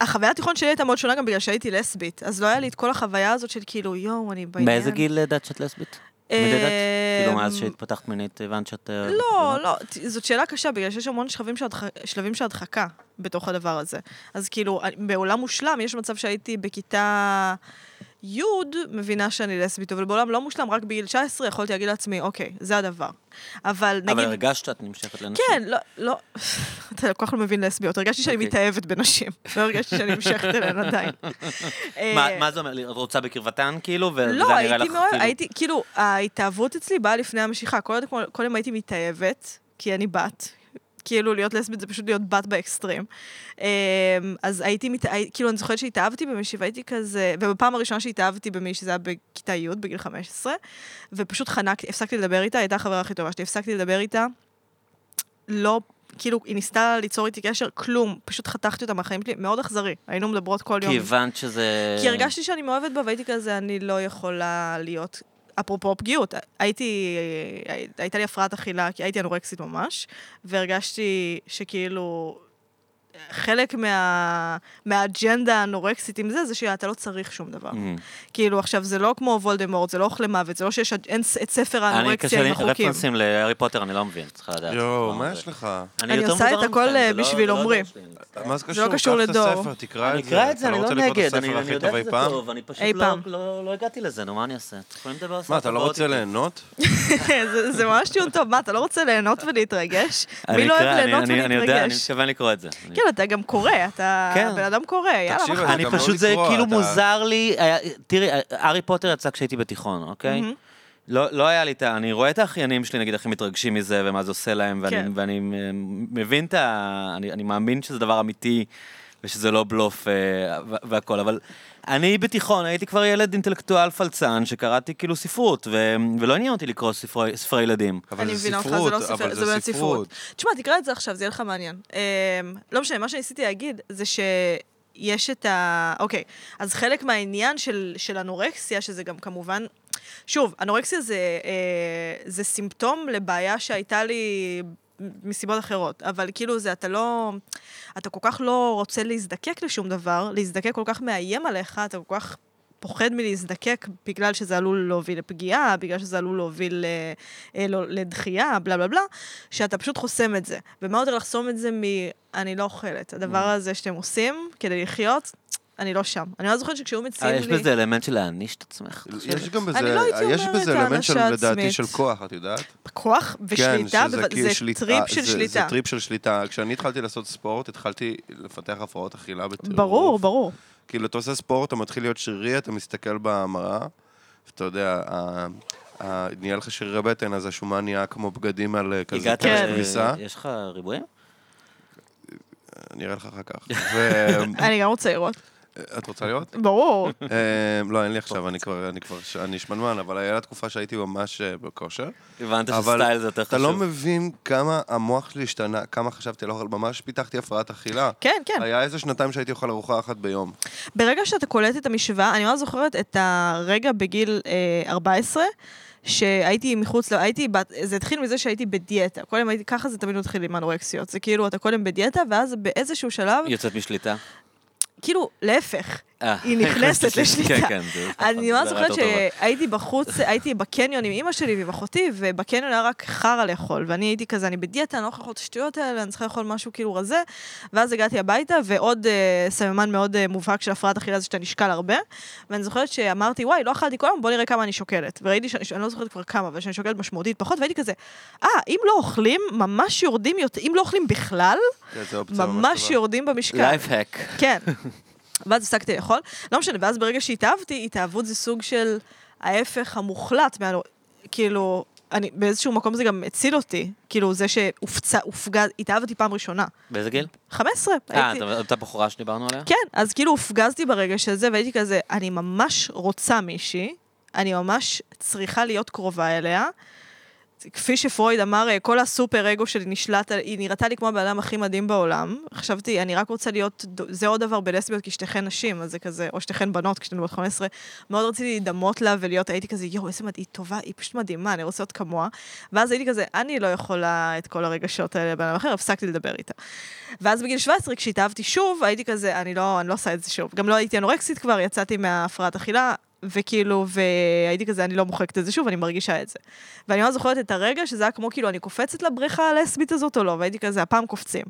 Speaker 3: החוויה התיכון שלי הייתה מאוד שונה גם בגלל שהייתי לסבית, אז לא היה לי את כל החוויה הזאת של כאילו, יואו, אני בעניין.
Speaker 4: באיזה גיל ידעת שאת לסבית?
Speaker 3: אה,
Speaker 4: תמיד ידעת? כאילו מאז שהתפתחת מינית הבנת שאת... אה,
Speaker 3: לא, לא, ת- זאת שאלה קשה, בגלל שיש המון שלבים של הדח- שלבים של הדחקה בתוך הדבר הזה. אז כאילו, אני- בעולם מושלם יש מצב שהייתי בכיתה י' מבינה שאני לסבית, אבל בעולם לא מושלם, רק בגיל 19 יכולתי להגיד לעצמי, אוקיי, זה הדבר. אבל נגיד...
Speaker 4: אבל הרגשת שאת נמשכת לנשים.
Speaker 3: כן, לא, לא, אתה כל כך לא מבין לסביות. הרגשתי שאני
Speaker 4: אוקיי.
Speaker 3: מתאהבת בנשים, לא הרגשתי שאני נמשכת אליהן עדיין.
Speaker 4: מה-
Speaker 3: אה,
Speaker 4: מה זה אומר? את רוצה בקרבתן כאילו? וזה
Speaker 3: לא,
Speaker 4: נראה
Speaker 3: הייתי
Speaker 4: לך,
Speaker 3: מאוד,
Speaker 4: כאילו-
Speaker 3: הייתי, כאילו, ההתאהבות אצלי באה לפני המשיכה. כל עוד- כל- קודם הייתי מתאהבת, כי אני בת. כאילו, להיות לסבית זה פשוט להיות בת באקסטרים. אה, אז הייתי, מת... הי- כאילו, אני זוכרת שהתאהבתי במישהי, והייתי כזה, ובפעם הראשונה שהתאהבתי במישהי, זה היה בכיתה י', בגיל 15, ופשוט חנקתי, הפסקתי לדבר איתה, הייתה החברה הכי טובה שלי, הפסקתי לדבר איתה. לא, כאילו, היא ניסתה ליצור איתי קשר, כלום, פשוט חתכתי אותה מהחיים שלי, מאוד אכזרי, היינו מדברות כל יום.
Speaker 4: כי הבנת שזה...
Speaker 3: כי הרגשתי שאני מאוהבת בה, והייתי כזה, אני לא יכולה להיות... אפרופו פגיעות, הייתי, הי- הייתה לי הפרעת אכילה, כי הייתי אנורקסית ממש, והרגשתי שכאילו חלק מה, מהאג'נדה האנורקסית עם זה, זה שאתה לא צריך שום דבר.
Speaker 4: Mm.
Speaker 3: כאילו, עכשיו, זה לא כמו וולדמורט, זה לא אוכל למוות, זה לא שיש אין ס- את ספר
Speaker 4: אני
Speaker 3: האנורקסיה
Speaker 4: קשה לי
Speaker 3: עם החוקים.
Speaker 4: רפרנסים להארי פוטר, אני לא מבין, צריכה לדעת.
Speaker 1: יואו,
Speaker 4: זה.
Speaker 1: מה יש לך?
Speaker 4: אני
Speaker 3: אני
Speaker 4: יותר
Speaker 3: עושה את
Speaker 4: מודרני
Speaker 3: הכל,
Speaker 4: מכם,
Speaker 3: אה,
Speaker 4: זה לא- זה
Speaker 3: בשביל
Speaker 4: לא
Speaker 3: עמרי.
Speaker 4: הדור שלי.
Speaker 1: מה זה
Speaker 3: זה לא
Speaker 1: קשור?
Speaker 3: קשור
Speaker 1: קח את
Speaker 3: לדור.
Speaker 1: הספר, תקרא
Speaker 4: אני
Speaker 1: את זה.
Speaker 4: אקרא את זה,
Speaker 1: אתה
Speaker 4: אני
Speaker 1: רוצה
Speaker 4: לא
Speaker 1: לקרוא את
Speaker 4: נגד, אני
Speaker 1: הספר
Speaker 4: אני
Speaker 1: הכי
Speaker 4: יודע
Speaker 1: טוב אי
Speaker 4: שזה
Speaker 1: פעם?
Speaker 4: טוב, אני פשוט
Speaker 3: אי
Speaker 4: לא-
Speaker 3: פעם.
Speaker 4: לא לא הגעתי לזה, נו, מה אני אעשה? אתם יכולים לדבר על
Speaker 1: מה, אתה לא
Speaker 4: הבאות
Speaker 1: רוצה
Speaker 4: איתי.
Speaker 1: ליהנות?
Speaker 3: זה- זה ממש טיעון טוב, מה, אתה לא רוצה ליהנות ולהתרגש?
Speaker 4: אני
Speaker 3: מי לא
Speaker 4: אקרא,
Speaker 3: אוהב
Speaker 4: אני-
Speaker 3: ליהנות
Speaker 4: אני- אני יודע, אני
Speaker 3: ולהתרגש?
Speaker 4: מתכוון לקרוא את זה. אני-
Speaker 3: כן, אתה גם קורא, אתה
Speaker 4: כן.
Speaker 3: בן אדם קורא, יאללה,
Speaker 1: תקשיב,
Speaker 3: מה
Speaker 1: אתה
Speaker 3: אכפת
Speaker 4: אני
Speaker 1: גם לא
Speaker 4: פשוט, זה
Speaker 1: לקרוא,
Speaker 4: כאילו
Speaker 1: אתה-
Speaker 4: מוזר לי, היה- תראי, הארי פוטר יצא כשהייתי בתיכון, אוקיי?
Speaker 3: מהמם.
Speaker 4: לא לא היה לי את ה... אני רואה את האחיינים שלי, נגיד, הכי מתרגשים מזה, ומה זה עושה להם, ואני-
Speaker 3: כן.
Speaker 4: ואני אה, מבין את ה... אני אני מאמין שזה דבר אמיתי, ושזה לא בלוף אה, וה- והכל, אבל אני בתיכון הייתי כבר ילד אינטלקטואל פלצן, שקראתי כאילו ספרות, ו- ולא עניין אותי לקרוא ספרי ספרי ילדים.
Speaker 1: אבל
Speaker 3: אני
Speaker 1: זה
Speaker 3: מבינה אותך,
Speaker 1: ספרות,
Speaker 3: זה לא ספר,
Speaker 1: אבל
Speaker 3: זה
Speaker 1: זה
Speaker 3: באמת ספרות.
Speaker 1: ספרות.
Speaker 3: תשמע, תקרא את זה עכשיו, זה יהיה לך מעניין. אמ, לא משנה, מה שניסיתי להגיד זה שיש את ה... אוקיי, אז חלק מהעניין של, של אנורקסיה, שזה גם כמובן... שוב, אנורקסיה זה, אה, זה סימפטום לבעיה שהייתה לי מסיבות אחרות, אבל כאילו זה, אתה לא... אתה כל כך לא רוצה להזדקק לשום דבר, להזדקק כל כך מאיים עליך, אתה כל כך פוחד מלהזדקק בגלל שזה עלול להוביל לפגיעה, בגלל שזה עלול להוביל אה, אה, לא- לדחייה, בלה בלה בלה, שאתה פשוט חוסם את זה. ומה יותר לחסום את זה מ... אני לא אוכלת. הדבר
Speaker 1: Mm.
Speaker 3: הזה שאתם עושים כדי לחיות, אני לא שם. אני לא זוכרת שכשהיו
Speaker 4: אה,
Speaker 3: מציעים לי...
Speaker 4: יש בזה אלמנט של להעניש את עצמך. את חושבת?
Speaker 1: יש גם בזה,
Speaker 3: אני לא הייתי
Speaker 1: יש
Speaker 3: אומרת
Speaker 1: בזה אלמנט של,
Speaker 3: הענשה
Speaker 1: לדעתי,
Speaker 3: עצמית.
Speaker 1: של כוח, את יודעת?
Speaker 3: כוח ושליטה,
Speaker 1: כן, שזה
Speaker 3: בו-
Speaker 1: כאילו
Speaker 3: זה
Speaker 1: שליטה-
Speaker 3: טריפ של
Speaker 1: זה-
Speaker 3: שליטה.
Speaker 1: זה טריפ של שליטה. כשאני התחלתי לעשות ספורט, התחלתי לפתח הפרעות אכילה בטירוף.
Speaker 3: ברור, ברור.
Speaker 1: כאילו, אתה עושה ספורט, אתה מתחיל להיות שרירי, אתה מסתכל במראה, ואתה יודע, ה- ה- נהיה לך שרירי בטן, אז השומן נהיה כמו בגדים על אה, כזה
Speaker 4: הגעת,
Speaker 1: פרש
Speaker 3: כן.
Speaker 4: ל-
Speaker 1: כביסה.
Speaker 4: יש לך ריבועים?
Speaker 1: אני אראה לך אחר כך. ו-
Speaker 3: אני גם רוצה לראות.
Speaker 1: את רוצה לראות?
Speaker 3: ברור.
Speaker 1: אה, לא, אין לי עכשיו, אני כבר, אני כבר, ש- אני שמנמן, אבל היה לה תקופה שהייתי ממש אה, בכושר.
Speaker 4: הבנת
Speaker 1: אבל
Speaker 4: שסטייל זה יותר
Speaker 1: אתה לא
Speaker 4: חשוב.
Speaker 1: מבין כמה המוח שלי השתנה, כמה חשבתי על אוכל, ממש פיתחתי הפרעת אכילה.
Speaker 3: כן, כן.
Speaker 1: היה איזה שנתיים שהייתי אוכל ארוחה אחת ביום.
Speaker 3: ברגע שאתה קולט את המשוואה, אני ממש זוכרת את הרגע בגיל אה, 14, שהייתי מחוץ, ל- הייתי, בת- זה התחיל מזה שהייתי בדיאטה. קודם הייתי, ככה זה תמיד מתחיל עם אנורקסיות. זה כאילו, אתה קודם בדיאטה, ואז באיזשהו שלב,
Speaker 4: יוצאת משליטה.
Speaker 3: כאילו, להפך,
Speaker 2: אה,
Speaker 3: היא נכנסת
Speaker 2: כן,
Speaker 3: לשליטה.
Speaker 2: כן, זה-
Speaker 4: נכון,
Speaker 3: אני ממש
Speaker 2: זה
Speaker 3: זוכרת
Speaker 2: יותר טובה.
Speaker 3: שהייתי בחוץ, הייתי בקניון עם אימא שלי ועם אחותי, ובקניון היה רק חרא לאכול, ואני הייתי כזה, אני בדיאטה, אני לא יכולה לאכול את השטויות האלה, אני צריכה לאכול משהו כאילו רזה, ואז הגעתי הביתה, ועוד אה, סממן מאוד אה, מובהק של הפרעת אכילה זה שאתה נשקל הרבה, ואני זוכרת שאמרתי, וואי, לא אכלתי כל היום, בוא נראה כמה אני שוקלת. וראיתי שאני, אני לא זוכרת כבר כמה, אבל שאני שוקלת משמעותית פחות, והייתי כזה, אה, אם לא אוכלים, ממש יורדים יותר, אם לא אוכלים בכלל,
Speaker 1: כן, זו אופציה
Speaker 3: ממש
Speaker 1: טובה.
Speaker 3: יורדים במשקל.
Speaker 2: לייפהק.
Speaker 3: כן. ואז הפסקתי לאכול. לא משנה, ואז ברגע שהתאהבתי, התאהבות זה סוג של ההפך המוחלט מה... כאילו, אני, באיזשהו מקום זה גם הציל אותי. כאילו, זה שהופצה, הופגע, התאהבתי פעם ראשונה.
Speaker 2: באיזה גיל?
Speaker 3: 15,
Speaker 2: אה,
Speaker 3: הייתי...
Speaker 2: אתה- אותה בחורה שדיברנו עליה?
Speaker 3: כן, אז כאילו הופגזתי ברגע של זה, והייתי כזה, אני ממש רוצה מישהי, אני ממש צריכה להיות קרובה אליה. כפי שפרויד אמר, אה, כל הסופר אגו שלי נשלט, על- היא נראתה לי כמו הבן אדם הכי מדהים בעולם. חשבתי, אני רק רוצה להיות, דו- זה עוד דבר בלסביות, כי שתיכן נשים, אז זה כזה, או שתיכן בנות, כשאתן בנות 15. מאוד רציתי להידמות לה ולהיות, הייתי כזה, יואו, איזה מדהים, היא טובה, היא פשוט מדהימה, אני רוצה להיות כמוה. ואז הייתי כזה, אני לא יכולה את כל הרגשות האלה לבן אדם אחר, הפסקתי לדבר איתה. ואז בגיל 17, כשהתאהבתי שוב, הייתי כזה, אני לא, אני לא עושה את זה שוב. גם לא הייתי אנורקסית כבר, יצאתי מההפרעת אכילה, וכאילו, והייתי כזה, אני לא מוחקת את זה שוב, אני מרגישה את זה. ואני ממש זוכרת את הרגע שזה היה כמו כאילו, אני קופצת לבריכה הלסבית הזאת או לא, והייתי כזה, הפעם קופצים.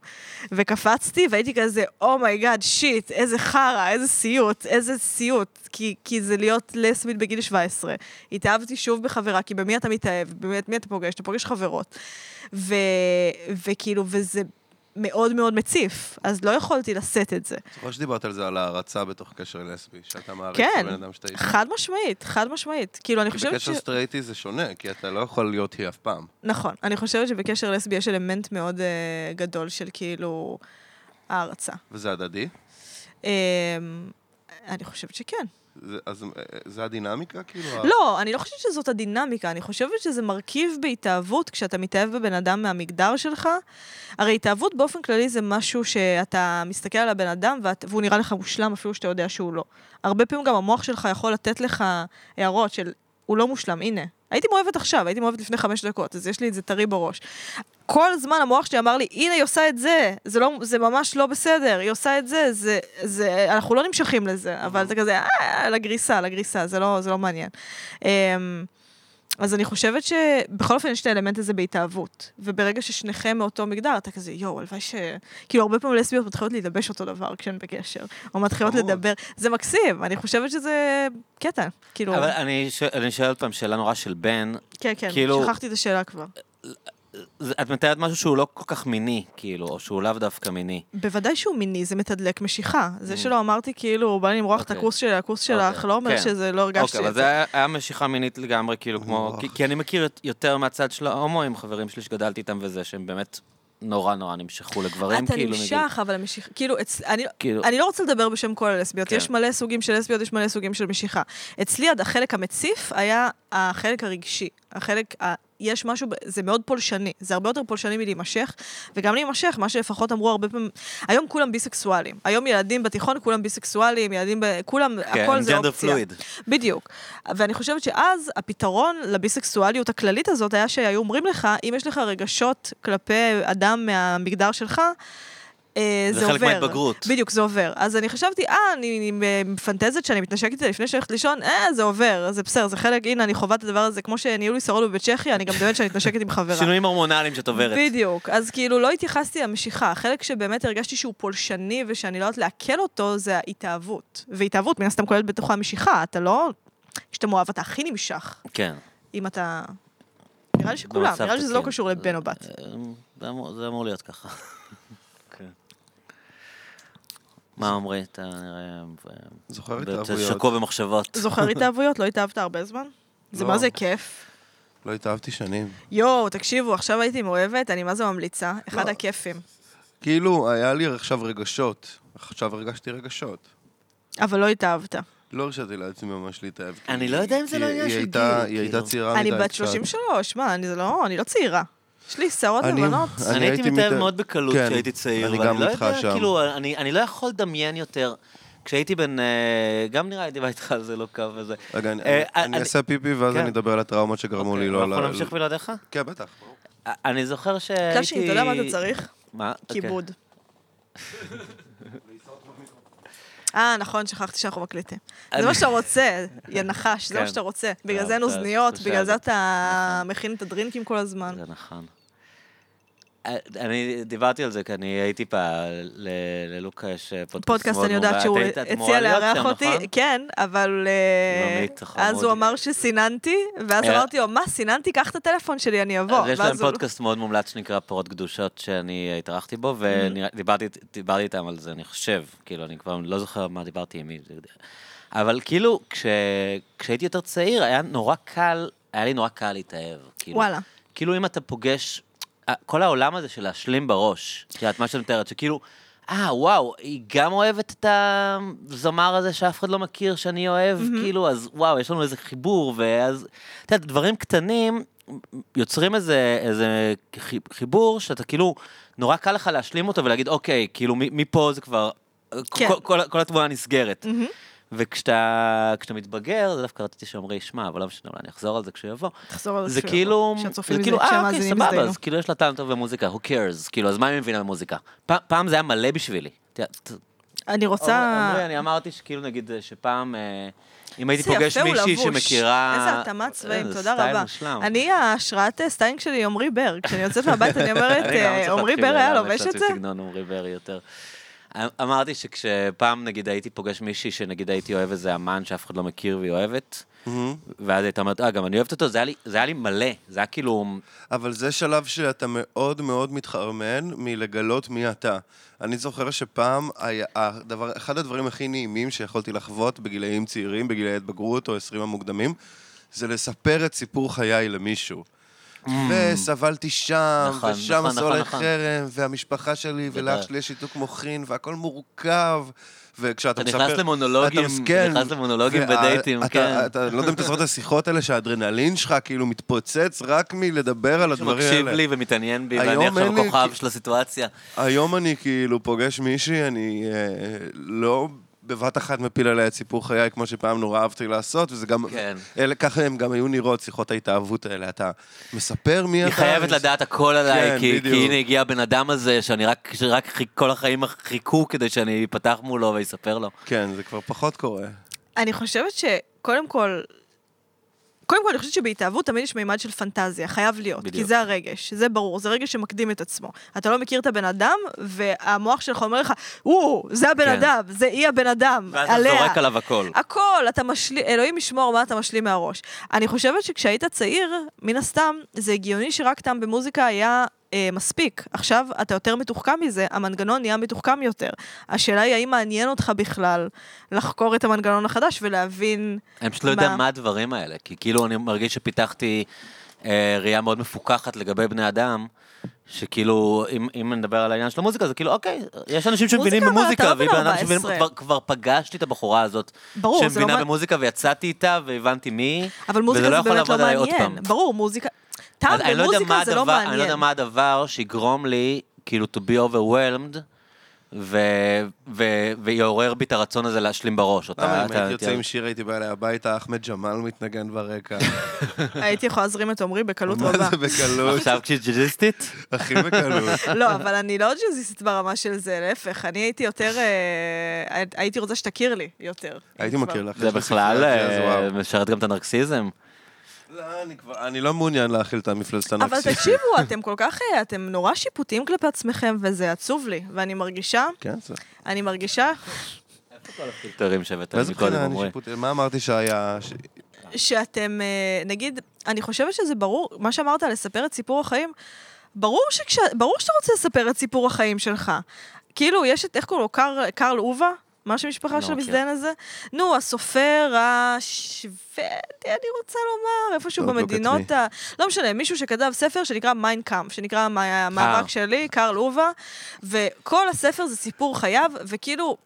Speaker 3: וקפצתי, והייתי כזה, אומייגאד, שיט, איזה חרא, איזה סיוט, איזה סיוט, כי, כי זה להיות לסבית בגיל 17. התאהבתי שוב בחברה, כי במי אתה מתאהב, במי את מי אתה פוגש, אתה פוגש חברות. ו, וכאילו, וזה מאוד מאוד מציף, אז לא יכולתי לשאת את זה.
Speaker 1: זוכר שדיברת על זה, על הערצה בתוך קשר לסבי, שאתה מעריץ
Speaker 3: כן.
Speaker 1: בן אדם שאתה איש.
Speaker 3: חד משמעית, חד משמעית. כאילו, אני
Speaker 1: כי
Speaker 3: חושבת ש...
Speaker 1: בקשר סטרייטי זה שונה, כי אתה לא יכול להיות היא אף פעם.
Speaker 3: נכון, אני חושבת שבקשר לסבי יש אלמנט מאוד אה, גדול של כאילו הערצה.
Speaker 1: וזה הדדי?
Speaker 3: אה, אני חושבת שכן.
Speaker 1: זה- אז אה, זה הדינמיקה, כאילו? ה-
Speaker 3: לא, אני לא חושבת שזאת הדינמיקה, אני חושבת שזה מרכיב בהתאהבות כשאתה מתאהב בבן אדם מהמגדר שלך. הרי התאהבות באופן כללי זה משהו שאתה מסתכל על הבן אדם ואת, והוא נראה לך מושלם אפילו שאתה יודע שהוא לא. הרבה פעמים גם המוח שלך יכול לתת לך הערות של הוא לא מושלם, הנה. הייתי מאוהבת עכשיו, הייתי מאוהבת לפני חמש דקות, אז יש לי את זה טרי בראש. כל הזמן המוח שלי אמר לי, הנה, היא עושה את זה, זה, לא, זה ממש לא בסדר, היא עושה את זה, זה, זה, אנחנו לא נמשכים לזה, אבל זה כזה, אה, לגריסה, לגריסה, זה לא, זה לא מעניין. אמ, אז אני חושבת שבכל אופן יש את האלמנט הזה בהתאהבות, וברגע ששניכם מאותו מגדר, אתה כזה, יואו, הלוואי ש... כאילו, הרבה פעמים לסביות מתחילות להידבש אותו דבר כשהן בקשר, או מתחילות
Speaker 1: חמוד.
Speaker 3: לדבר, זה מקסים, אני חושבת שזה קטע, כאילו,
Speaker 2: אבל אני שואל- אני שואל עוד פעם שאלה נורא של בן.
Speaker 3: כן, כן,
Speaker 2: כאילו-
Speaker 3: שכחתי את השאלה כבר.
Speaker 2: זה- את מתארת משהו שהוא לא כל כך מיני, כאילו, או שהוא לאו דווקא מיני.
Speaker 3: בוודאי שהוא מיני, זה מתדלק משיכה. זה שלא אמרתי, כאילו, בא לי למרוח את
Speaker 2: Mm. אוקיי.
Speaker 3: הכוס שלי, הכוס שלך,
Speaker 2: אוקיי,
Speaker 3: לא אומר
Speaker 2: כן.
Speaker 3: שזה, לא הרגשתי
Speaker 2: אוקיי, אבל
Speaker 3: את זה.
Speaker 2: זה היה- היה משיכה מינית לגמרי, כאילו, כמו...
Speaker 1: וואו.
Speaker 2: כי- כי אני מכיר את- יותר מהצד של ההומואים, חברים שלי שגדלתי איתם וזה, שהם באמת נורא נורא נמשכו לגברים,
Speaker 3: אתה
Speaker 2: כאילו, מגיל...
Speaker 3: נמשך, אבל המשיכה, כאילו, אצ- אני-
Speaker 2: כאילו-
Speaker 3: אני לא רוצה לדבר בשם כל הלסביות,
Speaker 2: כן.
Speaker 3: יש מלא סוגים של לסביות, יש מלא סוגים של משיכה. אצלי עד החלק המציף היה החלק הרגשי, החלק, ה- יש משהו, ב- זה מאוד פולשני, זה הרבה יותר פולשני מלהימשך, וגם להימשך, מה שלפחות אמרו הרבה פעמים, היום כולם ביסקסואלים, היום ילדים בתיכון כולם ביסקסואלים, ילדים, ב- כולם,
Speaker 2: כן,
Speaker 3: הכל זה
Speaker 2: ג'נדר
Speaker 3: אופציה.
Speaker 2: פלואיד.
Speaker 3: בדיוק. ואני חושבת שאז הפתרון לביסקסואליות הכללית הזאת היה שהיו אומרים לך, אם יש לך רגשות כלפי אדם מהמגדר שלך, אה,
Speaker 2: זה
Speaker 3: זה,
Speaker 2: חלק
Speaker 3: עובר.
Speaker 2: מההתבגרות.
Speaker 3: בדיוק, זה עובר. אז אני חשבתי, אה, אני, אני מפנטזת שאני מתנשקת איתה לפני שאני הולכת לישון, אה, זה עובר, זה בסדר, זה חלק, הנה, אני חווה את הדבר הזה, כמו שניהלו לי שרוד בצ'כיה, אני גם באמת שאני מתנשקת עם חברה.
Speaker 2: שינויים הורמונליים שאת עוברת.
Speaker 3: בדיוק. אז כאילו לא התייחסתי למשיכה. החלק שבאמת הרגשתי שהוא פולשני ושאני לא יודעת לעכל אותו, זה ההתאהבות. והתאהבות מן הסתם כוללת בתוכה משיכה. אתה לא... כשאתה מאוהב אתה הכי נמשך,
Speaker 2: כן.
Speaker 3: אם אתה... נראה לי שכולם,
Speaker 2: במצב
Speaker 3: נראה לי שזה לא
Speaker 2: תקין.
Speaker 3: קשור לבן או בת.
Speaker 2: אמ, זה אמור- זה אמור להיות ככה. כן. מה עמרי, אתה נראה... אה,
Speaker 1: זוכר
Speaker 2: אתה
Speaker 1: התאהבויות.
Speaker 2: שקוע במחשבות.
Speaker 3: זוכר התאהבויות? לא התאהבת הרבה זמן? זה
Speaker 1: לא.
Speaker 3: מה זה כיף.
Speaker 1: לא התאהבתי שנים.
Speaker 3: יואו, תקשיבו, עכשיו הייתי מאוהבת, אני מה זה ממליצה? אחד
Speaker 1: לא.
Speaker 3: הכיפים.
Speaker 1: כאילו, היה לי עכשיו רגשות. עכשיו הרגשתי רגשות.
Speaker 3: אבל לא התאהבת.
Speaker 1: לא הרשיתי לעצמי ממש להתאהב. כי-
Speaker 2: אני לא יודע אם זה
Speaker 1: כי
Speaker 2: לא עניין
Speaker 1: היא
Speaker 2: של
Speaker 1: הייתה-
Speaker 2: גיל,
Speaker 1: היא הייתה
Speaker 2: כאילו.
Speaker 1: צעירה מדי.
Speaker 3: אני בת
Speaker 1: קצת.
Speaker 3: 33, מה, אני זה לא, אני לא צעירה. יש לי שערות
Speaker 1: אני-
Speaker 3: לבנות.
Speaker 2: אני הייתי
Speaker 1: הייתי
Speaker 2: מתאהב
Speaker 1: מת-
Speaker 2: מאוד בקלות
Speaker 1: כן,
Speaker 2: כשהייתי צעיר,
Speaker 1: אני
Speaker 2: ואני
Speaker 1: גם
Speaker 2: לא
Speaker 1: איתך
Speaker 2: יודע,
Speaker 1: שם.
Speaker 2: כאילו, אני אני לא יכול לדמיין יותר. כשהייתי בן... אה, גם נראה לי דיברתי על זה לא קו וזה.
Speaker 1: רגע, אני-
Speaker 2: אה,
Speaker 1: אני- אני אעשה פיפי ואז
Speaker 2: כן.
Speaker 1: אני אדבר על הטראומות שגרמו לי
Speaker 2: אוקיי,
Speaker 1: לא...
Speaker 2: אנחנו
Speaker 1: ל-
Speaker 2: נמשיך בלעדיך?
Speaker 1: כן, בטח. ברור.
Speaker 2: אה, אני זושר שהייתי...
Speaker 3: קלאשי,
Speaker 2: אוקיי.
Speaker 4: אוקיי.
Speaker 3: אתה יודע מה אתה צריך?
Speaker 2: מה? אוקיי.
Speaker 3: כיבוד. אה, נכון, שכחתי שאנחנו מקליטים. זה מה שאתה רוצה, יא נחש, זה מה
Speaker 4: כן.
Speaker 3: שאתה רוצה. בגלל
Speaker 4: טוב,
Speaker 3: זה אין
Speaker 4: טוב,
Speaker 3: אוזניות,
Speaker 4: תושב.
Speaker 3: בגלל זה אתה מכין את הדרינקים כל הזמן.
Speaker 4: זה נכון. אה, אני דיברתי על זה, כי אני הייתי פעם, ללוקה יש אה, פודקאסט מאוד
Speaker 3: פודקאסט, אני יודעת
Speaker 4: מומלץ.
Speaker 3: שהוא
Speaker 4: היית- את אמורה
Speaker 3: הציע
Speaker 4: להיות
Speaker 3: לארח
Speaker 4: שם,
Speaker 3: אותי,
Speaker 4: נכון?
Speaker 3: כן, אבל אה,
Speaker 4: עמית,
Speaker 3: אז
Speaker 4: חמוד.
Speaker 3: הוא אמר שסיננתי, ואז
Speaker 4: אה.
Speaker 3: אמרתי לו, מה, סיננתי? קח את הטלפון שלי, אני אבוא.
Speaker 4: אז יש
Speaker 3: ואז
Speaker 4: להם
Speaker 3: הוא-
Speaker 4: פודקאסט מאוד מומלץ שנקרא פרות קדושות, שאני אה, התארחתי
Speaker 3: Mm-hmm.
Speaker 4: בו, ודיברתי איתם על זה, אני חושב, כאילו, אני כבר לא זוכר מה דיברתי עם מי. זה- אבל כאילו, כש- כשהייתי יותר צעיר, היה נורא קל, היה לי נורא קל להתאהב. כאילו.
Speaker 3: וואלה.
Speaker 4: כאילו, אם אתה פוגש, אה, כל העולם הזה של להשלים בראש, את יודעת, מה שאת מתארת, שכאילו... אה, וואו, היא גם אוהבת את הזמר הזה שאף אחד לא מכיר, שאני אוהב, mm-hmm. כאילו, אז וואו, יש לנו איזה חיבור, ואז, את יודעת, דברים קטנים יוצרים איזה, איזה חי- חיבור שאתה כאילו, נורא קל לך להשלים אותו ולהגיד, אוקיי, כאילו, מ- מפה זה כבר,
Speaker 3: כן.
Speaker 4: כן. כל, כל, כל התמונה נסגרת. Mm-hmm. וכשאתה כשאתה מתבגר, זה דווקא רציתי שאומרי שמע, אבל לא משנה, אולי אני אחזור על זה כשהוא יבוא.
Speaker 3: תחזור על זה
Speaker 4: זה
Speaker 3: שוב,
Speaker 4: כאילו,
Speaker 3: שהצופים
Speaker 4: זה כאילו,
Speaker 3: יזדיינו,
Speaker 4: אה, אוקיי,
Speaker 3: שהמאזינים
Speaker 4: סבבה,
Speaker 3: יזדיינו.
Speaker 4: אז כאילו יש לה טעם טוב במוזיקה, who cares, כאילו, אז מה היא מבינה במוזיקה? פ- פעם זה היה מלא בשבילי. אתה יודע, ת-
Speaker 3: אני רוצה...
Speaker 4: עמרי, אני אמרתי שכאילו, נגיד, אה, שפעם, אה, אם הייתי
Speaker 3: איזה
Speaker 4: פוגש
Speaker 3: יפה הוא
Speaker 4: מישהי
Speaker 3: לבוש.
Speaker 4: שמכירה...
Speaker 3: איזה התאמה צבעים,
Speaker 4: אה, זה
Speaker 3: תודה
Speaker 4: סטייל
Speaker 3: רבה.
Speaker 4: מושלם.
Speaker 3: אני, ההשראת סטיינג שלי היא עמרי בר. כשאני יוצאת מהבית אני אומרת,
Speaker 4: אני גם
Speaker 3: אה,
Speaker 4: צריך
Speaker 3: עמרי
Speaker 4: להתחיל
Speaker 3: בר היה
Speaker 4: לאמץ
Speaker 3: לובש את
Speaker 4: לעצמי
Speaker 3: זה?
Speaker 4: סגנון עמרי בר יותר. אה, אמרתי שכשפעם, נגיד, הייתי פוגש מישהי שנגיד הייתי אוהב איזה אמן שאף אחד לא מכיר והיא אוהבת, ואז הייתה אומרת, אה, גם אני אוהבת אותו, זה היה לי- זה היה לי מלא, זה היה כאילו...
Speaker 1: אבל זה שלב שאתה מאוד מאוד מתחרמן מלגלות מי אתה. אני זוכר שפעם, היה, הדבר, אחד הדברים הכי נעימים שיכולתי לחוות בגילאים צעירים, בגילאי התבגרות או עשרים המוקדמים, זה לספר את סיפור חיי למישהו. וסבלתי שם,
Speaker 4: Mm. נכון,
Speaker 1: ושם
Speaker 4: נכון,
Speaker 1: עשו עלי
Speaker 4: נכון, נכון.
Speaker 1: חרם, והמשפחה שלי, ולאח שלי יש שיתוק מוחין, והכל מורכב. וכשאתה
Speaker 4: אתה
Speaker 1: מספר...
Speaker 4: נכנס למונולוגים,
Speaker 1: אתה מסכן,
Speaker 4: נכנס למונולוגים
Speaker 1: וה-
Speaker 4: בדייטים,
Speaker 1: אתה-
Speaker 4: כן.
Speaker 1: אתה לא יודע אם אתה זוכר את השיחות האלה שהאדרנלין שלך כאילו מתפוצץ רק מלדבר על הדברים האלה.
Speaker 4: שמקשיב לי ומתעניין בי,
Speaker 1: היום
Speaker 4: ואני עכשיו
Speaker 1: אין לי-
Speaker 4: הכוכב של הסיטואציה.
Speaker 1: היום אני כאילו פוגש מישהי, אני אה, לא בבת אחת מפיל עליה את סיפור חיי, כמו שפעם נורא אהבתי לעשות, וזה גם...
Speaker 4: כן.
Speaker 1: אלה, ככה הם גם היו נראות, שיחות ההתאהבות האלה. אתה מספר מי
Speaker 4: היא
Speaker 1: אתה...
Speaker 4: חייבת
Speaker 1: אני-
Speaker 4: לדעת הכל עליי,
Speaker 1: כן,
Speaker 4: כי
Speaker 1: בדיוק.
Speaker 4: כי הנה הגיע הבן אדם הזה, שאני רק, שרק חיכ- כל החיים חיכו כדי שאני אפתח מולו ואספר לו.
Speaker 1: כן, זה כבר פחות
Speaker 4: אה,
Speaker 1: קורה.
Speaker 3: אני חושבת שקודם כל... קודם כל, אני חושבת שבהתאהבות תמיד יש מימד של פנטזיה, חייב להיות. בדיוק. כי
Speaker 4: בדיוק.
Speaker 3: זה הרגש, זה ברור, זה רגש שמקדים את עצמו. אתה לא מכיר את הבן אדם, והמוח שלך אומר לך, וואו, זה הבן
Speaker 4: כן.
Speaker 3: אדם, זה היא הבן אדם,
Speaker 4: ואז אתה
Speaker 3: עליה.
Speaker 4: זורק עליו הכל.
Speaker 3: הכל, אתה משלים, אלוהים ישמור מה אתה משלים מהראש. אני חושבת שכשהיית צעיר, מן הסתם, זה הגיוני שרק טעם במוזיקה היה אה, מספיק. עכשיו אתה יותר מתוחכם מזה, המנגנון נהיה מתוחכם יותר. השאלה היא האם מעניין אותך בכלל לחקור את המנגנון החדש ולהבין...
Speaker 4: אני פשוט לא יודע
Speaker 3: מה?
Speaker 4: מה הדברים האלה, כי כאילו אני מרגיש שפיתחתי אה, ראייה מאוד מפוכחת לגבי בני אדם. שכאילו, אם, אם נדבר על העניין של המוזיקה, זה כאילו, אוקיי, יש אנשים שמבינים
Speaker 3: מוזיקה, אבל אתה
Speaker 4: במוזיקה, והיא
Speaker 3: לא בן
Speaker 4: בן אדם שמבין,
Speaker 3: 14.
Speaker 4: כבר, כבר פגשתי את הבחורה הזאת,
Speaker 3: ברור, זה
Speaker 4: שמבינה
Speaker 3: לא מע-
Speaker 4: במוזיקה, ויצאתי איתה, והבנתי מי, היא,
Speaker 3: אבל מוזיקה
Speaker 4: וזה לא
Speaker 3: זה
Speaker 4: יכול
Speaker 3: באמת לא
Speaker 4: לעבוד עליי עוד
Speaker 3: מעניין.
Speaker 4: פעם.
Speaker 3: ברור, מוזיקה... טעם
Speaker 4: אז אני לא יודע
Speaker 3: במוזיקה
Speaker 4: מה
Speaker 3: זה לא
Speaker 4: הדבר- אני לא
Speaker 3: מעניין.
Speaker 4: יודע מה הדבר שיגרום לי, כאילו, to be overwhelmed, ו- ו- ויעורר בי את הרצון הזה להשלים בראש. אותה-
Speaker 1: למה אם
Speaker 4: אתה-
Speaker 1: הייתי יוצא עם
Speaker 4: אתה-
Speaker 1: שיר, הייתי בא אליה הביתה, אחמד ג'מאל מתנגן ברקע.
Speaker 3: הייתי יכולה להזרים את עמרי בקלות
Speaker 1: מה
Speaker 3: רבה.
Speaker 1: זה בקלות?
Speaker 4: עכשיו כשג'יג'יסטית?
Speaker 1: הכי בקלות.
Speaker 3: לא, אבל אני לא ג'אזיסט ברמה של זה, להפך, אני הייתי יותר... אה, הייתי רוצה שתכיר לי יותר.
Speaker 1: הייתי מכיר לך.
Speaker 4: זה
Speaker 1: יש לי
Speaker 4: בכלל
Speaker 1: ספרייה, אז
Speaker 4: אה,
Speaker 1: וואו.
Speaker 4: משרת גם את הנרקסיזם.
Speaker 1: לא, אני כבר- אני לא מעוניין להאכיל את המפלצת
Speaker 3: אבל
Speaker 1: הנפשית.
Speaker 3: תקשיבו, אתם כל כך, אה, אתם נורא שיפוטיים כלפי עצמכם, וזה עצוב לי. ואני מרגישה,
Speaker 1: כן, זה...
Speaker 3: אני מרגישה
Speaker 4: פילטרים שהבאת
Speaker 1: באיזה
Speaker 4: מקודם,
Speaker 1: בחינה אני
Speaker 4: עמרי.
Speaker 1: שיפוטי? מה אמרתי שהיה... ש-
Speaker 3: שאתם, אה, נגיד, אני חושבת שזה ברור, מה שאמרת, לספר את סיפור החיים, ברור, שכש, ברור שאתה רוצה לספר את סיפור החיים שלך. כאילו, יש את, איך קוראים לו, קר, קרל אובה? מה שמשפחה
Speaker 4: לא
Speaker 3: של
Speaker 4: מכיר.
Speaker 3: המזדיין הזה? נו, הסופר השוודי, אני רוצה לומר, איפשהו
Speaker 4: לא
Speaker 1: Don't look at
Speaker 3: במדינות ה... לא משנה, מישהו שכתב ספר שנקרא מיינקאמפ, שנקרא המאבק
Speaker 4: אה.
Speaker 3: שלי, קרל אובה, וכל הספר זה סיפור חייו, וכאילו,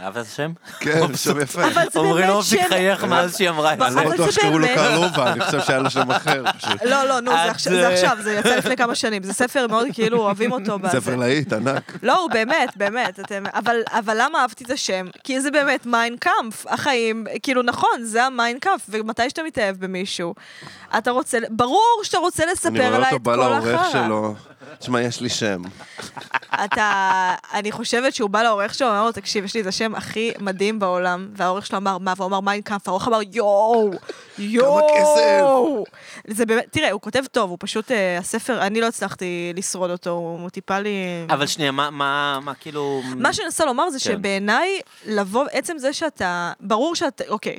Speaker 4: אהבת את השם?
Speaker 1: כן, שם יפה.
Speaker 3: אבל זה
Speaker 4: עמרי
Speaker 3: באמת
Speaker 4: לא מפסיק
Speaker 3: שם-
Speaker 4: לחייך מאז שהיא אמרה את
Speaker 3: אבל
Speaker 1: אני
Speaker 4: זה.
Speaker 1: לא בטוח
Speaker 3: זה
Speaker 1: שקראו לו
Speaker 3: באמת-
Speaker 1: קרלובה, אני חושב שהיה לו שם אחר. פשוט.
Speaker 3: לא, לא, נו, זה
Speaker 4: את,
Speaker 3: עכשיו- זה
Speaker 4: אה,
Speaker 3: עכשיו, זה יצא לפני כמה שנים. זה ספר מאוד, כאילו, אוהבים אותו. בזה.
Speaker 1: ספר להיט, ענק.
Speaker 3: לא, הוא באמת, באמת, אתם... אבל, אבל למה אהבתי את השם? כי זה באמת מיינקאמפ, החיים, כאילו, נכון, זה המיינקאמפ, ומתי שאתה מתאהב במישהו, אתה רוצה, ברור שאתה רוצה
Speaker 1: אני
Speaker 3: לספר
Speaker 1: רואה
Speaker 3: עליי
Speaker 1: אותו
Speaker 3: את
Speaker 1: בא
Speaker 3: כל
Speaker 1: לעורך
Speaker 3: החרא.
Speaker 1: שלו. תשמע, יש לי שם.
Speaker 3: אתה, אני חושבת שהוא בא לעורך שלו, אמר לו, תקשיב, יש לי את השם הכי מדהים בעולם, והעורך שלו אמר, מה? והוא אמר, מיינקאמפ, העורך אמר, יואו, יואו. כסף. זה באמת, תראה, הוא כותב טוב, הוא פשוט, אה, הספר, אני לא הצלחתי לשרוד אותו, הוא הוא טיפה לי...
Speaker 4: אבל שנייה, מה, מה, מה כאילו...
Speaker 3: מה שאני מנסה לומר זה שבעיניי, לבוא, עצם זה שאתה, ברור שאתה, אוקיי,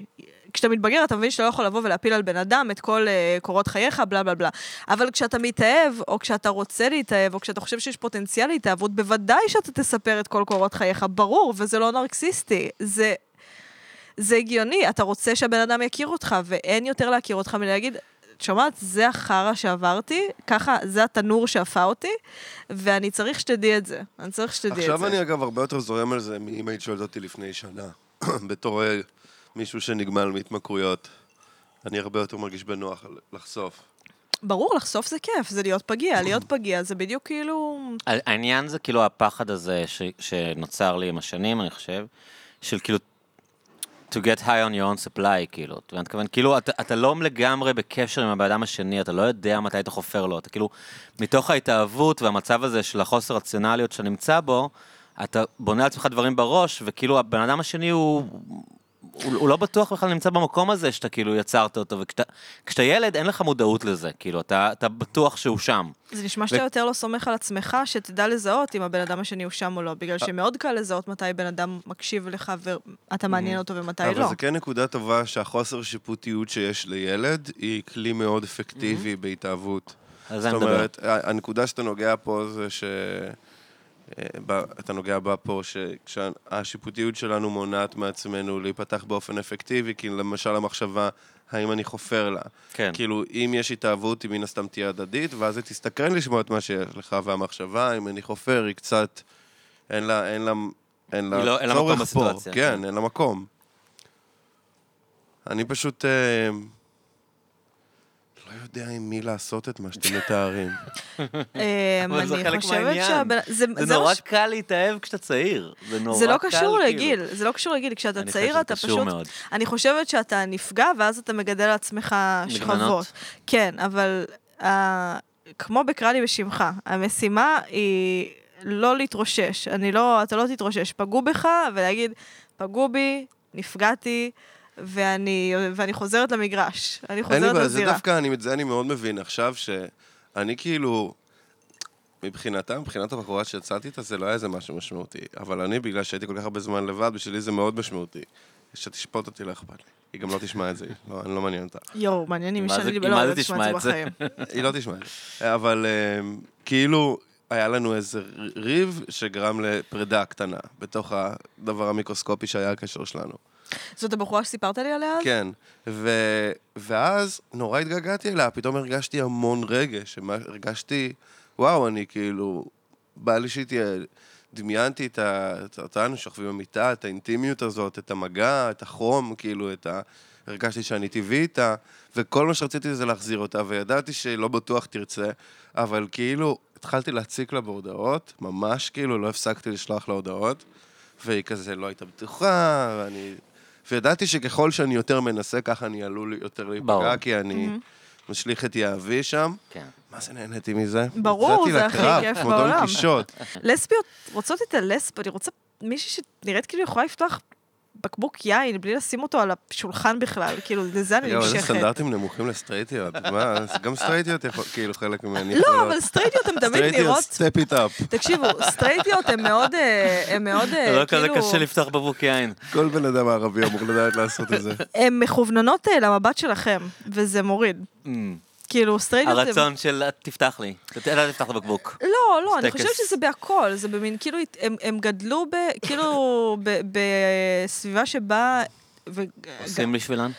Speaker 3: כשאתה מתבגר אתה מבין שאתה לא יכול לבוא ולהפיל על בן אדם את כל אה, קורות חייך, בלה בלה בלה. אבל כשאתה מתאהב, או כשאתה רוצה להתאהב, או כשאתה חושב שיש פוטנציאל להתאהבות, בוודאי שאתה תספר את כל קורות חייך, ברור, וזה לא נרקסיסטי. זה... זה הגיוני, אתה רוצה שהבן אדם יכיר אותך, ואין יותר להכיר אותך מלהגיד, את שומעת, זה החרא שעברתי, ככה, זה התנור שאפה אותי, ואני צריך שתדעי את זה. אני צריך שתדעי את זה.
Speaker 1: עכשיו אני אגב הרבה יותר זורם על זה מאם היית שואלת אותי לפני שנה, בתור אה, מישהו שנגמל מהתמכרויות. אני הרבה יותר מרגיש בנוח על- לחשוף.
Speaker 3: ברור, לחשוף זה כיף, זה להיות פגיע, להיות פגיע זה בדיוק כאילו...
Speaker 4: העניין זה כאילו הפחד הזה ש, שנוצר לי עם השנים, אני חושב, של כאילו to get high on your own supply, כאילו. אתה מתכוון, כאילו, אתה, אתה לא לגמרי בקשר עם הבן אדם השני, אתה לא יודע מתי אתה חופר לו, אתה כאילו, מתוך ההתאהבות והמצב הזה של החוסר רציונליות שאתה נמצא בו, אתה בונה לעצמך דברים בראש, וכאילו הבן אדם השני הוא... הוא, הוא לא בטוח בכלל נמצא במקום הזה שאתה כאילו יצרת אותו, וכשאתה ילד אין לך מודעות לזה, כאילו, אתה, אתה בטוח שהוא שם.
Speaker 3: זה נשמע שאתה יותר לא סומך על עצמך, שתדע לזהות אם הבן אדם השני הוא שם או לא,
Speaker 4: אה.
Speaker 3: בגלל שמאוד קל לזהות מתי בן אדם מקשיב לך ואתה
Speaker 4: אה.
Speaker 3: מעניין אותו ומתי
Speaker 1: אבל
Speaker 3: לא.
Speaker 1: זה כן נקודה טובה שהחוסר שיפוטיות שיש לילד היא כלי מאוד אפקטיבי בהתאהבות.
Speaker 4: על זה
Speaker 1: זאת
Speaker 4: Mm-hmm. אני מדבר.
Speaker 1: אומרת, ה- הנקודה שאתה נוגע פה זה ש... אה, ב- אתה נוגע בה פה, שכשהשיפוטיות שלנו מונעת מעצמנו להיפתח באופן אפקטיבי, כי למשל המחשבה, האם אני חופר לה.
Speaker 4: כן.
Speaker 1: כאילו, אם יש התאהבות, היא מן הסתם תהיה הדדית, ואז היא תסתקרן לשמוע את מה שיש לך, והמחשבה, אם אני חופר, היא קצת... אין לה... אין לה... אין לה,
Speaker 4: היא לא- אין לה מקום
Speaker 1: צורך פה.
Speaker 4: בסיטואציה,
Speaker 1: כן, אין לה מקום. אני פשוט... אה, לא יודע עם מי לעשות את מה שאתם מתארים.
Speaker 3: אה,
Speaker 4: אבל זה
Speaker 3: אני
Speaker 4: חלק
Speaker 3: חושבת
Speaker 4: מהעניין.
Speaker 3: שהבן- זה
Speaker 4: זה
Speaker 3: זה מה
Speaker 4: נורא
Speaker 3: ש-
Speaker 4: קל להתאהב כשאתה צעיר. זה נורא קל,
Speaker 3: זה לא קשור
Speaker 4: כאילו.
Speaker 3: לגיל, זה לא קשור לגיל, כשאתה
Speaker 4: אני חושב
Speaker 3: צעיר
Speaker 4: שזה
Speaker 3: אתה
Speaker 4: קשור
Speaker 3: פשוט...
Speaker 4: מאוד.
Speaker 3: אני חושבת שאתה נפגע, ואז אתה מגדל לעצמך שכבות. כן, אבל אה, כמו בקרא לי בשמך, המשימה היא לא להתרושש. אני לא, אתה לא תתרושש. פגעו בך, ולהגיד, פגעו בי, נפגעתי, ואני, ואני חוזרת למגרש. אני
Speaker 1: אין לי
Speaker 3: חוזרת
Speaker 1: בעיה, זה
Speaker 3: לזירה.
Speaker 1: דווקא, אני, את זה אני מאוד מבין עכשיו, שאני כאילו, מבחינתה, מבחינת הבחורה שיצאתי איתה, זה לא היה איזה משהו משמעותי. אבל אני, בגלל שהייתי כל כך הרבה זמן לבד, בשבילי זה מאוד משמעותי. שתשפוט אותי לא אכפת לי. היא גם לא תשמע את זה, היא לא, אני לא מעניין אותה.
Speaker 3: יואו, מעניין אם
Speaker 4: מה זה-
Speaker 3: שאני
Speaker 4: אם מה
Speaker 3: לא
Speaker 4: זה
Speaker 3: יודעת לשמוע את
Speaker 4: תשמע
Speaker 3: זה
Speaker 4: את זה?
Speaker 3: בחיים.
Speaker 1: היא לא תשמע את זה. אבל אמ, כאילו, היה לנו איזה ריב שגרם לפרידה קטנה, בתוך הדבר המיקרוסקופי שהיה הקשר שלנו.
Speaker 3: זאת הבחורה שסיפרת לי עליה? אז?
Speaker 1: כן, ו... ואז נורא התגעגעתי אליה, פתאום הרגשתי המון רגש, שמה- הרגשתי, וואו, אני כאילו, בא לי שהיא תהיה, דמיינתי את ה... את- אותנו שוכבים במיטה, את האינטימיות הזאת, את המגע, את החום, כאילו, את ה... הרגשתי שאני טבעי איתה, וכל מה שרציתי זה להחזיר אותה, וידעתי שלא בטוח תרצה, אבל כאילו, התחלתי להציק לה בהודעות, ממש כאילו, לא הפסקתי לשלוח לה הודעות, והיא כזה לא הייתה בטוחה, ואני... וידעתי שככל שאני יותר מנסה, ככה אני עלול יותר להיפגע,
Speaker 4: ברור.
Speaker 1: כי אני
Speaker 3: Mm-hmm.
Speaker 1: משליך את יהבי שם.
Speaker 4: כן.
Speaker 1: מה זה נהניתי מזה?
Speaker 3: ברור,
Speaker 1: יצאתי
Speaker 3: זה הכי
Speaker 1: לקרב,
Speaker 3: כיף
Speaker 1: כמו
Speaker 3: בעולם.
Speaker 1: דון קישוט.
Speaker 3: לסביות רוצות את הלסב, אני רוצה מישהי שנראית כאילו יכולה לפתוח בקבוק יין בלי לשים אותו על השולחן בכלל, כאילו, לזה אני
Speaker 1: יואו, איזה
Speaker 3: נמשכת.
Speaker 1: סטנדרטים נמוכים לסטרייטיות. מה, אז גם סטרייטיות יכול, כאילו חלק ממני
Speaker 3: לא, אבל סטרייטיות הן תמיד נראות...
Speaker 1: סטרייטיות, step it up.
Speaker 3: תקשיבו, סטרייטיות הן מאוד, אה, הן מאוד, אה,
Speaker 4: זה
Speaker 3: כאילו...
Speaker 4: לא כזה קשה לפתוח בבוק יין.
Speaker 1: כל בן אדם ערבי אמור לדעת לעשות את זה.
Speaker 3: הן מכווננות אה, למבט שלכם, וזה מוריד. כאילו, סטרייטיות... הן-
Speaker 4: Mm. הרצון של "את תפתח לי, אתה תפתח את הבקבוק.
Speaker 3: לא, לא, אני
Speaker 4: טקס.
Speaker 3: חושבת שזה בהכל, זה במין, כאילו, הת- הם, הם גדלו ב... כאילו, ב- בסביבה שבה... ו...
Speaker 4: עושים בשבילן?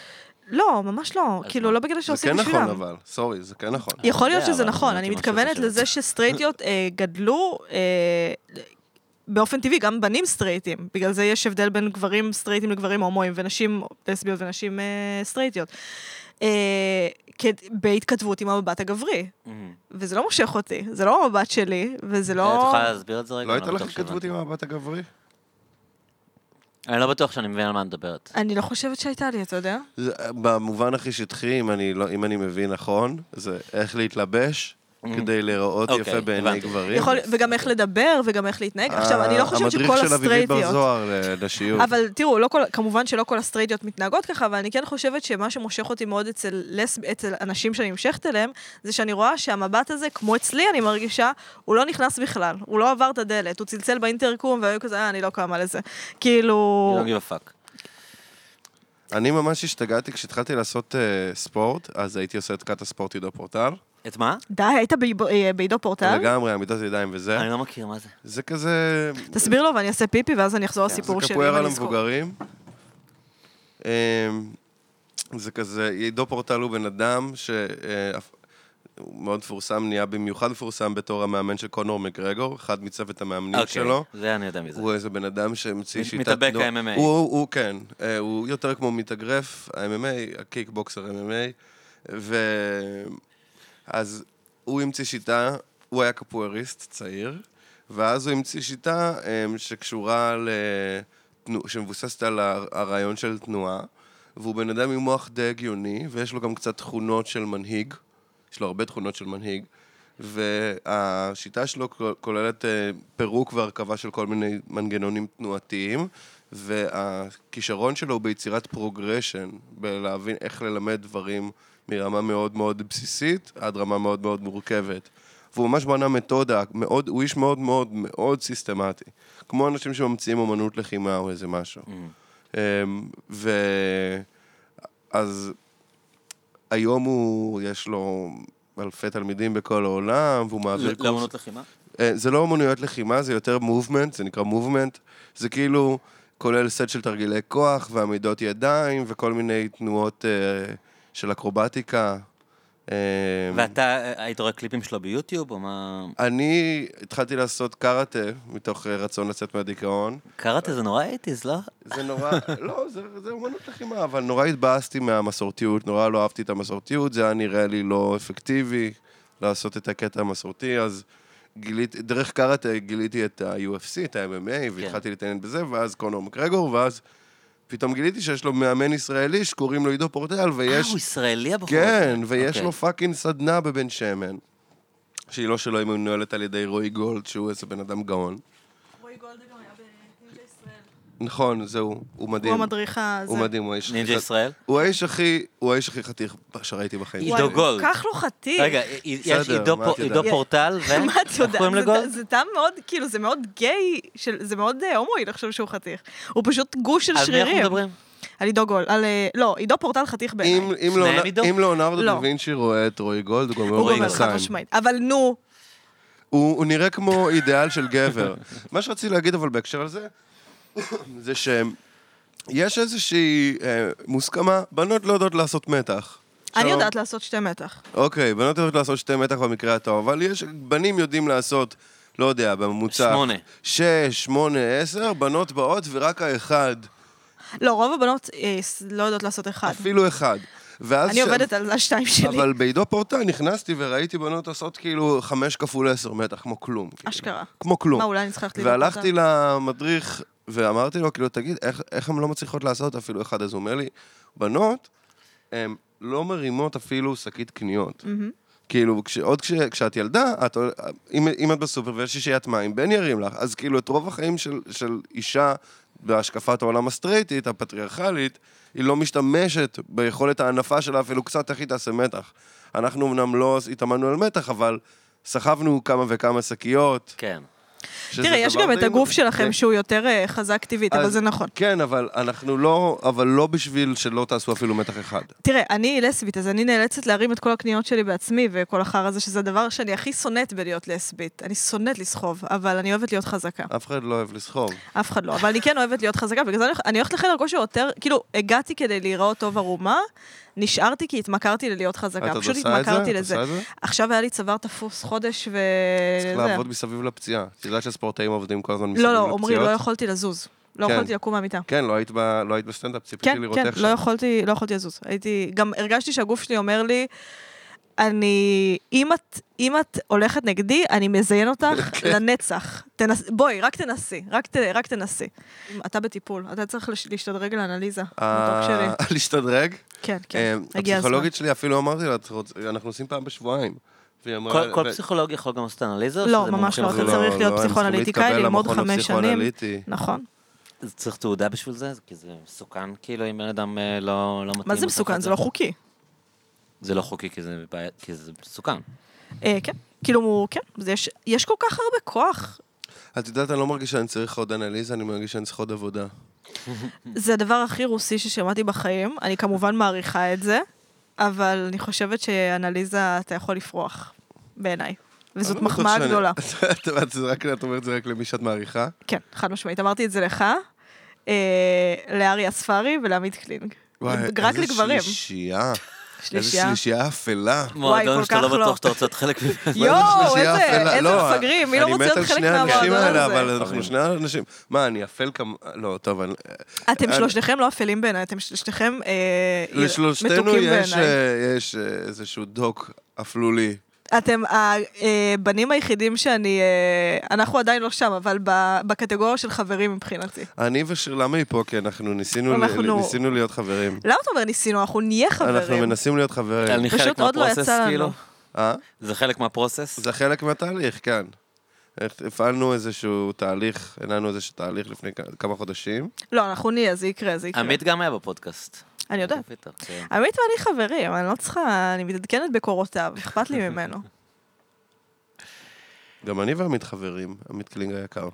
Speaker 3: לא, ממש לא. כאילו,
Speaker 4: מה?
Speaker 3: לא בגלל
Speaker 1: זה
Speaker 3: שעושים
Speaker 1: כן
Speaker 3: בשבילם.
Speaker 1: נכון, אבל, סורי, זה כן נכון.
Speaker 3: יכול להיות
Speaker 4: יודע,
Speaker 3: שזה
Speaker 4: אה, אבל
Speaker 3: נכון,
Speaker 4: אני
Speaker 3: אני
Speaker 4: הייתי
Speaker 3: מתכוונת
Speaker 4: חושב
Speaker 3: לזה שסטרייטיות אה, גדלו אה, באופן טבעי, גם בנים סטרייטים. בגלל זה יש הבדל בין גברים סטרייטים לגברים הומואים, ונשים לסביות ונשים אה, סטרייטיות. אה, כד- בהתכתבות עם המבט הגברי. וזה לא מושך אותי, זה לא המבט שלי, וזה
Speaker 4: אה, את
Speaker 3: לא...
Speaker 4: יכולה להסביר את זה רגע?
Speaker 1: לא הייתה
Speaker 4: אני
Speaker 1: לך
Speaker 4: בטוח
Speaker 1: התכתבות עם
Speaker 4: שהבנתי.
Speaker 1: הבת הגברי?
Speaker 4: אני לא בטוח שאני מבין על מה את מדברת.
Speaker 3: אני לא חושבת שהייתה לי, אתה יודע?
Speaker 1: זה- במובן הכי שטחי, אם אני, לא, אם אני מבין נכון, זה איך להתלבש, כדי להיראות יפה
Speaker 2: Mm. אוקיי,
Speaker 1: בעיני
Speaker 2: הבנתי.
Speaker 1: גברים.
Speaker 3: יכול, וגם איך לדבר, וגם איך להתנהג. עכשיו, אני לא חושבת שכל
Speaker 1: המדריך של אביבית אה, בר
Speaker 3: הסטרייטיות...
Speaker 1: זוהר לנשיות.
Speaker 3: אבל תראו, לא כל, כמובן שלא כל הסטרייטיות מתנהגות ככה, אבל אני כן חושבת שמה שמושך אותי מאוד אצל, לס, אצל אנשים שאני נמשכת אליהם, זה שאני רואה שהמבט הזה, כמו אצלי, אני מרגישה, הוא לא נכנס בכלל, הוא לא עבר את הדלת, הוא צלצל באינטרקום והיו כזה, אה, אני לא קמה לזה. כאילו...
Speaker 2: לא גיב הפאק.
Speaker 1: אני ממש השתגעתי כשהתחלתי לעשות אה, ספורט, אז הייתי עושה את כת הספורט עידו פורטל.
Speaker 2: את מה?
Speaker 3: די, היית בעיב- אה, בעידו פורטל?
Speaker 1: לגמרי, עמידת ידיים וזה.
Speaker 4: אה?
Speaker 2: אני לא מכיר, מה זה?
Speaker 1: זה כזה...
Speaker 3: תסביר לו ואני אעשה פיפי, ואז אני אחזור
Speaker 1: כן, זה
Speaker 3: לסיפור שלי. אם
Speaker 1: קפוארה
Speaker 3: אני אזכור.
Speaker 1: למבוגרים. אמ, זה כזה, עידו פורטל הוא בן אדם ש... אה, אף- הוא מאוד מפורסם, נהיה במיוחד מפורסם בתור המאמן של קונור מקרגור, אחד מצוות המאמנים
Speaker 2: אוקיי,
Speaker 1: שלו.
Speaker 2: זה אני יודע מזה.
Speaker 1: הוא איזה בן אדם שהמציא
Speaker 2: מת-
Speaker 1: שיטת...
Speaker 2: מתאבק
Speaker 1: תנועה-
Speaker 2: ה-MMA.
Speaker 1: הוא, הוא, הוא כן, אה, הוא יותר כמו מתאגרף, ה-MMA, הקיקבוקסר MMA, ו... אז הוא המציא שיטה, הוא היה קפואריסט צעיר, ואז הוא המציא שיטה אה, שקשורה ל... תנו- שמבוססת על הר- הרעיון של תנועה, והוא בן אדם עם מוח די הגיוני, ויש לו גם קצת תכונות של מנהיג, יש לו הרבה תכונות של מנהיג, והשיטה שלו כול- כוללת אה, פירוק והרכבה של כל מיני מנגנונים תנועתיים, והכישרון שלו הוא ביצירת פרוגרשן, בלהבין איך ללמד דברים מרמה מאוד מאוד בסיסית עד רמה מאוד מאוד מורכבת. והוא ממש בנה מתודה, מאוד, הוא איש מאוד מאוד מאוד סיסטמטי. כמו אנשים שממציאים אומנות לחימה או איזה משהו. אמ, ו... אז היום הוא, יש לו אלפי תלמידים בכל העולם, והוא
Speaker 4: לא
Speaker 1: מעביר
Speaker 2: ל- לאמנות לחימה?
Speaker 1: אה, זה לא אומנויות לחימה, זה יותר מובמנט, זה נקרא מובמנט. זה כאילו כולל סט של תרגילי כוח ועמידות ידיים וכל מיני תנועות אה, של אקרובטיקה. אה,
Speaker 2: ואתה אה, היית רואה קליפים שלו ביוטיוב, או מה...
Speaker 1: אני התחלתי לעשות קארטה מתוך אה, רצון לצאת מהדיכאון.
Speaker 2: קראטה זה נורא אייטיז, לא?
Speaker 1: זה נורא, לא, זה, זה אומנות לחימה, אבל נורא התבאסתי מהמסורתיות, נורא לא אהבתי את המסורתיות, זה היה נראה לי לא אפקטיבי לעשות את הקטע המסורתי, אז גיליתי, דרך קראטה גיליתי את ה-UFC, את
Speaker 2: כן.
Speaker 1: ה-MMA, והתחלתי להתעניין בזה, ואז קונור מקרגור, ואז פתאום גיליתי שיש לו מאמן ישראלי שקוראים לו עידו פורטל,
Speaker 2: אה,
Speaker 1: ויש...
Speaker 2: הוא ישראלי הבחור.
Speaker 1: כן,
Speaker 2: הזה.
Speaker 1: ויש
Speaker 2: אוקיי.
Speaker 1: לו פאקינג סדנה בבן שמן, שהיא לא שלו, היא מנוהלת על ידי רועי גולד, שהוא איזה בן אדם גאון. נכון, זהו, הוא מדהים.
Speaker 3: הוא המדריך הזה.
Speaker 1: הוא מדהים, הוא האיש הכי
Speaker 2: נינג'ה
Speaker 1: חת-
Speaker 2: ישראל?
Speaker 1: הוא האיש הכי, הוא האיש הכי חתיך שראיתי בחיים.
Speaker 2: עידו
Speaker 3: וואי,
Speaker 1: שלי.
Speaker 3: הוא
Speaker 2: גולד.
Speaker 3: כל כך לא חתיך.
Speaker 2: רגע, אה, אה, יש
Speaker 1: בסדר,
Speaker 2: עידו
Speaker 1: מה
Speaker 2: פו-
Speaker 1: את יודעת?
Speaker 2: עידו פורטל, ו...
Speaker 3: מה את יודעת?
Speaker 2: כן? איך קוראים
Speaker 3: זה-
Speaker 2: לגולד?
Speaker 3: זה טעם מאוד, כאילו, זה מאוד גיי, של- זה מאוד אה, הומואי לחשוב שהוא חתיך. הוא פשוט גוש של
Speaker 2: על מי אנחנו
Speaker 3: שרירים.
Speaker 2: מדברים?
Speaker 3: על עידו גול, על... אה, לא, עידו פורטל חתיך בעיניי.
Speaker 1: אם- אם
Speaker 2: שניהם
Speaker 1: לאונ-
Speaker 2: עידו?
Speaker 1: אם לאונרדו
Speaker 3: לא.
Speaker 1: דה וינצ'י רואה את רועי גולד, הוא גם
Speaker 3: הוא
Speaker 1: רואה
Speaker 3: גומר חד
Speaker 1: אינसान.
Speaker 3: משמעית. אבל נו,
Speaker 1: הוא הוא נראה כמו אידיאל של גבר. מה שרציתי להגיד אבל בהקשר על זה, זה שיש איזושהי אה, מוסכמה, בנות לא יודעות לעשות מתח.
Speaker 3: אני
Speaker 1: עכשיו,
Speaker 3: יודעת לעשות שתי מתח.
Speaker 1: אוקיי, בנות יודעות לעשות שתי מתח במקרה הטוב, אבל יש, בנים יודעים לעשות, לא יודע, בממוצע...
Speaker 2: שמונה.
Speaker 1: שש, שמונה, עשר, בנות באות ורק האחד,
Speaker 3: לא, רוב הבנות אה, ס- לא יודעות לעשות אחד.
Speaker 1: אפילו אחד. ואז
Speaker 3: אני עובדת על השתיים שלי.
Speaker 1: אבל בעידו פורטל נכנסתי וראיתי בנות עושות כאילו חמש כפול עשר מתח, כמו כלום. כאילו.
Speaker 3: אשכרה.
Speaker 1: כמו כלום.
Speaker 3: מה, אולי אני צריכה ללכת לבדוק אותה?
Speaker 1: והלכתי למדריך ואמרתי לו, כאילו, תגיד, איך, איך הן לא מצליחות לעשות אפילו אחד? אז הוא אומר לי, בנות, הן לא מרימות אפילו שקית קניות. כאילו, כש, עוד כש, כשאת ילדה, את, עול- אם, אם את בסופר ויש שישיית מים, בן ירים לך. אז כאילו, את רוב החיים של, של אישה בהשקפת העולם הסטרייטית, הפטריארכלית, היא לא משתמשת ביכולת ההנפה שלה אפילו קצת איך היא תעשה מתח. אנחנו אמנם לא התאמנו על מתח, אבל סחבנו כמה וכמה שקיות.
Speaker 2: כן.
Speaker 1: שזה
Speaker 3: תראה, יש
Speaker 1: דבר
Speaker 3: גם את
Speaker 1: די
Speaker 3: הגוף
Speaker 1: מ-
Speaker 3: שלכם
Speaker 1: כן.
Speaker 3: שהוא יותר אה, חזק טבעית, אבל
Speaker 1: אז-
Speaker 3: זה נכון.
Speaker 1: כן, אבל אנחנו לא, אבל לא בשביל שלא תעשו אפילו מתח אחד.
Speaker 3: תראה, אני לסבית, אז אני נאלצת להרים את כל הקניות שלי בעצמי, וכל החרא הזה, שזה הדבר שאני הכי שונאת בלהיות לסבית. אני שונאת לסחוב, אבל אני אוהבת להיות חזקה.
Speaker 1: אף אחד לא אוהב לסחוב.
Speaker 3: אף אחד לא, אבל אני כן אוהבת להיות חזקה, בגלל זה אני- אני הולכת לחדר כושר יותר, כאילו, הגעתי כדי להיראות טוב ערומה, נשארתי כי התמכרתי ללהיות
Speaker 1: את
Speaker 3: חזקה,
Speaker 1: עוד
Speaker 3: פשוט
Speaker 1: עושה את זה?
Speaker 3: התמכרתי
Speaker 1: את
Speaker 3: לזה.
Speaker 1: עושה את זה?
Speaker 3: עכשיו היה לי צוואר תפוס חודש ו...
Speaker 1: צריך
Speaker 3: זה.
Speaker 1: לעבוד מסביב לפציעה. את יודעת שספורטאים עובדים כל הזמן מסביב
Speaker 3: לא,
Speaker 1: לפציעות?
Speaker 3: לא, עמרי, לא יכולתי לזוז. לא
Speaker 1: כן.
Speaker 3: יכולתי לקום מהמיטה.
Speaker 1: כן, לא היית ב- לא היית בסטנדאפ, ציפיתי
Speaker 3: כן,
Speaker 1: לראות
Speaker 3: כן,
Speaker 1: איך
Speaker 3: לא
Speaker 1: שם.
Speaker 3: יכולתי, לא יכולתי לזוז. הייתי, גם הרגשתי שהגוף שלי אומר לי, אני, אם את, אם את הולכת נגדי, אני מזיין אותך
Speaker 1: כן.
Speaker 3: לנצח. תנס, בואי, רק תנסי, רק, ת, רק תנסי. אתה בטיפול, אתה צריך לש, להשתדרג לאנליזה, מתוק שלי.
Speaker 1: אה, להשתדרג?
Speaker 3: כן,
Speaker 1: אה,
Speaker 3: כן, הגיע הזמן.
Speaker 1: הפסיכולוגית שלי אפילו אמרתי לה, "את רוצ- אנחנו עושים פעם בשבועיים. והיא אמרה-
Speaker 4: כל- כל
Speaker 1: אה, ו-
Speaker 4: פסיכולוג יכול גם לעשות אנליזה? או
Speaker 3: לא,
Speaker 4: שזה כאילו
Speaker 3: ממש
Speaker 4: מומחים
Speaker 3: לא,
Speaker 1: זה
Speaker 3: אתה
Speaker 4: אחרים?
Speaker 3: צריך להיות
Speaker 1: הם צריכים
Speaker 3: פסיכואנליטיקאי,
Speaker 1: להתקבל
Speaker 3: ללמוד
Speaker 1: למכון
Speaker 3: חמש שנים.
Speaker 1: הפסיכואנליטי.
Speaker 3: נכון.
Speaker 4: אז צריך תעודה בשביל זה? כי זה מסוכן, כאילו, אם בן אדם אה, לא לא מתאים.
Speaker 3: מה זה
Speaker 4: לעשות
Speaker 3: מסוכן?
Speaker 4: את
Speaker 3: זה לא חוקי.
Speaker 4: זה לא חוקי, כי זה בעיה- כי זה מסוכן.
Speaker 3: אה, כן. כאילו, כן, זה יש- יש כל כך הרבה כוח.
Speaker 1: את יודעת, אני לא מרגיש שאני צריך עוד אנליזה, אני מרגיש שאני צריך עוד עבודה.
Speaker 3: זה הדבר הכי רוסי ששמעתי בחיים, אני כמובן מעריכה את זה, אבל אני חושבת שאנליזה, אתה יכול לפרוח, בעיניי. וזאת
Speaker 1: אני לא בטוח
Speaker 3: מחמאה
Speaker 1: שאני-
Speaker 3: גדולה.
Speaker 1: את יודעת, זה רק- את אומרת את זה רק למי שאת מעריכה?
Speaker 3: כן, חד משמעית. אמרתי את זה לך, אה, לארי אספרי ולעמית קלינג. רק לגברים.
Speaker 1: איזה שלישייה. איזה
Speaker 3: שלישייה.
Speaker 1: שלישייה אפלה.
Speaker 4: מועדון
Speaker 3: כל
Speaker 4: שאתה לא
Speaker 3: כך לא.
Speaker 4: בטוח שאתה רוצה להיות חלק ממנו.
Speaker 3: יואו,
Speaker 1: שלישייה
Speaker 3: איזה
Speaker 1: אפלה.
Speaker 3: איזה
Speaker 1: לא,
Speaker 3: מפגרים, מי לא רוצה להיות חלק
Speaker 1: אני מת על שני האנשים
Speaker 3: מהמועדון
Speaker 1: האלה, אבל
Speaker 3: הזה?
Speaker 1: אנחנו שני אנשים. מה, אני אפל כמ... לא, טוב, אני...
Speaker 3: אתם
Speaker 1: אני-
Speaker 3: שלושתכם לא אפלים בעיניי, אתם שלושתכם אה,
Speaker 1: לשלושתנו
Speaker 3: מתוקים
Speaker 1: יש,
Speaker 3: בעיניי.
Speaker 1: אה, יש אה, איזשהו דוק אפלולי.
Speaker 3: אתם הבנים היחידים שאני... אה, אנחנו עדיין לא שם, אבל ב- בקטגוריה של חברים מבחינתי.
Speaker 1: אני ושיר, למה היא פה? כי אנחנו ניסינו ל-
Speaker 3: אנחנו-
Speaker 1: ניסינו להיות חברים.
Speaker 3: למה אתה אומר ניסינו? אנחנו נהיה
Speaker 1: אנחנו
Speaker 3: חברים.
Speaker 1: מנסים להיות חברים.
Speaker 4: אני
Speaker 3: פשוט
Speaker 4: חלק
Speaker 3: עוד לא
Speaker 4: מהפרוסס,
Speaker 3: יצא לנו.
Speaker 4: כאילו.
Speaker 1: אה?
Speaker 4: זה חלק מהפרוסס?
Speaker 1: זה חלק מהתהליך, כן. הפעלנו איזשהו תהליך, הנענו איזשהו תהליך לפני כ- כמה חודשים.
Speaker 3: לא, אנחנו נהיה, זה יקרה, זה יקרה.
Speaker 4: עמית גם היה בפודקאסט.
Speaker 3: אני יודעת.
Speaker 4: פיטר, כן.
Speaker 3: עמית ואני חברים, אני לא צריכה... אני מתעדכנת בקורותיו, אכפת לי ממנו.
Speaker 1: גם אני ועמית חברים, עמית קלינג היקר.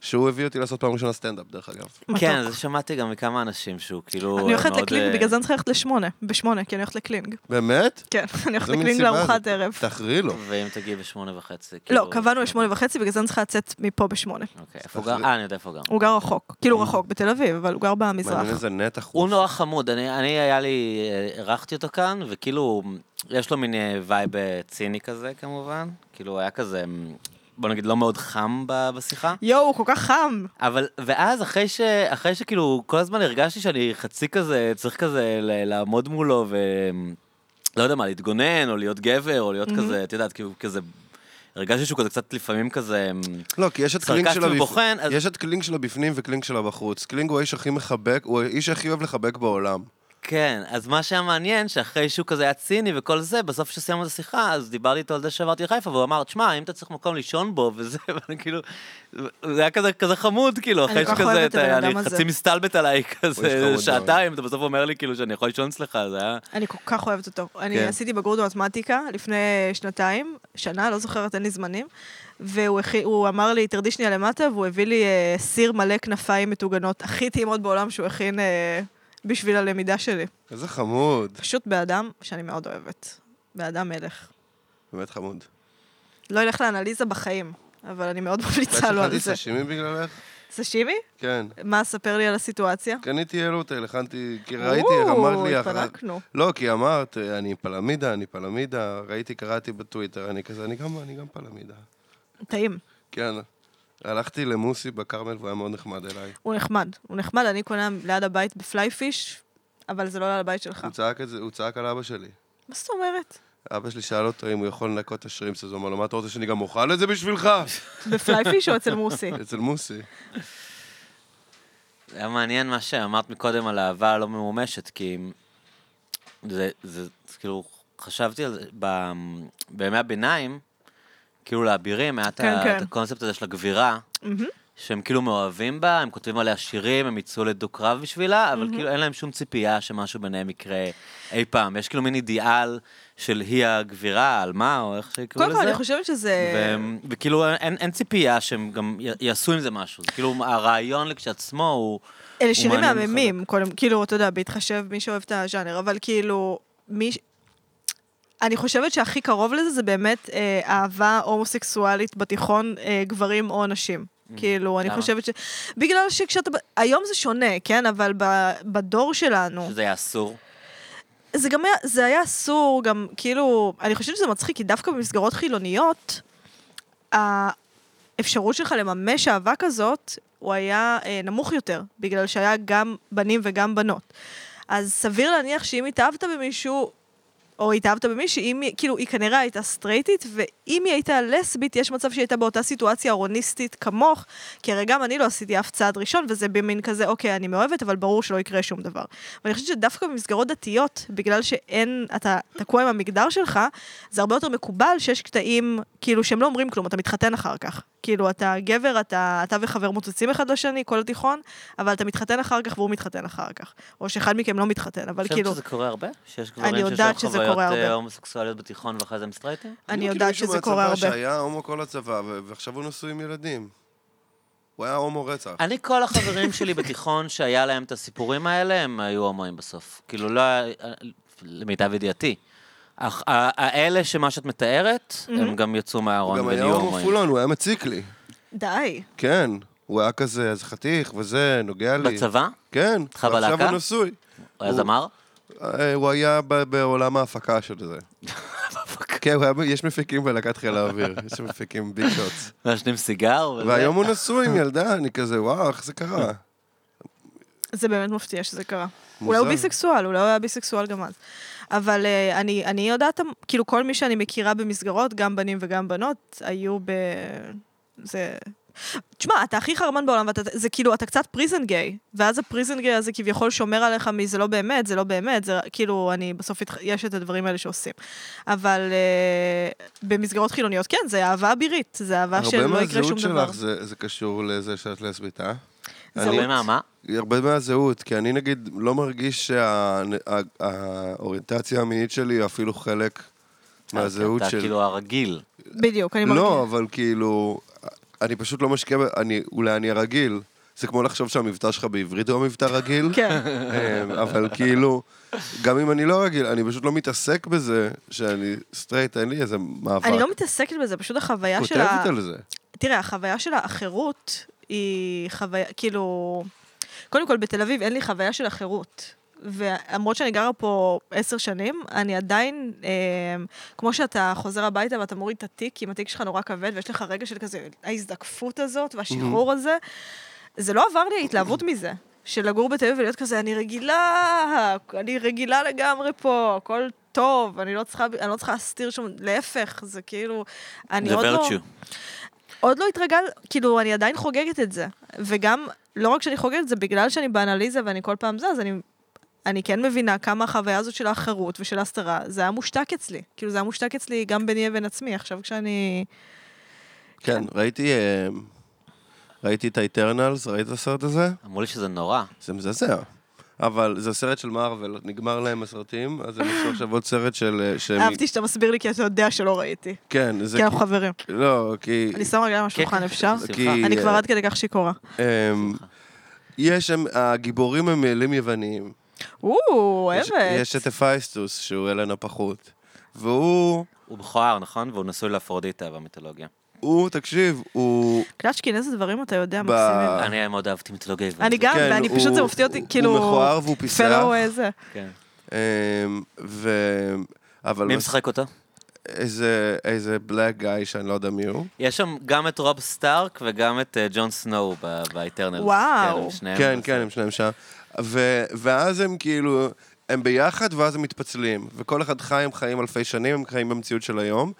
Speaker 1: שהוא הביא אותי לעשות פעם ראשונה סטנדאפ, דרך אגב.
Speaker 4: כן,
Speaker 3: מתוק.
Speaker 4: זה שמעתי גם מכמה אנשים שהוא כאילו...
Speaker 3: אני הולכת
Speaker 4: מאוד, אה,
Speaker 3: לקלינג, בגלל זה אני צריכה ללכת לשמונה. בשמונה, כי אני הולכת לקלינג.
Speaker 1: באמת?
Speaker 3: כן, אני הולכת
Speaker 1: זה מין
Speaker 3: לקלינג
Speaker 1: סיבה,
Speaker 3: לארוחת
Speaker 1: זה-
Speaker 3: ערב.
Speaker 1: תחרי לו.
Speaker 4: ואם תגיעי בשמונה וחצי, כאילו...
Speaker 3: לא, קבענו לשמונה וחצי, בגלל זה אני צריכה לצאת מפה בשמונה.
Speaker 4: אוקיי, איפה הוא גר? אה, אני יודע איפה הוא גר.
Speaker 3: הוא גר רחוק. כאילו רחוק, בתל אביב, אבל הוא גר במזרח.
Speaker 1: מעניין איזה נתח
Speaker 4: הוא
Speaker 1: הוא.
Speaker 4: נורא חמוד, אני, אני היה לי, אה, אירחתי אותו כאן, וכאילו, יש לו מין אה, וייב אה, ציני כזה כמובן, כאילו הוא היה כזה, מ, בוא נגיד, לא מאוד חם ב- בשיחה,
Speaker 3: יואו, כל כך חם.
Speaker 4: אבל, ואז אחרי, ש, אחרי שכאילו, כל הזמן הרגשתי שאני חצי כזה, צריך כזה ל- לעמוד מולו ו... לא יודע מה, להתגונן, או להיות גבר, או להיות כזה, את יודעת, כאילו, כזה, הרגשתי שהוא כזה קצת לפעמים כזה... מ,
Speaker 1: לא, כי יש את קלינג
Speaker 4: סרקסטי
Speaker 1: שלו בפ-
Speaker 4: ובוחן, אז-
Speaker 1: יש את קלינג שלו בפנים וקלינג שלו בחוץ. קלינג הוא האיש הכי מחבק, הוא האיש הכי אוהב לחבק בעולם.
Speaker 4: כן, אז מה שהיה מעניין, שאחרי שהוא כזה היה ציני וכל זה, בסוף כשסיימנו את השיחה, אז דיברתי איתו על זה שעברתי לחיפה, והוא אמר, תשמע, אם אתה צריך מקום לישון בו, וזה, ואני כאילו, זה היה כזה, כזה חמוד, כאילו,
Speaker 3: אני
Speaker 4: אחרי
Speaker 3: כל כך אוהבת
Speaker 4: שכזה,
Speaker 3: את הבן
Speaker 4: אתה,
Speaker 3: אדם
Speaker 4: אני
Speaker 3: הזה.
Speaker 4: חצי מסתלבט עליי
Speaker 1: איש
Speaker 4: כזה
Speaker 1: חמוד
Speaker 4: שעתיים, אתה בסוף אומר לי כאילו שאני יכול לישון אצלך, זה היה...
Speaker 3: אני כל כך אוהבת אותו. אני
Speaker 4: כן.
Speaker 3: עשיתי בגרות במתמטיקה לפני שנתיים, שנה, לא זוכרת, אין לי זמנים. והוא הכי, הוא אמר לי, תרדי שנייה למטה, והוא הביא לי אה, סיר מלא כנפיים מטוגנות הכי טעימות בעולם שהוא הכין אה, בשביל הלמידה שלי.
Speaker 1: איזה חמוד.
Speaker 3: פשוט באדם שאני מאוד אוהבת. באדם מלך.
Speaker 1: באמת חמוד.
Speaker 3: לא אלך לאנליזה בחיים, אבל אני מאוד
Speaker 1: את
Speaker 3: ממליצה לו
Speaker 1: יודעת
Speaker 3: על זה.
Speaker 1: שאכלתי סשימי בגללך?
Speaker 3: סשימי?
Speaker 1: כן.
Speaker 3: מה, ספר לי על הסיטואציה.
Speaker 1: קניתי ילוטל, הכנתי, כי ראיתי, אמרת לי...
Speaker 3: או,
Speaker 1: אחת-
Speaker 3: התפרקנו.
Speaker 1: לא, כי אמרת, אני פלמידה, אני פלמידה, ראיתי, קראתי בטוויטר, אני כזה, אני גם, אני גם פלמידה.
Speaker 3: טעים.
Speaker 1: כן. הלכתי למוסי בכרמל והוא היה מאוד נחמד אליי.
Speaker 3: הוא נחמד. הוא נחמד, אני קונה ליד הבית בפלייפיש, אבל זה לא ליד הבית שלך.
Speaker 1: הוא צעק, את זה, הוא צעק על אבא שלי.
Speaker 3: מה זאת אומרת?
Speaker 1: אבא שלי שאל אותו אם הוא יכול לנקות את השרימפס, אז הוא אמר לו, מה אתה רוצה שאני גם אוכל את זה בשבילך?
Speaker 3: בפלייפיש או אצל מוסי?
Speaker 1: אצל מוסי.
Speaker 4: זה היה מעניין מה שאמרת מקודם על האהבה הלא ממומשת, כי זה, זה, זה כאילו, חשבתי על זה, ב, בימי הביניים, כאילו לאבירים היה את
Speaker 3: כן,
Speaker 4: ה-
Speaker 3: כן.
Speaker 4: את הקונספט הזה של הגבירה, שהם כאילו מאוהבים בה, הם כותבים עליה שירים, הם יצאו לדו-קרב בשבילה, אבל כאילו אין להם שום ציפייה שמשהו ביניהם יקרה אי פעם. יש כאילו מין אידיאל של היא הגבירה, על מה, או איך שיקראו לזה.
Speaker 3: קודם כל, אני חושבת שזה...
Speaker 4: והם- וכאילו אין, אין ציפייה שהם גם י- יעשו עם זה משהו, זה כאילו הרעיון לכשעצמו הוא...
Speaker 3: אלה
Speaker 4: הוא
Speaker 3: שירים
Speaker 4: מעניין
Speaker 3: מהממים, קודם, כאילו, אתה יודע, בהתחשב מי שאוהב את הז'אנר, אבל כאילו, מי... ש- אני חושבת שהכי קרוב לזה זה באמת אה, אהבה הומוסקסואלית בתיכון, אה, גברים או נשים. כאילו, אני
Speaker 4: Mm-hmm. למה?
Speaker 3: חושבת ש... בגלל שכשאתה... ב- היום זה שונה, כן? אבל ב... בדור שלנו...
Speaker 4: שזה היה אסור.
Speaker 3: זה גם היה, זה היה אסור, גם כאילו, אני חושבת שזה מצחיק, כי דווקא במסגרות חילוניות, האפשרות שלך לממש אהבה כזאת, הוא היה אה, נמוך יותר, בגלל שהיה גם בנים וגם בנות. אז סביר להניח שאם התאהבת במישהו, או התאהבת במישהי, אם היא, כאילו, היא כנראה הייתה סטרייטית, ואם היא הייתה לסבית, יש מצב שהיא הייתה באותה סיטואציה הרוניסטית כמוך, כי הרי גם אני לא עשיתי אף צעד ראשון, וזה במין כזה, אוקיי, אני מאוהבת, אבל ברור שלא יקרה שום דבר. ואני חושבת שדווקא במסגרות דתיות, בגלל שאין, אתה תקוע עם המגדר שלך, זה הרבה יותר מקובל שיש קטעים, כאילו, שהם לא אומרים כלום, אתה מתחתן אחר כך. כאילו, אתה גבר, אתה, אתה וחבר מוצצים אחד לשני, כל התיכון, אבל אתה מתחתן אחר כך והוא מתחתן אחר כך. או שאחד מכם לא מתחתן, אבל
Speaker 4: חושבת
Speaker 3: כאילו...
Speaker 4: שזה קורה הרבה? שיש גברים שיש להם
Speaker 3: יודעת שזה
Speaker 4: חוויות
Speaker 3: קורה
Speaker 4: אה,
Speaker 3: הרבה.
Speaker 4: הומוסקסואליות בתיכון ואחרי זה הם סטרייטים?
Speaker 3: אני יודעת שזה קורה
Speaker 1: אני מכיר כאילו מישהו מהצבא
Speaker 3: הרבה.
Speaker 1: שהיה הומו כל הצבא, ו- ועכשיו הוא נשוי עם ילדים. הוא היה הומו רצח.
Speaker 4: אני, כל החברים שלי בתיכון שהיה להם את הסיפורים האלה, הם היו הומואים בסוף. כאילו, לא היה, למיטב ידיעתי. אך- ה- האלה שמה שאת מתארת,
Speaker 3: Mhm.
Speaker 4: הם גם יצאו
Speaker 1: הוא
Speaker 4: מהארון
Speaker 1: גם היה
Speaker 4: ונהיו
Speaker 1: הומו
Speaker 4: הומואים.
Speaker 1: פולון, הוא היה מציק לי.
Speaker 3: די.
Speaker 1: כן. הוא היה כזה, אז חתיך וזה, נוגע לי.
Speaker 4: בצבא?
Speaker 1: כן.
Speaker 4: איתך בלהקה?
Speaker 1: עכשיו הוא נשוי.
Speaker 4: הוא היה זמר?
Speaker 1: אה, הוא היה ב- בעולם ההפקה של זה. כן, הוא היה ב- יש מפיקים בלהקת חיל האוויר. יש מפיקים ביג שוטס.
Speaker 4: מעשנים סיגר?
Speaker 3: אוקיי.
Speaker 4: וזה.
Speaker 1: והיום הוא נשוי עם ילדה, אני כזה, וואו, איך זה קרה?
Speaker 3: זה באמת מפתיע שזה קרה. אולי הוא
Speaker 1: מוזר.
Speaker 3: ביסקסואל, אולי הוא לא היה ביסקסואל גם אז. אבל אה, אני, אני יודעת, כאילו כל מי שאני מכירה במסגרות, גם בנים וגם בנות, היו ב... זה... תשמע, אתה הכי חרמן בעולם, ואתה, זה כאילו, אתה קצת פריזן גיי, ואז הפריזן גיי הזה כביכול שומר עליך מזה לא באמת, זה לא באמת, זה כאילו, אני בסוף, התח... יש את הדברים האלה שעושים. אבל אה, במסגרות חילוניות, כן, זה אהבה אבירית, זה אהבה
Speaker 1: הרבה
Speaker 3: שלא לא יקרה שום
Speaker 1: מהזהות
Speaker 3: דבר.
Speaker 1: שלך זה זה קשור לזה שאת לסבית, אה?
Speaker 3: זהות.
Speaker 4: הרבה מהמה?
Speaker 1: הרבה מהזהות, כי אני נגיד לא מרגיש שהאוריינטציה המינית שלי היא אפילו
Speaker 3: אה,
Speaker 1: חלק מהזהות
Speaker 4: אתה
Speaker 1: שלי.
Speaker 4: כאילו הרגיל.
Speaker 3: בדיוק, אני
Speaker 1: לא,
Speaker 3: מרגישה.
Speaker 1: אבל כאילו, אני פשוט לא משקיע, ב- אני, אולי אני הרגיל. זה כמו לחשוב שהמבטא שלך בעברית הוא המבטא רגיל.
Speaker 3: כן.
Speaker 1: אמ, אבל כאילו, גם אם אני לא רגיל, אני פשוט לא מתעסק בזה שאני סטרייט, אין לי איזה מאבק.
Speaker 3: אני לא מתעסקת בזה, פשוט החוויה של ה...
Speaker 1: כותבת על זה.
Speaker 3: תראה, החוויה של האחרות היא חוויה, כאילו... קודם כל, בתל אביב אין לי חוויה של אחרות. ולמרות שאני גרה פה עשר שנים, אני עדיין, אה, כמו שאתה חוזר הביתה ואתה מוריד את התיק, אם התיק שלך נורא כבד, ויש לך רגע של כזה ההזדקפות הזאת והשחרור הזה, זה לא עבר לי ההתלהבות מזה. של לגור בתל אביב ולהיות כזה, אני רגילה, אני רגילה לגמרי פה, הכל טוב, אני לא צריכה, אני לא צריכה להסתיר שום, להפך, זה כאילו, אני
Speaker 4: זה
Speaker 3: עוד לא...
Speaker 4: ורצ'ו.
Speaker 3: עוד לא התרגל, כאילו, אני עדיין חוגגת את זה. וגם, לא רק שאני חוגגת את זה, בגלל שאני באנליזה ואני כל פעם זה, אז אני, אני כן מבינה כמה החוויה הזאת של האחרות ושל ההסתרה, זה היה מושתק אצלי. כאילו, זה היה מושתק אצלי גם ביני לבין עצמי. עכשיו כשאני...
Speaker 1: כן, ראיתי, אמ, ראיתי את האיטרנלס, ראית את הסרט הזה?
Speaker 4: אמרו לי שזה נורא.
Speaker 1: זה מזעזע. אבל זה סרט של מארוול, נגמר להם הסרטים, אז הם עשו עכשיו עוד סרט של... אה, שהם-
Speaker 3: אהבתי שאתה מסביר לי כי אתה יודע שלא ראיתי.
Speaker 1: כן, זה...
Speaker 3: כי אנחנו חברים.
Speaker 1: לא, כי...
Speaker 3: אני שמה רגליים על
Speaker 4: כן,
Speaker 3: השולחן, אפשר?
Speaker 1: כי...
Speaker 3: אני כבר
Speaker 1: אה,
Speaker 3: עד כדי כך שיכורה.
Speaker 1: אמ, יש שם, הגיבורים הם אלים יווניים.
Speaker 3: או,
Speaker 1: יש-
Speaker 3: אוהבת.
Speaker 1: יש את אפייסטוס, שהוא אלן הפחות. והוא,
Speaker 4: הוא בכוער, נכון? והוא נשוי לאפרודיטה במיתולוגיה.
Speaker 1: הוא, תקשיב, הוא...
Speaker 3: קלצ'קין, איזה דברים אתה
Speaker 1: ב-
Speaker 3: יודע, מקסימים.
Speaker 1: אה.
Speaker 4: אני מאוד אהבתי מיתולוגיה.
Speaker 3: אני
Speaker 4: יוונית.
Speaker 3: גם,
Speaker 1: כן,
Speaker 3: ואני
Speaker 1: הוא-
Speaker 3: פשוט, זה מפתיע אותי,
Speaker 1: הוא-
Speaker 3: כאילו...
Speaker 1: הוא מכוער והוא פיסח.
Speaker 3: fellow, אה, זה.
Speaker 4: כן.
Speaker 1: אמ, ו... אבל...
Speaker 4: מי משחק אותו?
Speaker 1: איזה, איזה בלאק גאי שאני לא יודע מי הוא.
Speaker 4: יש שם גם את רוב סטארק וגם את אה, ג'ון סנואו ב- באיטרנלס.
Speaker 3: וואו.
Speaker 4: כן, הם שניהם
Speaker 1: כן,
Speaker 4: בסרט.
Speaker 1: כן, הם שניים שם. ו- ואז הם כאילו, הם ביחד ואז הם מתפצלים. וכל אחד חי, הם חיים אלפי שנים, הם חיים במציאות של היום.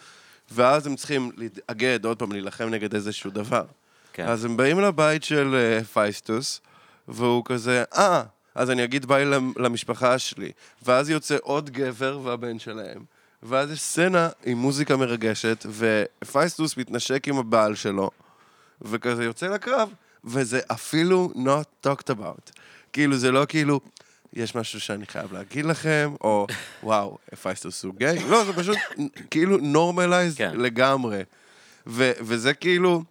Speaker 1: ואז הם צריכים להתאגד, עוד פעם, להילחם נגד איזשהו דבר.
Speaker 4: כן.
Speaker 1: אז הם באים לבית של אה, פייסטוס, והוא כזה, אה, אז אני אגיד ביי למ- למשפחה שלי. ואז יוצא עוד גבר והבן שלהם. ואז יש סצנה עם מוזיקה מרגשת, ופייסטוס מתנשק עם הבעל שלו, וכזה יוצא לקרב, וזה אפילו not talked about. כאילו, זה לא כאילו, יש משהו שאני חייב להגיד לכם, או וואו, פייסטוס הוא גיי. לא, זה פשוט כאילו נורמלייז
Speaker 4: כן.
Speaker 1: לגמרי. ו- וזה כאילו,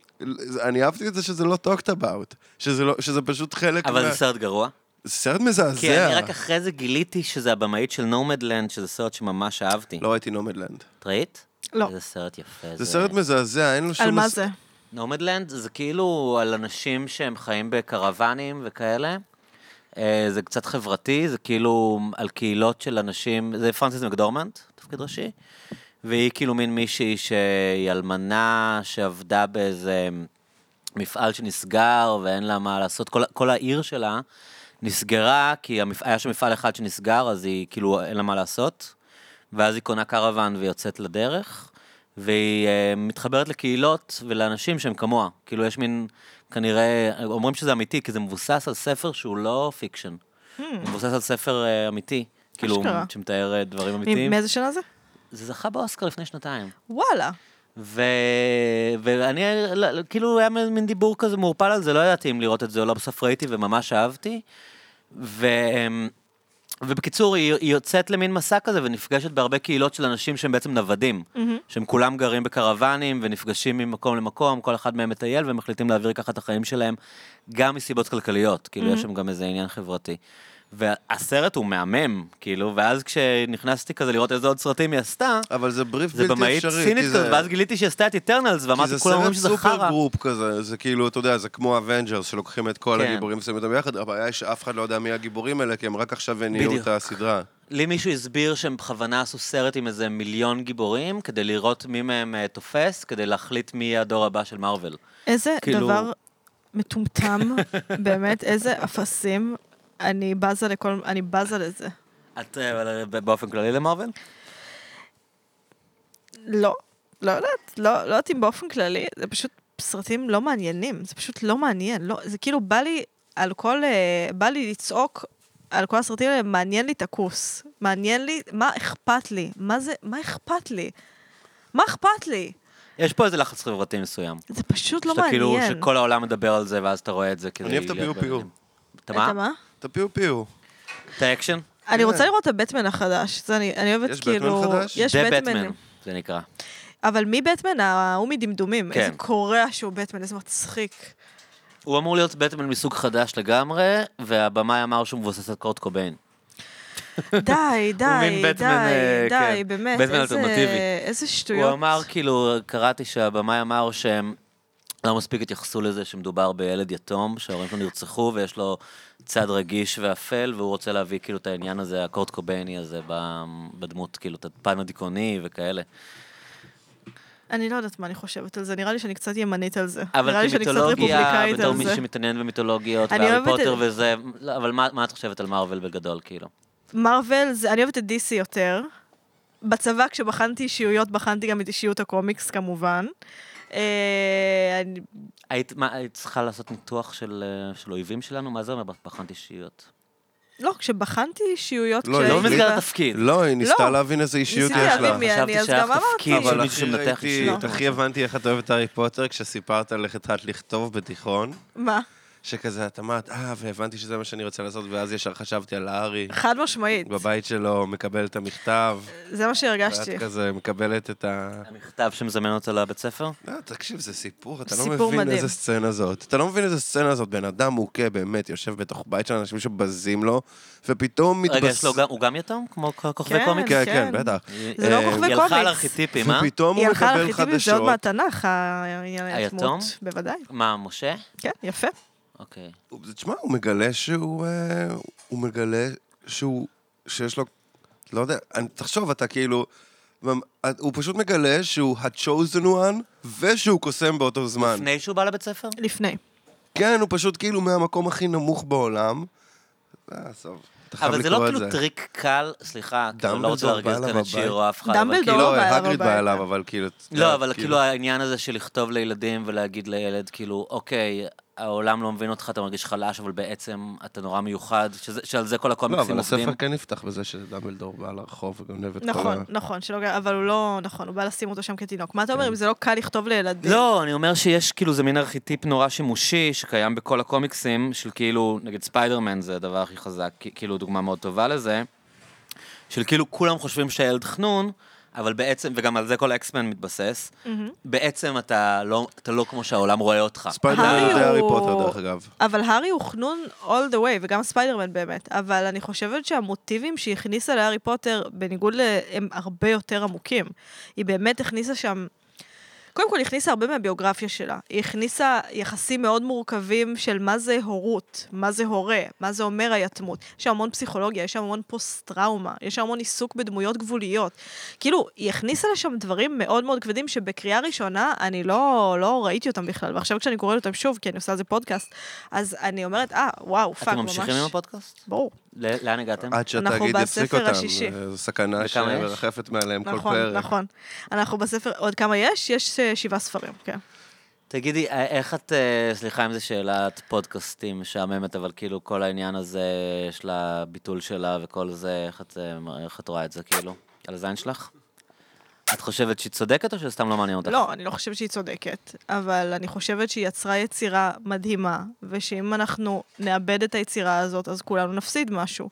Speaker 1: אני אהבתי את זה שזה לא talked about, שזה, לא, שזה פשוט חלק
Speaker 4: אבל זה סרט גרוע.
Speaker 1: כן. זה סרט מזעזע.
Speaker 4: כי אני רק אחרי זה גיליתי שזה הבמאית של נומדלנד, שזה סרט שממש אהבתי.
Speaker 1: לא ראיתי נומדלנד.
Speaker 4: את ראית?
Speaker 3: לא.
Speaker 4: זה סרט יפה.
Speaker 1: זה סרט מזעזע, אין לו שום...
Speaker 3: על מה
Speaker 1: מס-
Speaker 3: זה?
Speaker 4: נומדלנד זה כאילו על אנשים שהם חיים בקרוונים וכאלה. אה, זה קצת חברתי, זה כאילו על קהילות של אנשים, זה פרנסיס מקדורמנט, תפקיד ראשי, והיא כאילו מין מישהי שהיא אלמנה, שעבדה באיזה מפעל שנסגר ואין לה מה לעשות, כל, כל העיר שלה נסגרה, כי המפ... היה שם מפעל אחד שנסגר, אז היא כאילו אין לה מה לעשות. ואז היא קונה קרוון ויוצאת לדרך, והיא אה, מתחברת לקהילות ולאנשים שהם כמוה. כאילו, יש מין, כנראה, אומרים שזה אמיתי, כי זה מבוסס על ספר שהוא לא פיקשן. הוא מבוסס על ספר אה, אמיתי. כאילו,
Speaker 3: Hmm. אשכרה.
Speaker 4: שמתאר אה, דברים
Speaker 3: מ-
Speaker 4: אמיתיים.
Speaker 3: מאיזה שנה זה?
Speaker 4: זה זכה באוסקר לפני שנתיים.
Speaker 3: וואלה.
Speaker 4: ו... ואני, לא, לא, כאילו, היה מין מין דיבור כזה מעורפל על זה, לא ידעתי אם לראות את זה או לא, בסוף ראיתי וממש אהבתי. ו... ובקיצור, היא, היא יוצאת למין מסע כזה ונפגשת בהרבה קהילות של אנשים שהם בעצם נוודים. Mm-hmm. שהם כולם גרים בקרוונים ונפגשים ממקום למקום, כל אחד מהם מטייל והם מחליטים להעביר ככה את החיים שלהם, גם מסיבות כלכליות, כאילו, mm-hmm. יש שם גם איזה עניין חברתי. והסרט הוא מהמם, כאילו, ואז כשנכנסתי כזה לראות איזה עוד סרטים היא עשתה,
Speaker 1: אבל זה בריף
Speaker 4: זה
Speaker 1: בלתי
Speaker 4: במאית
Speaker 1: אפשרי.
Speaker 4: צינית
Speaker 1: כי זה-
Speaker 4: כזאת, ואז גיליתי שהיא עשתה את איטרנלס,
Speaker 1: כי
Speaker 4: ואמרתי,
Speaker 1: זה
Speaker 4: כולם
Speaker 1: סרט
Speaker 4: אומרים שזה
Speaker 1: סופר
Speaker 4: חרא.
Speaker 1: גרופ כזה, זה כאילו, אתה יודע, זה כמו אבנג'רס, שלוקחים את כל
Speaker 4: כן.
Speaker 1: הגיבורים ושמים אותם ביחד, הבעיה היא שאף אחד לא יודע מי הגיבורים האלה, כי הם רק עכשיו הניעו את
Speaker 4: בדיוק.
Speaker 1: הסדרה.
Speaker 4: לי מישהו הסביר שהם בכוונה עשו סרט עם איזה מיליון גיבורים, כדי לראות מי מהם אה, תופס, כדי להחליט מי יהיה הדור הבא של מארוול.
Speaker 3: איזה
Speaker 4: כאילו-
Speaker 3: דבר מטומטם, באמת, איזה אפסים. אני בזה לכל, אני בזה לזה.
Speaker 4: את אה, אבל, אה, באופן כללי למארוול?
Speaker 3: לא, לא יודעת, לא, לא יודעת אם באופן כללי, זה פשוט סרטים לא מעניינים, זה פשוט לא מעניין, לא, זה כאילו בא לי על כל, אה, בא לי לצעוק על כל הסרטים האלה, מעניין לי את הכוס, מעניין לי, מה אכפת לי, מה זה, מה אכפת לי? מה אכפת לי?
Speaker 4: יש פה איזה לחץ חברתי מסוים.
Speaker 3: זה פשוט לא
Speaker 4: שאתה כאילו,
Speaker 3: מעניין.
Speaker 4: שכל העולם מדבר על זה, ואז אתה רואה את זה כדי...
Speaker 1: אני אוהב את
Speaker 4: להיות
Speaker 1: הפיו-פיו.
Speaker 4: בעניינים. אתה
Speaker 3: אתה
Speaker 4: מה?
Speaker 3: מה?
Speaker 1: את הפיו פיו.
Speaker 4: את האקשן?
Speaker 3: אני רוצה לראות את הבטמן החדש, זה אני, אני אוהבת
Speaker 1: יש בטמן
Speaker 3: כאילו...
Speaker 1: חדש?
Speaker 3: יש
Speaker 4: The
Speaker 3: בטמן
Speaker 4: Batman, זה נקרא.
Speaker 3: אבל מי בטמן? ההוא מדמדומים.
Speaker 4: כן.
Speaker 3: איזה קורע שהוא בטמן, איזה מצחיק.
Speaker 4: הוא אמור להיות בטמן מסוג חדש לגמרי, והבמאי אמר שהוא מבוסס על קורט קוביין.
Speaker 3: די, די,
Speaker 4: מין
Speaker 3: די,
Speaker 4: בטמן, אה,
Speaker 3: די,
Speaker 4: כן.
Speaker 3: באמת,
Speaker 4: בטמן
Speaker 3: איזה-
Speaker 4: אלטרנטיבי.
Speaker 3: איזה שטויות.
Speaker 4: הוא אמר, כאילו, קראתי שהבמאי אמר שהם לא מספיק התייחסו לזה שמדובר בילד יתום, שההורים שלו נרצחו ויש לו צד רגיש ואפל, והוא רוצה להביא כאילו את העניין הזה, הקורט קובייני הזה ב- בדמות, כאילו, את הפן הדיכאוני וכאלה.
Speaker 3: אני לא יודעת מה אני חושבת על זה, נראה לי שאני קצת ימנית על זה. נראה
Speaker 4: אבל
Speaker 3: לי שאני קצת
Speaker 4: כמיתולוגיה,
Speaker 3: רפובליקאית
Speaker 4: בתור
Speaker 3: על
Speaker 4: מי
Speaker 3: זה.
Speaker 4: שמתעניין במיתולוגיות,
Speaker 3: אני
Speaker 4: והארי
Speaker 3: אוהבת את-
Speaker 4: פוטר וזה, לא, אבל מה מה את חושבת על מארוול בגדול, כאילו?
Speaker 3: מרוויל, זה- אני אוהבת את DC יותר. בצבא, כשבחנתי אישיויות, בחנתי גם את אישיות הקומיקס, כמובן. אה, אני-
Speaker 4: היית מה, היית צריכה לעשות ניתוח של אה, של אויבים שלנו? מה זה אומר? בחנת אישיות.
Speaker 3: לא, כשבחנתי אישיויות,
Speaker 1: לא,
Speaker 4: לא
Speaker 3: כשהייתי
Speaker 4: במסגרת
Speaker 3: ב-
Speaker 4: התפקיד.
Speaker 1: לא, היא ניסתה
Speaker 3: לא.
Speaker 1: להבין איזה אישיות
Speaker 3: ניסיתי
Speaker 1: יש לה.
Speaker 3: להבין מי אה, אני,
Speaker 4: חשבתי
Speaker 3: אז
Speaker 4: שהיה
Speaker 3: גם אמרתי.
Speaker 4: תפקיד של
Speaker 1: אבל
Speaker 4: מישהו
Speaker 1: הכי
Speaker 4: שמנתח
Speaker 1: ראיתי,
Speaker 4: אישיות.
Speaker 1: הכי הבנתי איך את אוהבת הארי פוטר כשסיפרת על איך התחלת לכתוב בתיכון,
Speaker 3: מה?
Speaker 1: שכזה את אמרת, אה, והבנתי שזה מה שאני רוצה לעשות, ואז ישר חשבתי על הארי,
Speaker 3: חד משמעית.
Speaker 1: בבית שלו, מקבל את המכתב,
Speaker 3: זה מה
Speaker 1: ואת
Speaker 3: שהרגשתי.
Speaker 1: כזה מקבלת את ה...
Speaker 4: המכתב שמזמן אותה לבית ספר?
Speaker 1: לא, תקשיב, זה סיפור, אתה לא
Speaker 3: סיפור
Speaker 1: מבין
Speaker 3: מדהים.
Speaker 1: איזה סצנה זאת. אתה לא מבין איזה סצנה זאת, בן אדם מוכה באמת, יושב בתוך בית של אנשים שבזים לו, ופתאום מתבס...
Speaker 4: רגע, יש לו גם, הוא גם יתום? כמו כ- כוכבי
Speaker 3: כן.
Speaker 4: קומיקס?
Speaker 1: כן,
Speaker 3: כן.
Speaker 1: כן, בטח.
Speaker 3: זה לא
Speaker 4: אה,
Speaker 3: כוכבי
Speaker 4: היא הלכה על
Speaker 3: קומיקס.
Speaker 4: ארכיטיפים, אה?
Speaker 1: ופתאום הוא
Speaker 3: היא הלכה
Speaker 1: מקבל
Speaker 3: לארכיטיבים, זה עוד
Speaker 1: לא חדשות,
Speaker 3: מהתנ"ך, העניין
Speaker 4: היתום?
Speaker 3: היתמות. בוודאי,
Speaker 4: מה, משה?
Speaker 3: כן, יפה.
Speaker 4: אוקיי.
Speaker 1: הוא- תשמע, הוא מגלה שהוא... אה, הוא מגלה שהוא... שיש לו... לא יודע, אני- תחשוב, אתה כאילו... ממ- הוא פשוט מגלה שהוא ה-chosen one, ושהוא קוסם באותו זמן.
Speaker 4: לפני שהוא בא לבית ספר?
Speaker 3: לפני.
Speaker 1: כן, הוא פשוט כאילו מהמקום הכי נמוך בעולם. אה, עזוב. אתה חייב
Speaker 4: אבל זה לא
Speaker 1: לקרוא את
Speaker 4: כאילו טריק קל, סליחה, כאילו, לא רוצה
Speaker 1: דמבלדור בא
Speaker 4: להרגיז כאן
Speaker 1: אליו
Speaker 4: את שיר
Speaker 1: הביתה.
Speaker 4: או אף אחד. אבל
Speaker 3: דמבלדור
Speaker 4: כאילו-
Speaker 3: לא
Speaker 1: לא,
Speaker 3: בא אליו
Speaker 1: הגריד בא
Speaker 3: הביתה.
Speaker 1: אליו, אבל כאילו... את
Speaker 4: לא,
Speaker 1: יודעת,
Speaker 4: אבל כאילו העניין הזה של לכתוב לילדים ולהגיד לילד, כאילו, אוקיי, העולם לא מבין אותך, אתה מרגיש חלש, אבל בעצם אתה נורא מיוחד, שזה- שעל זה כל
Speaker 1: לא,
Speaker 4: הקומיקסים
Speaker 1: אבל
Speaker 4: עובדים.
Speaker 1: הספר כן נפתח בזה שדמבלדור בא לרחוב וגונב את כל ה...
Speaker 3: נכון, נכון, שלא גר, אבל הוא לא, נכון, הוא בא לשים אותו שם כתינוק. מה אתה אומר אם זה לא קל לכתוב לילדים?
Speaker 4: לא, אני אומר שיש כאילו זה מין ארכיטיפ נורא שימושי שקיים בכל הקומיקסים, של כאילו, נגיד ספיידרמן זה הדבר הכי חזק, כי- כאילו דוגמה מאוד טובה לזה, של כאילו כולם חושבים שהילד חנון, אבל בעצם, וגם על זה כל אקסמן מתבסס,
Speaker 3: Mm-hmm.
Speaker 4: בעצם אתה לא, אתה לא כמו שהעולם רואה אותך.
Speaker 1: ספיידרמן
Speaker 3: הארי
Speaker 1: זה הארי
Speaker 3: אה, הוא-
Speaker 1: פוטר, דרך אגב.
Speaker 3: אבל הארי הוא חנון all the way, וגם ספיידרמן באמת, אבל אני חושבת שהמוטיבים שהיא הכניסה להארי פוטר, בניגוד ל... הם הרבה יותר עמוקים. היא באמת הכניסה שם... קודם כל, היא הכניסה הרבה מהביוגרפיה שלה. היא הכניסה יחסים מאוד מורכבים של מה זה הורות, מה זה הורה, מה זה אומר היתמות. יש שם המון פסיכולוגיה, יש שם המון פוסט-טראומה, יש שם המון עיסוק בדמויות גבוליות. כאילו, היא הכניסה לשם דברים מאוד מאוד כבדים שבקריאה ראשונה אני לא, לא ראיתי אותם בכלל, ועכשיו כשאני קוראת אותם שוב, כי אני עושה על זה פודקאסט, אז אני אומרת, אה, וואו, פאק,
Speaker 4: אתם
Speaker 3: ממש...
Speaker 4: ממשיכים עם הפודקאסט?
Speaker 3: ברור.
Speaker 4: ל- לאן הגעתם?
Speaker 1: עד
Speaker 3: אנחנו
Speaker 1: שהתאגיד יפסיק
Speaker 3: בספר
Speaker 1: אותם,
Speaker 3: השישי.
Speaker 1: אה, זו סכנה
Speaker 4: וכמה יש?
Speaker 1: שמרחפת מעליהם כל
Speaker 3: נכון,
Speaker 1: פרק.
Speaker 3: נכון. אנחנו בספר, עוד כמה יש? יש אה, שבעה ספרים, כן.
Speaker 4: תגידי, אה, איך את, אה, סליחה אם זו שאלת פודקאסטים משעממת, אבל כאילו כל העניין הזה של הביטול שלה וכל זה, איך את, אה, איך את רואה את זה, כאילו? על הזין שלך? את חושבת שהיא צודקת או שסתם לא מעניין אותך?
Speaker 3: לא, אני לא חושבת שהיא צודקת, אבל אני חושבת שהיא יצרה יצירה מדהימה, ושאם אנחנו נאבד את היצירה הזאת, אז כולנו נפסיד משהו.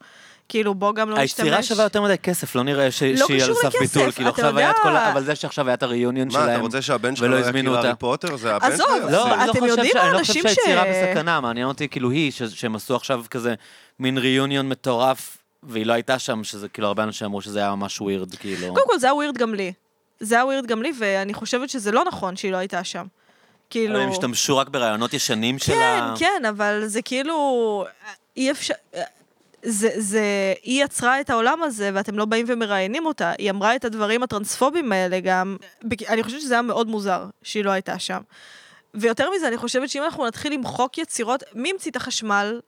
Speaker 3: כאילו, בוא גם לא נשתמש...
Speaker 4: היצירה שווה יותר מדי כסף, לא נראה ש-
Speaker 3: לא
Speaker 4: שהיא על
Speaker 3: קשור
Speaker 4: סף
Speaker 3: לכסף,
Speaker 4: ביטול,
Speaker 3: אתה
Speaker 4: כאילו עכשיו היה את כל
Speaker 3: יודע.
Speaker 4: ה... אבל זה שעכשיו היה את הריאיון
Speaker 1: מה, אתה
Speaker 4: שלהם.
Speaker 1: רוצה שהבן שלך
Speaker 4: ולא
Speaker 1: לא
Speaker 4: הזמינו
Speaker 1: יכיר הארי
Speaker 4: אותה.
Speaker 1: פוטר? זה הבן
Speaker 3: עזוב,
Speaker 1: שלך?
Speaker 3: לא,
Speaker 1: יפסיק.
Speaker 4: אני לא
Speaker 3: אתם
Speaker 4: חושב
Speaker 3: יודעים
Speaker 4: ש- אני לא חושב
Speaker 3: האנשים
Speaker 4: שהיצירה
Speaker 3: ש-
Speaker 4: בסכנה, מעניין אותי כאילו היא, ש- שהם עשו עכשיו כזה מין ריאיוניון מטורף, והיא לא הייתה שם, שזה כאילו הרבה אנשים אמרו שזה היה ממש ווירד, כאילו.
Speaker 3: קודם כל, זה היה ווירד גם לי. זה היה ווירד גם לי, ואני חושבת שזה לא נכון שהיא לא הייתה שם. כאילו...
Speaker 4: אבל הם השתמשו רק ברעיונות ישנים של
Speaker 3: כן,
Speaker 4: ה...
Speaker 3: כן, אבל זה כאילו... אי אפשר... אה, זה, זה, היא יצרה את העולם הזה, ואתם לא באים ומראיינים אותה. היא אמרה את הדברים הטרנספובים האלה גם. בק- אני חושבת שזה היה מאוד מוזר שהיא לא הייתה שם. ויותר מזה, אני חושבת שאם אנחנו נתחיל למחוק יצירות, מי המציא את החשמל?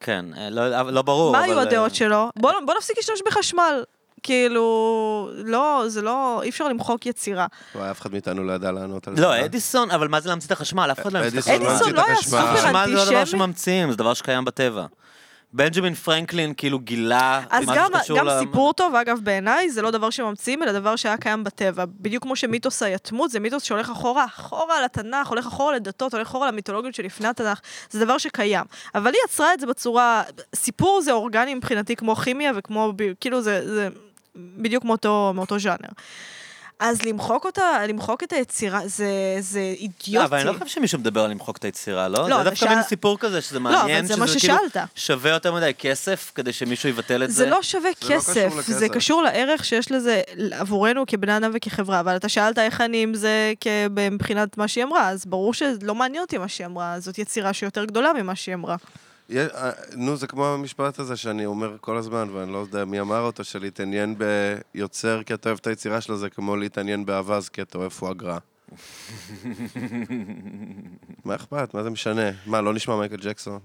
Speaker 4: כן, אה, לא- אבל לא ברור.
Speaker 3: מה
Speaker 4: אבל,
Speaker 3: היו הדעות
Speaker 4: אה,
Speaker 3: שלו? בוא, בוא נפסיק להשתמש בחשמל. כאילו, לא, זה לא, אי אפשר למחוק יצירה.
Speaker 1: וואי, אף אחד מאיתנו לא ידע לענות על זה.
Speaker 4: לא, אדיסון, אבל מה זה להמציא את החשמל? אף אחד לא המציא את
Speaker 1: אדיסון
Speaker 4: החשמל.
Speaker 1: לא המציא
Speaker 3: אדיסון לא היה
Speaker 1: החשמל.
Speaker 3: סופר
Speaker 1: החשמל
Speaker 4: חשמל זה לא דבר
Speaker 3: אנטישמי?
Speaker 4: שממציאים, זה דבר שקיים בטבע. בנג'מין פרנקלין כאילו גילה
Speaker 3: אז
Speaker 4: משהו
Speaker 3: גם,
Speaker 4: שקשור
Speaker 3: גם
Speaker 4: ל-
Speaker 3: סיפור טוב, אגב, בעיניי, זה לא דבר שממציאים, אלא דבר שהיה קיים בטבע. בדיוק כמו שמיתוס היתמות זה מיתוס שהולך אחורה, אחורה לתנ"ך, הולך אחורה לדתות, הולך אחורה למיתולוגיות שלפני התנ"ך, זה דבר שקיים. אבל היא יצרה את זה בצורה... סיפור זה אורגני מבחינתי כמו כימיה וכמו... ב- כאילו זה, זה בדיוק מאותו, מאותו ז'אנר. אז למחוק אותה, למחוק את היצירה, זה, זה אידיוטי.
Speaker 4: לא, אבל אני לא חושב שמישהו מדבר על למחוק את היצירה, לא?
Speaker 3: לא,
Speaker 4: זה
Speaker 3: אבל
Speaker 4: דווקא מין
Speaker 3: שאל-
Speaker 4: סיפור כזה שזה
Speaker 3: לא, אבל
Speaker 4: מעניין,
Speaker 3: זה מה
Speaker 4: שזה כאילו
Speaker 3: ששאלת.
Speaker 4: שווה יותר מדי כסף כדי שמישהו יבטל את זה.
Speaker 3: זה לא שווה
Speaker 1: זה לא
Speaker 3: כסף,
Speaker 1: קשור
Speaker 3: זה
Speaker 1: לכסף.
Speaker 3: קשור לערך שיש לזה עבורנו כבני אדם וכחברה, אבל אתה שאלת איך אני עם זה כ- מבחינת מה שהיא אמרה, אז ברור שלא מעניין אותי מה שהיא אמרה, זאת יצירה שיותר גדולה ממה שהיא אמרה.
Speaker 1: יש- אה, נו, זה כמו המשפט הזה שאני אומר כל הזמן, ואני לא יודע מי אמר אותו, שלהתעניין ביוצר כי אתה אוהב את היצירה שלו, זה כמו להתעניין באווז כי אתה אוהב פואגרה. מה אכפת? מה זה משנה? מה, לא נשמע מייקל ג'קסון?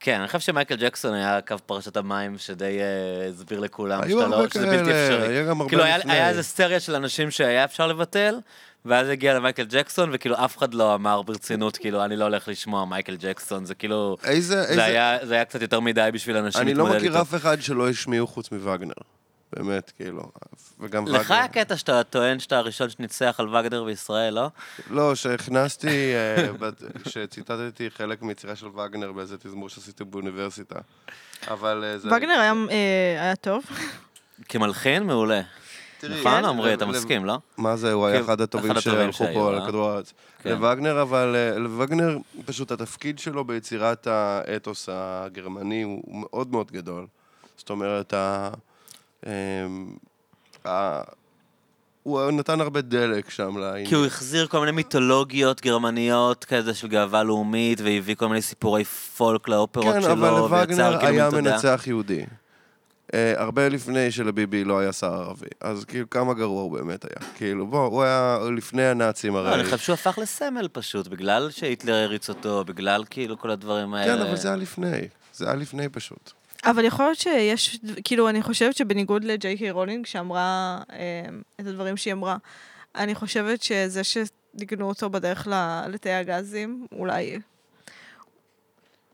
Speaker 4: כן, אני חושב שמייקל ג'קסון היה קו פרשת המים שדי אה, הסביר לכולם
Speaker 1: היו
Speaker 4: שאתה
Speaker 1: הרבה
Speaker 4: לא- שזה
Speaker 1: כאלה,
Speaker 4: בלתי אפשרי.
Speaker 1: היה גם הרבה
Speaker 4: כאילו, היה-
Speaker 1: לפני.
Speaker 4: היה איזה סטריה של אנשים שהיה אפשר לבטל, ואז הגיע למייקל ג'קסון, וכאילו אף אחד לא אמר ברצינות, כאילו, אני לא הולך לשמוע מייקל ג'קסון, זה כאילו...
Speaker 1: אה, איזה,
Speaker 4: זה
Speaker 1: איזה...
Speaker 4: היה, זה היה קצת יותר מדי בשביל אנשים
Speaker 1: אני לא
Speaker 4: להתמודד
Speaker 1: מכיר
Speaker 4: איתו.
Speaker 1: אף אחד שלא השמיעו חוץ מווגנר. באמת, כאילו. וגם
Speaker 4: לך
Speaker 1: וגנר.
Speaker 4: היה קטע שאתה טוען שאתה הראשון שניצח על וגדר בישראל, לא?
Speaker 1: לא, שהכנסתי, אה, בת- שציטטתי חלק מיצירה של וגנר באיזה תזמור שעשיתי באוניברסיטה. אבל אה, זה...
Speaker 3: וגנר היה, אה, היה טוב.
Speaker 4: כמלחין? מעולה.
Speaker 1: תראי,
Speaker 4: נכון,
Speaker 1: לב-
Speaker 4: עמרי? אתה
Speaker 1: לב-
Speaker 4: מסכים, לא?
Speaker 1: מה זה, הוא היה
Speaker 4: כן,
Speaker 1: אחד הטובים
Speaker 4: אחד הטובים
Speaker 1: שהלכו
Speaker 4: שהיו,
Speaker 1: פה על
Speaker 4: אה?
Speaker 1: כדור הארץ.
Speaker 4: כן.
Speaker 1: לווגנר, אבל אה, לווגנר, פשוט התפקיד שלו ביצירת האתוס הגרמני הוא מאוד מאוד גדול. זאת אומרת, ה... אמ, ה- הוא נתן הרבה דלק שם לעניין.
Speaker 4: כי הוא החזיר כל מיני מיתולוגיות גרמניות כזה של גאווה לאומית, והביא כל מיני סיפורי פולק לאופרות
Speaker 1: כן,
Speaker 4: שלו,
Speaker 1: אבל לווגנר
Speaker 4: ויצר כאילו
Speaker 1: היה
Speaker 4: מין תודעה.
Speaker 1: מנצח יהודי. אה, הרבה לפני שלביבי לא היה שר ערבי. אז כאילו, כמה גרוע הוא באמת היה. כאילו, בוא, הוא היה לפני הנאצים
Speaker 4: לא,
Speaker 1: הרי.
Speaker 4: אני חושב שהוא הפך לסמל פשוט, בגלל שהיטלר הריץ אותו, בגלל כאילו כל הדברים האלה.
Speaker 1: כן, אבל זה היה לפני. זה היה לפני פשוט.
Speaker 3: אבל יכול להיות שיש, כאילו, אני חושבת שבניגוד לג'יי קיי רולינג, שאמרה אה, את הדברים שהיא אמרה, אני חושבת שזה שניגנו אותו בדרך ל- לתאי הגזים, אולי...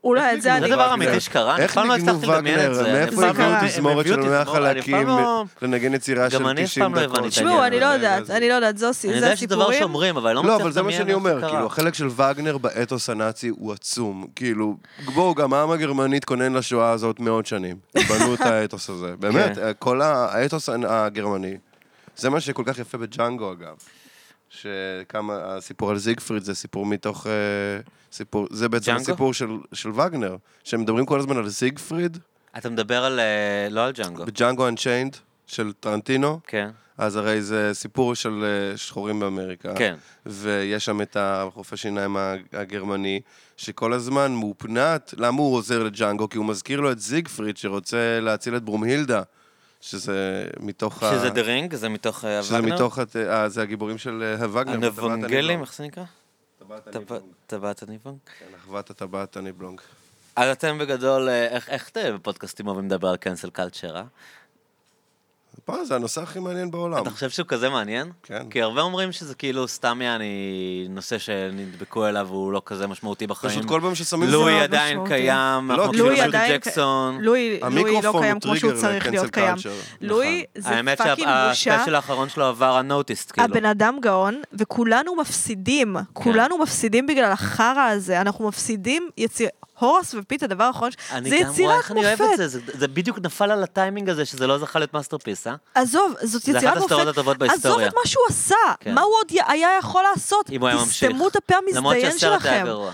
Speaker 3: אולי את זה
Speaker 1: ניגנו?
Speaker 3: אני...
Speaker 4: זה
Speaker 1: אני-
Speaker 4: דבר
Speaker 1: וגנר.
Speaker 4: אמיתי שקרה, אני
Speaker 1: איך
Speaker 4: פעם לא
Speaker 1: ניגנו
Speaker 4: הצלחתי לדמיין את
Speaker 1: וגנר?
Speaker 4: זה. אני
Speaker 1: מאיפה
Speaker 4: פעם לא-
Speaker 1: הגיעו
Speaker 4: הם
Speaker 1: תזמורת
Speaker 4: הביאו
Speaker 1: של
Speaker 4: תזמורת,
Speaker 1: מאה
Speaker 4: אני פעם
Speaker 1: חלקים
Speaker 4: לא-
Speaker 1: לנגן יצירה
Speaker 4: גם
Speaker 1: של 90 דקות?
Speaker 4: אני אף פעם לא הבנתי את
Speaker 3: תשמעו, אני לא יודעת, אני לא יודעת, זה
Speaker 4: אני
Speaker 3: הסיפורים.
Speaker 4: יודע שזה דבר שאומרים, אבל אני לא
Speaker 1: לא,
Speaker 4: מצליח
Speaker 1: אבל זה מה
Speaker 4: לדמיין
Speaker 1: שאני
Speaker 4: איך זה
Speaker 1: אומר,
Speaker 4: קרה.
Speaker 1: כאילו, החלק של וגנר באתוס הנאצי הוא עצום. כאילו, בואו, גם העם הגרמני התכונן לשואה הזאת מאות שנים. הם בנו את האתוס הזה. באמת,
Speaker 4: כן.
Speaker 1: כל ה- האתוס הנ- הגרמני. זה מה שכל כך יפה בג'אנגו, אגב. שכמה, הסיפור על זיגפריד זה סיפור מתוך... אה, סיפור, זה בעצם
Speaker 4: ג'אנגו?
Speaker 1: הסיפור של, של וגנר, שהם מדברים כל הזמן על זיגפריד,
Speaker 4: אתה מדבר על... אה, לא על ג'אנגו.
Speaker 1: בג'אנגו אנצ'יינד של טרנטינו,
Speaker 4: כן.
Speaker 1: אז הרי זה סיפור של אה, שחורים באמריקה.
Speaker 4: כן.
Speaker 1: ויש שם את החוף השיניים הגרמני, שכל הזמן מופנט, למה הוא עוזר לג'אנגו? כי הוא מזכיר לו את זיגפריד שרוצה להציל את ברומהילדה, שזה מתוך
Speaker 4: שזה דה רינג, זה מתוך אה,
Speaker 1: שזה
Speaker 4: וגנר?
Speaker 1: מתוך, הת- אה, זה הגיבורים של אה, וגנר.
Speaker 4: הנבונגלים, איך זה נקרא?
Speaker 1: טבעת
Speaker 4: טבעת הניבונג?
Speaker 1: הניבלונג. אחוות הטבעת הניבלונג.
Speaker 4: אז אתם בגדול, אה, איך, איך אתם בפודקאסטים אוהבים לדבר על קנסל קלצ'ר, אה?
Speaker 1: פה זה הנושא הכי מעניין בעולם.
Speaker 4: אתה חושב שהוא כזה מעניין?
Speaker 1: כן.
Speaker 4: כי הרבה אומרים שזה כאילו סתם יעני נושא שנדבקו אליו והוא לא כזה משמעותי בחיים.
Speaker 1: פשוט כל פעם ששמים את
Speaker 4: לואי
Speaker 3: מאוד
Speaker 4: עדיין
Speaker 3: משמעותי.
Speaker 4: קיים,
Speaker 1: לא,
Speaker 4: אנחנו
Speaker 1: כי
Speaker 4: כאילו
Speaker 1: לואי
Speaker 4: מייקל
Speaker 3: עדיין-
Speaker 4: ג'קסון.
Speaker 3: לואי, לואי לא
Speaker 1: המיקרופון
Speaker 3: קיים
Speaker 1: הוא
Speaker 3: כמו שהוא
Speaker 1: טריגר נכון.
Speaker 3: צריך להיות
Speaker 1: ל-cancel
Speaker 3: קיים.
Speaker 1: culture.
Speaker 3: לואי זה
Speaker 4: האמת
Speaker 3: פאקינג בושה.
Speaker 4: שהספיישל האחרון שלו עבר unnoticed, כאילו. כן.
Speaker 3: הבן אדם גאון, וכולנו מפסידים. כולנו מפסידים בגלל החרא הזה. אנחנו מפסידים יציר... הורס ופיט, הדבר האחרון, ש-
Speaker 4: אני
Speaker 3: זה
Speaker 4: גם רואה
Speaker 3: יצירת
Speaker 4: איך אני אוהב את
Speaker 3: מופת.
Speaker 4: זה, זה, זה בדיוק נפל על הטיימינג הזה, שזה לא זכה להיות מאסטרפיס, אה?
Speaker 3: עזוב, זאת
Speaker 4: אחת
Speaker 3: יצירת מופת.
Speaker 4: הסדרות הטובות
Speaker 3: עזוב
Speaker 4: בהיסטוריה.
Speaker 3: את מה שהוא עשה,
Speaker 4: כן.
Speaker 3: מה הוא עוד י- היה יכול לעשות?
Speaker 4: אם הוא היה ממשיך.
Speaker 3: תסתמו את הפה
Speaker 4: למרות
Speaker 3: המזדיין
Speaker 4: שהסרט היה
Speaker 3: שלכם.
Speaker 4: גרוע.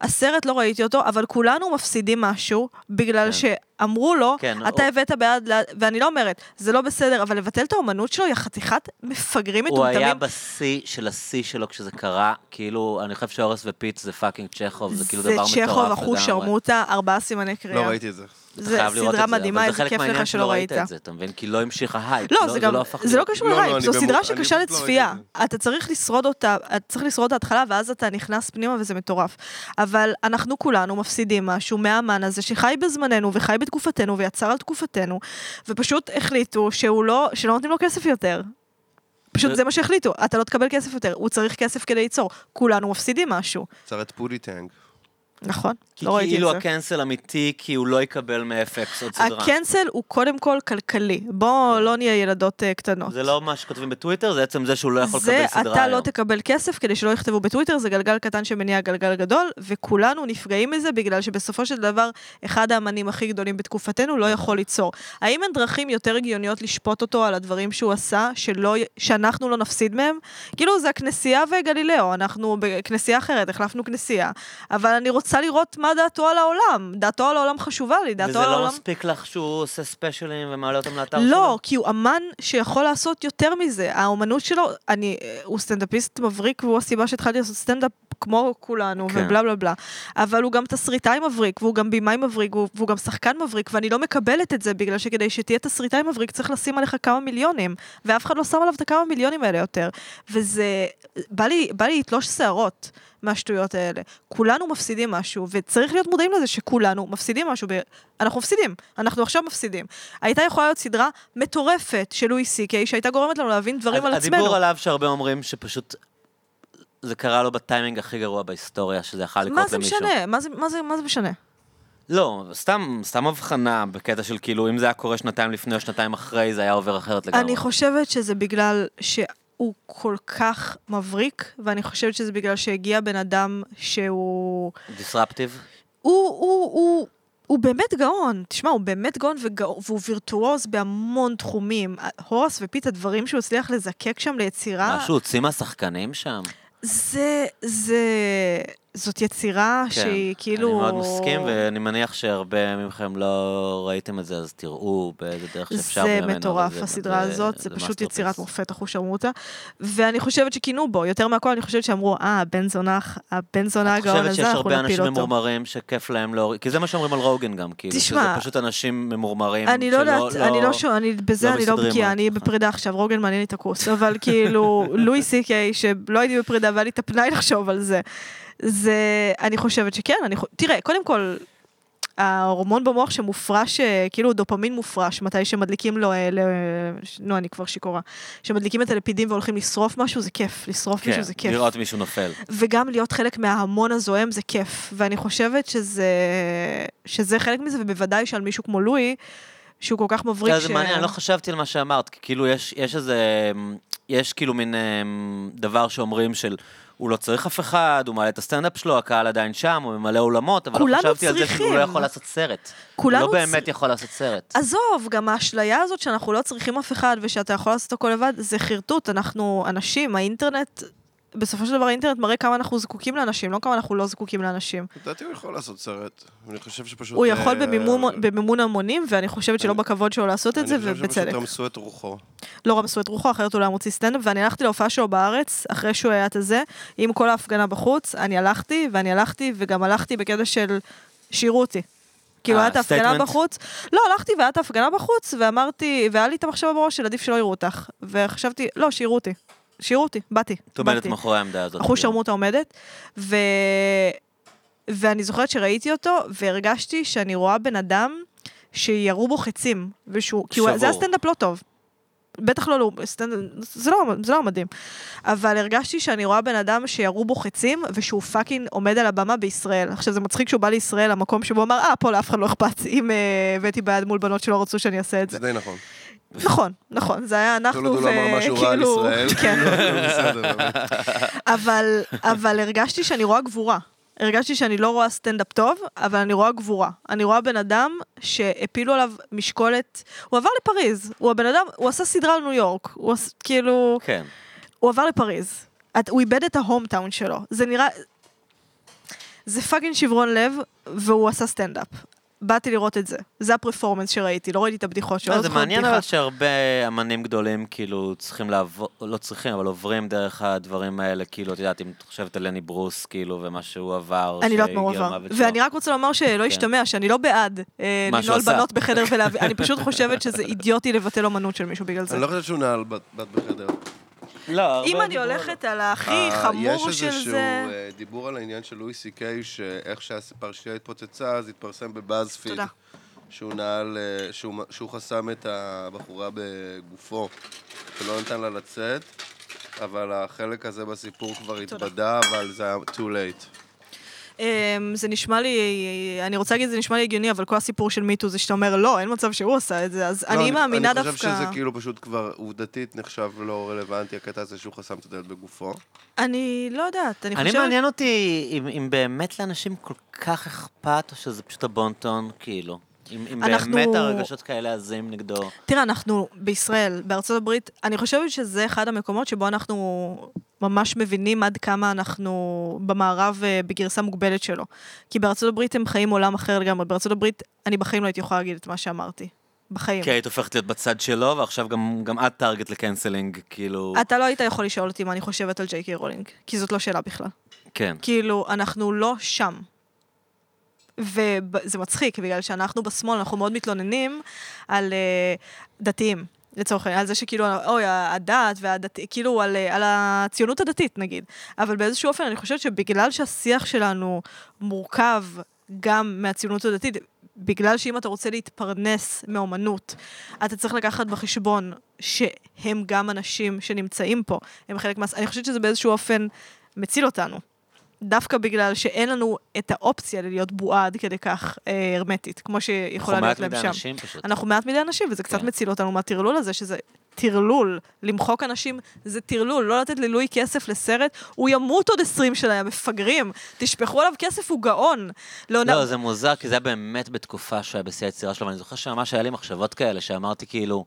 Speaker 3: הסרט לא ראיתי אותו, אבל כולנו מפסידים משהו, בגלל שאמרו לו,
Speaker 4: כן,
Speaker 3: אתה
Speaker 4: הוא-
Speaker 3: הבאת בעד, ל- ואני לא אומרת, זה לא בסדר, אבל לבטל את האומנות שלו, יא חתיכת מפגרים
Speaker 4: הוא
Speaker 3: מטומטמים.
Speaker 4: היה בשיא של השיא שלו כשזה קרה, כאילו, אני חושב שהורס ופיט זה פאקינג צ'כוב, זה כאילו דבר מטורף
Speaker 3: זה
Speaker 4: לגמרי.
Speaker 3: צ'כוב, אחוז שרמוטה, ארבעה סימני
Speaker 1: לא
Speaker 3: קריאה.
Speaker 1: ראיתי את זה.
Speaker 4: אתה
Speaker 3: זה
Speaker 4: חייב לראות
Speaker 3: סדרה
Speaker 4: את זה, אבל
Speaker 3: מדהימה,
Speaker 4: זה
Speaker 3: איזה
Speaker 4: כיף
Speaker 3: כיף
Speaker 4: לך
Speaker 3: לך שלא ראית.
Speaker 4: את זה, אתה מבין? כי לא המשיך ההייפ.
Speaker 3: לא, זה גם,
Speaker 4: לא הפך
Speaker 3: זה לא
Speaker 4: להיות-
Speaker 3: קשור
Speaker 1: לא, לא,
Speaker 3: לרייב,
Speaker 1: אני
Speaker 3: זו
Speaker 1: במות-
Speaker 3: סדרה
Speaker 1: אני
Speaker 3: שקשה
Speaker 1: פשוט לא
Speaker 3: לצפייה.
Speaker 1: ראיתי
Speaker 3: אתה צריך לשרוד אותה, אתה צריך לשרוד את ההתחלה, ואז אתה נכנס פנימה וזה מטורף. אבל אנחנו כולנו מפסידים משהו מהאמן הזה שחי בזמננו וחי בתקופתנו ויצר על תקופתנו, ופשוט החליטו שהוא לא, שלא נותנים לו כסף יותר. פשוט
Speaker 4: זה-
Speaker 3: זה מה שהחליטו, אתה לא תקבל כסף יותר, הוא צריך כסף כדי ליצור. כולנו מפסידים משהו.
Speaker 1: יצר את פודי טנק.
Speaker 3: נכון,
Speaker 4: כי
Speaker 3: לא ראיתי את
Speaker 4: כאילו
Speaker 3: זה.
Speaker 4: הקנסל אמיתי, כי הוא לא יקבל מ-FX עוד סדרה.
Speaker 3: הקנסל הוא קודם כל כלכלי, בואו לא נהיה ילדות אה, קטנות.
Speaker 4: זה לא מה שכותבים בטוויטר, זה עצם זה שהוא לא יכול
Speaker 3: זה
Speaker 4: לקבל סדרה
Speaker 3: אתה לא
Speaker 4: היום.
Speaker 3: תקבל כסף כדי שלא יכתבו בטוויטר, זה גלגל קטן שמניע גלגל גדול, וכולנו נפגעים מזה בגלל שבסופו של דבר, אחד האמנים הכי גדולים בתקופתנו לא יכול ליצור. האם אין דרכים יותר הגיוניות לשפוט אותו על הדברים שהוא עשה, שלא, י- שאנחנו לא נפסיד מהם? כאילו, זה הכנסייה וגלילאו, אנחנו בכנסייה אחרת, החלפנו כנסייה, אבל אני רוצה לראות מה דעתו על העולם. דעתו על העולם חשובה לי, דעתו
Speaker 4: וזה
Speaker 3: על
Speaker 4: לא
Speaker 3: העולם...
Speaker 4: מספיק לך שהוא עושה ספיישלים ומעלה אותם לאתר שלו?
Speaker 3: לא, כי הוא אמן שיכול לעשות יותר מזה. האומנות שלו, אני, הוא סטנדאפיסט מבריק, והוא הסיבה שהתחלתי לעשות סטנדאפ כמו כולנו,
Speaker 4: כן.
Speaker 3: כן. ובלה בלה בלה. אבל הוא גם תסריטאי מבריק, והוא גם בימאי מבריק, והוא, והוא גם שחקן מבריק, ואני לא מקבלת את זה, בגלל שכדי שתהיה תסריטאי מבריק צריך לשים עליך כמה מיליונים, ואף אחד לא שם עליו את הכמה מיליונים האלה יותר. וזה, בא לי, בא לי לתלוש שערות. מהשטויות האלה. כולנו מפסידים משהו, וצריך להיות מודעים לזה שכולנו מפסידים משהו. ב... אנחנו מפסידים, אנחנו עכשיו מפסידים. הייתה יכולה להיות סדרה מטורפת של לואי סי קיי, שהייתה גורמת לנו להבין דברים
Speaker 4: אז
Speaker 3: על עצמנו.
Speaker 4: הדיבור עליו שהרבה אומרים שפשוט זה קרה לו בטיימינג הכי גרוע בהיסטוריה, שזה יכול לקרות
Speaker 3: מה
Speaker 4: למישהו.
Speaker 3: זה משנה? מה זה, מה זה, מה זה משנה?
Speaker 4: לא, סתם, סתם הבחנה בקטע של כאילו, אם זה היה קורה שנתיים לפני או שנתיים אחרי, זה היה עובר אחרת לגמרי.
Speaker 3: אני חושבת שזה בגלל שהוא כל כך מבריק, ואני חושבת שזה בגלל שהגיע בן אדם שהוא...
Speaker 4: דיסרפטיב?
Speaker 3: הוא, הוא, הוא, הוא באמת גאון. תשמע, הוא באמת גאון וגאון, והוא וירטואוז בהמון תחומים. הורס ופית, הדברים שהוא הצליח לזקק שם ליצירה,
Speaker 4: משהו הוציא מהשחקנים שם?
Speaker 3: זה, זה, זאת יצירה
Speaker 4: כן,
Speaker 3: שהיא כאילו...
Speaker 4: אני מאוד מסכים, ואני מניח שהרבה מכם לא ראיתם את זה, אז תראו באיזה דרך שאפשר
Speaker 3: זה
Speaker 4: ממנו. אבל
Speaker 3: מטורף,
Speaker 4: זה- לא
Speaker 3: הסדרה הזאת, זה פשוט
Speaker 4: masterpiece.
Speaker 3: יצירת מופת, אחוש שרמוטה. ואני חושבת שכינו בו, יותר מהכל אני חושבת שאמרו, אה, הבן זונה, הבן זונה
Speaker 4: את
Speaker 3: הגאון
Speaker 4: חושבת שיש
Speaker 3: הזה, אנחנו
Speaker 4: הרבה
Speaker 3: נפיל
Speaker 4: אנשים
Speaker 3: אותו.
Speaker 4: ממורמרים שכיף להם להוריד, כי זה מה שאומרים על רוגן גם, כאילו,
Speaker 3: תשמע,
Speaker 4: שזה פשוט אנשים ממורמרים.
Speaker 3: אני לא
Speaker 4: שלא-
Speaker 3: יודעת, אני לא שומע, אני- בזה
Speaker 4: לא
Speaker 3: אני לא
Speaker 4: מסתדרים
Speaker 3: בקיאה,
Speaker 4: על
Speaker 3: אני
Speaker 4: עצמך.
Speaker 3: בפרידה עכשיו, רוגן מעניין לי את הכוס, אבל כאילו, לואי סי קיי, שלא הייתי בפרידה והיה לי את הפנאי לחשוב על זה. זה, אני חושבת שכן, אני חו- תראה, קודם כל, ההורמון במוח שמופרש, אה, כאילו דופמין מופרש, מתי שמדליקים לו, אה, ל- ש- נו, אני כבר שיכורה, שמדליקים את הלפידים והולכים לשרוף משהו, זה כיף, לשרוף
Speaker 4: כן,
Speaker 3: מישהו זה כיף.
Speaker 4: לראות מישהו נופל.
Speaker 3: וגם להיות חלק מההמון הזוהם זה כיף, ואני חושבת שזה, שזה חלק מזה, ובוודאי שעל מישהו כמו לואי, שהוא כל כך מבריק,
Speaker 4: זה מעניין, אני לא חשבתי על מה שאמרת, כי כאילו יש, יש איזה, אמ, יש כאילו מין אמ, דבר שאומרים של, הוא לא צריך אף אחד, הוא מעלה את הסטנדאפ שלו, הקהל עדיין שם, הוא ממלא אולמות, אבל לא
Speaker 3: כולנו
Speaker 4: חשבתי על זה שהוא לא
Speaker 3: צריכים.
Speaker 4: יכול לעשות סרט. הוא
Speaker 3: כולנו
Speaker 4: לא באמת
Speaker 3: צר-
Speaker 4: יכול לעשות סרט.
Speaker 3: עזוב, גם האשליה הזאת שאנחנו לא צריכים אף אחד ושאתה יכול לעשות הכל לבד, זה חרטוט, אנחנו אנשים, האינטרנט, בסופו של דבר האינטרנט מראה כמה אנחנו זקוקים לאנשים, לא כמה אנחנו לא זקוקים לאנשים.
Speaker 1: לדעתי הוא יכול לעשות סרט. אני חושב שפשוט...
Speaker 3: הוא יכול
Speaker 1: אה,
Speaker 3: במימון, במימון המונים, ואני חושבת שלא
Speaker 1: אני-
Speaker 3: בכבוד שלו לעשות את זה,
Speaker 1: אני חושב
Speaker 3: ובצדק.
Speaker 1: שפשוט רמסו את רוחו.
Speaker 3: לא רמסו את רוחו, אחרת הוא לא היה מוציא סטנדאפ, ואני הלכתי להופעה שלו בארץ, אחרי שהוא היה את הזה, עם כל ההפגנה בחוץ, אני הלכתי, ואני הלכתי, וגם הלכתי בקטע של שירו אותי. כאילו,
Speaker 4: אה,
Speaker 3: היה את ההפגנה
Speaker 4: statement?
Speaker 3: בחוץ. לא, הלכתי והיה את ההפגנה בחוץ, ואמרתי, והיה לי את המחשבה בראש של עדיף שלא יראו אותך. וחשבתי, לא, שירו אותי. שירו אותי, באתי.
Speaker 4: את עומדת
Speaker 3: באתי.
Speaker 1: אוקיי.
Speaker 4: מאחורי העמדה הזאת.
Speaker 3: אחוז
Speaker 4: כאילו.
Speaker 3: שרמוטה עומדת, ו... ואני זוכרת שראיתי אותו, והרגשתי שאני רואה בן אדם שירו בו חצים, ושהוא, כי הוא,
Speaker 4: שבור.
Speaker 3: זה היה סטנדאפ לא טוב. בטח לא, לא, סטנד... זה, לא, זה לא מדהים. אבל הרגשתי שאני רואה בן אדם שירו בו חצים, ושהוא פאקינג עומד על הבמה בישראל. עכשיו, זה מצחיק שהוא בא לישראל, המקום שבו הוא אמר, אה, פה לאף אחד לא אכפת אם אה, הבאתי בעד מול בנות שלא רצו שאני אעשה את זה.
Speaker 1: זה די נכון.
Speaker 3: נכון, נכון, זה היה אנחנו,
Speaker 1: כל עוד הוא לא אמר משהו רע על
Speaker 3: וכאילו-
Speaker 1: ישראל.
Speaker 3: כן.
Speaker 1: כאילו, בסדר, אבל-
Speaker 3: אבל, אבל הרגשתי שאני רואה גבורה. הרגשתי שאני לא רואה סטנדאפ טוב, אבל אני רואה גבורה. אני רואה בן אדם שהפילו עליו משקולת... הוא עבר לפריז. הוא הבן אדם, הוא עשה סדרה על ניו יורק. הוא עש... כאילו...
Speaker 4: כן.
Speaker 3: הוא עבר לפריז. את, הוא איבד את ההום טאון שלו. זה נראה... זה פאקינג שברון לב, והוא עשה סטנדאפ. באתי לראות את זה. זה הפרפורמנס שראיתי, לא ראיתי את הבדיחות שלו.
Speaker 4: לא,
Speaker 3: לא
Speaker 4: זה
Speaker 3: זוכרת
Speaker 4: מעניין
Speaker 3: בדיחה.
Speaker 4: אבל שהרבה אמנים גדולים כאילו צריכים לעבור, לא צריכים, אבל עוברים דרך הדברים האלה, כאילו, את יודעת, אם את חושבת על לני ברוס, כאילו, ומה שהוא עבר,
Speaker 3: אני לא יודעת מה הוא
Speaker 4: שהגיע
Speaker 3: עבר.
Speaker 4: למוות שלו. כן.
Speaker 3: ואני רק רוצה לומר שלא ישתמע, שאני לא בעד אה,
Speaker 4: מה שהוא
Speaker 3: לנעול
Speaker 4: עשה.
Speaker 3: בנות בחדר ולהביא, אני פשוט חושבת שזה אידיוטי לבטל אומנות של מישהו בגלל זה.
Speaker 1: אני לא חושב שהוא נעל בת בת בחדר.
Speaker 4: לא, הרבה
Speaker 3: אם אני
Speaker 4: דיברו על-
Speaker 3: הולכת על הכי
Speaker 1: אה,
Speaker 3: חמור של
Speaker 1: יש איזשהו
Speaker 3: זה...
Speaker 1: אה, דיבור על העניין של לואי סי קיי, שאיך שהפרשייה התפוצצה, אז התפרסם בבאזפיד.
Speaker 3: תודה.
Speaker 1: שהוא נעל, אה, שהוא- שהוא חסם את הבחורה בגופו, ולא נתן לה לצאת, אבל החלק הזה בסיפור כבר
Speaker 3: תודה.
Speaker 1: התבדה, אבל זה היה too late.
Speaker 3: אמ, זה נשמע לי, אני רוצה להגיד, זה נשמע לי הגיוני, אבל כל הסיפור של מיטו זה שאתה אומר, לא, אין מצב שהוא עשה את זה, אז
Speaker 1: לא,
Speaker 3: אני מאמינה
Speaker 1: אני חושב
Speaker 3: דווקא...
Speaker 1: שזה כאילו פשוט כבר עובדתית נחשב לא רלוונטי, הקטע הזה שהוא חסם את הדלת בגופו.
Speaker 3: אני לא יודעת, אני
Speaker 4: אני
Speaker 3: חושבת...
Speaker 4: מעניין אותי אם- אם באמת לאנשים כל כך אכפת, או שזה פשוט הבונטון, כאילו. אם אם
Speaker 3: אנחנו- כן.
Speaker 4: באמת הרגשות כאלה עזים נגדו.
Speaker 3: תראה, אנחנו בישראל, בארצות הברית, אני חושבת שזה אחד המקומות שבו אנחנו ממש מבינים עד כמה אנחנו במערב אה, בגרסה מוגבלת שלו. כי בארצות הברית הם חיים עולם אחר לגמרי. בארצות הברית, אני בחיים לא הייתי יכולה להגיד את מה שאמרתי. בחיים.
Speaker 4: כי היית הופכת להיות בצד שלו, ועכשיו גם גם את טארגט לקנסלינג, כאילו...
Speaker 3: אתה לא היית יכול לשאול אותי מה אני חושבת על ג'יי קיי רולינג, כי זאת לא שאלה בכלל.
Speaker 4: כן.
Speaker 3: כאילו, אנחנו לא שם. וזה מצחיק, בגלל שאנחנו בשמאל, אנחנו מאוד מתלוננים על uh, דתיים, לצורך העניין, על זה שכאילו, אוי, הדת והדתי, כאילו, על, uh, על הציונות הדתית, נגיד. אבל באיזשהו אופן, אני חושבת שבגלל שהשיח שלנו מורכב גם מהציונות הדתית, בגלל שאם אתה רוצה להתפרנס מאומנות, אתה צריך לקחת בחשבון שהם גם אנשים שנמצאים פה, הם חלק מה... אני חושבת שזה באיזשהו אופן מציל אותנו. דווקא בגלל שאין לנו את האופציה ללהיות בועה עד כדי כך אה, הרמטית, כמו שיכולה
Speaker 4: אנחנו
Speaker 3: להיות
Speaker 4: מעט
Speaker 3: להם
Speaker 4: מדי
Speaker 3: שם.
Speaker 4: אנשים פשוט.
Speaker 3: אנחנו מעט מדי אנשים, וזה קצת
Speaker 4: כן.
Speaker 3: מציל אותנו מהטרלול הזה, שזה טרלול. למחוק אנשים זה טרלול, לא לתת ללואי כסף לסרט, הוא ימות עוד 20 שנה, יא מפגרים. תשפכו עליו כסף, הוא גאון. לעונה-
Speaker 4: לא, זה מוזר, כי זה היה באמת בתקופה שהיה בשיא היצירה שלו, ואני זוכר שממש היה לי מחשבות כאלה, שאמרתי כאילו,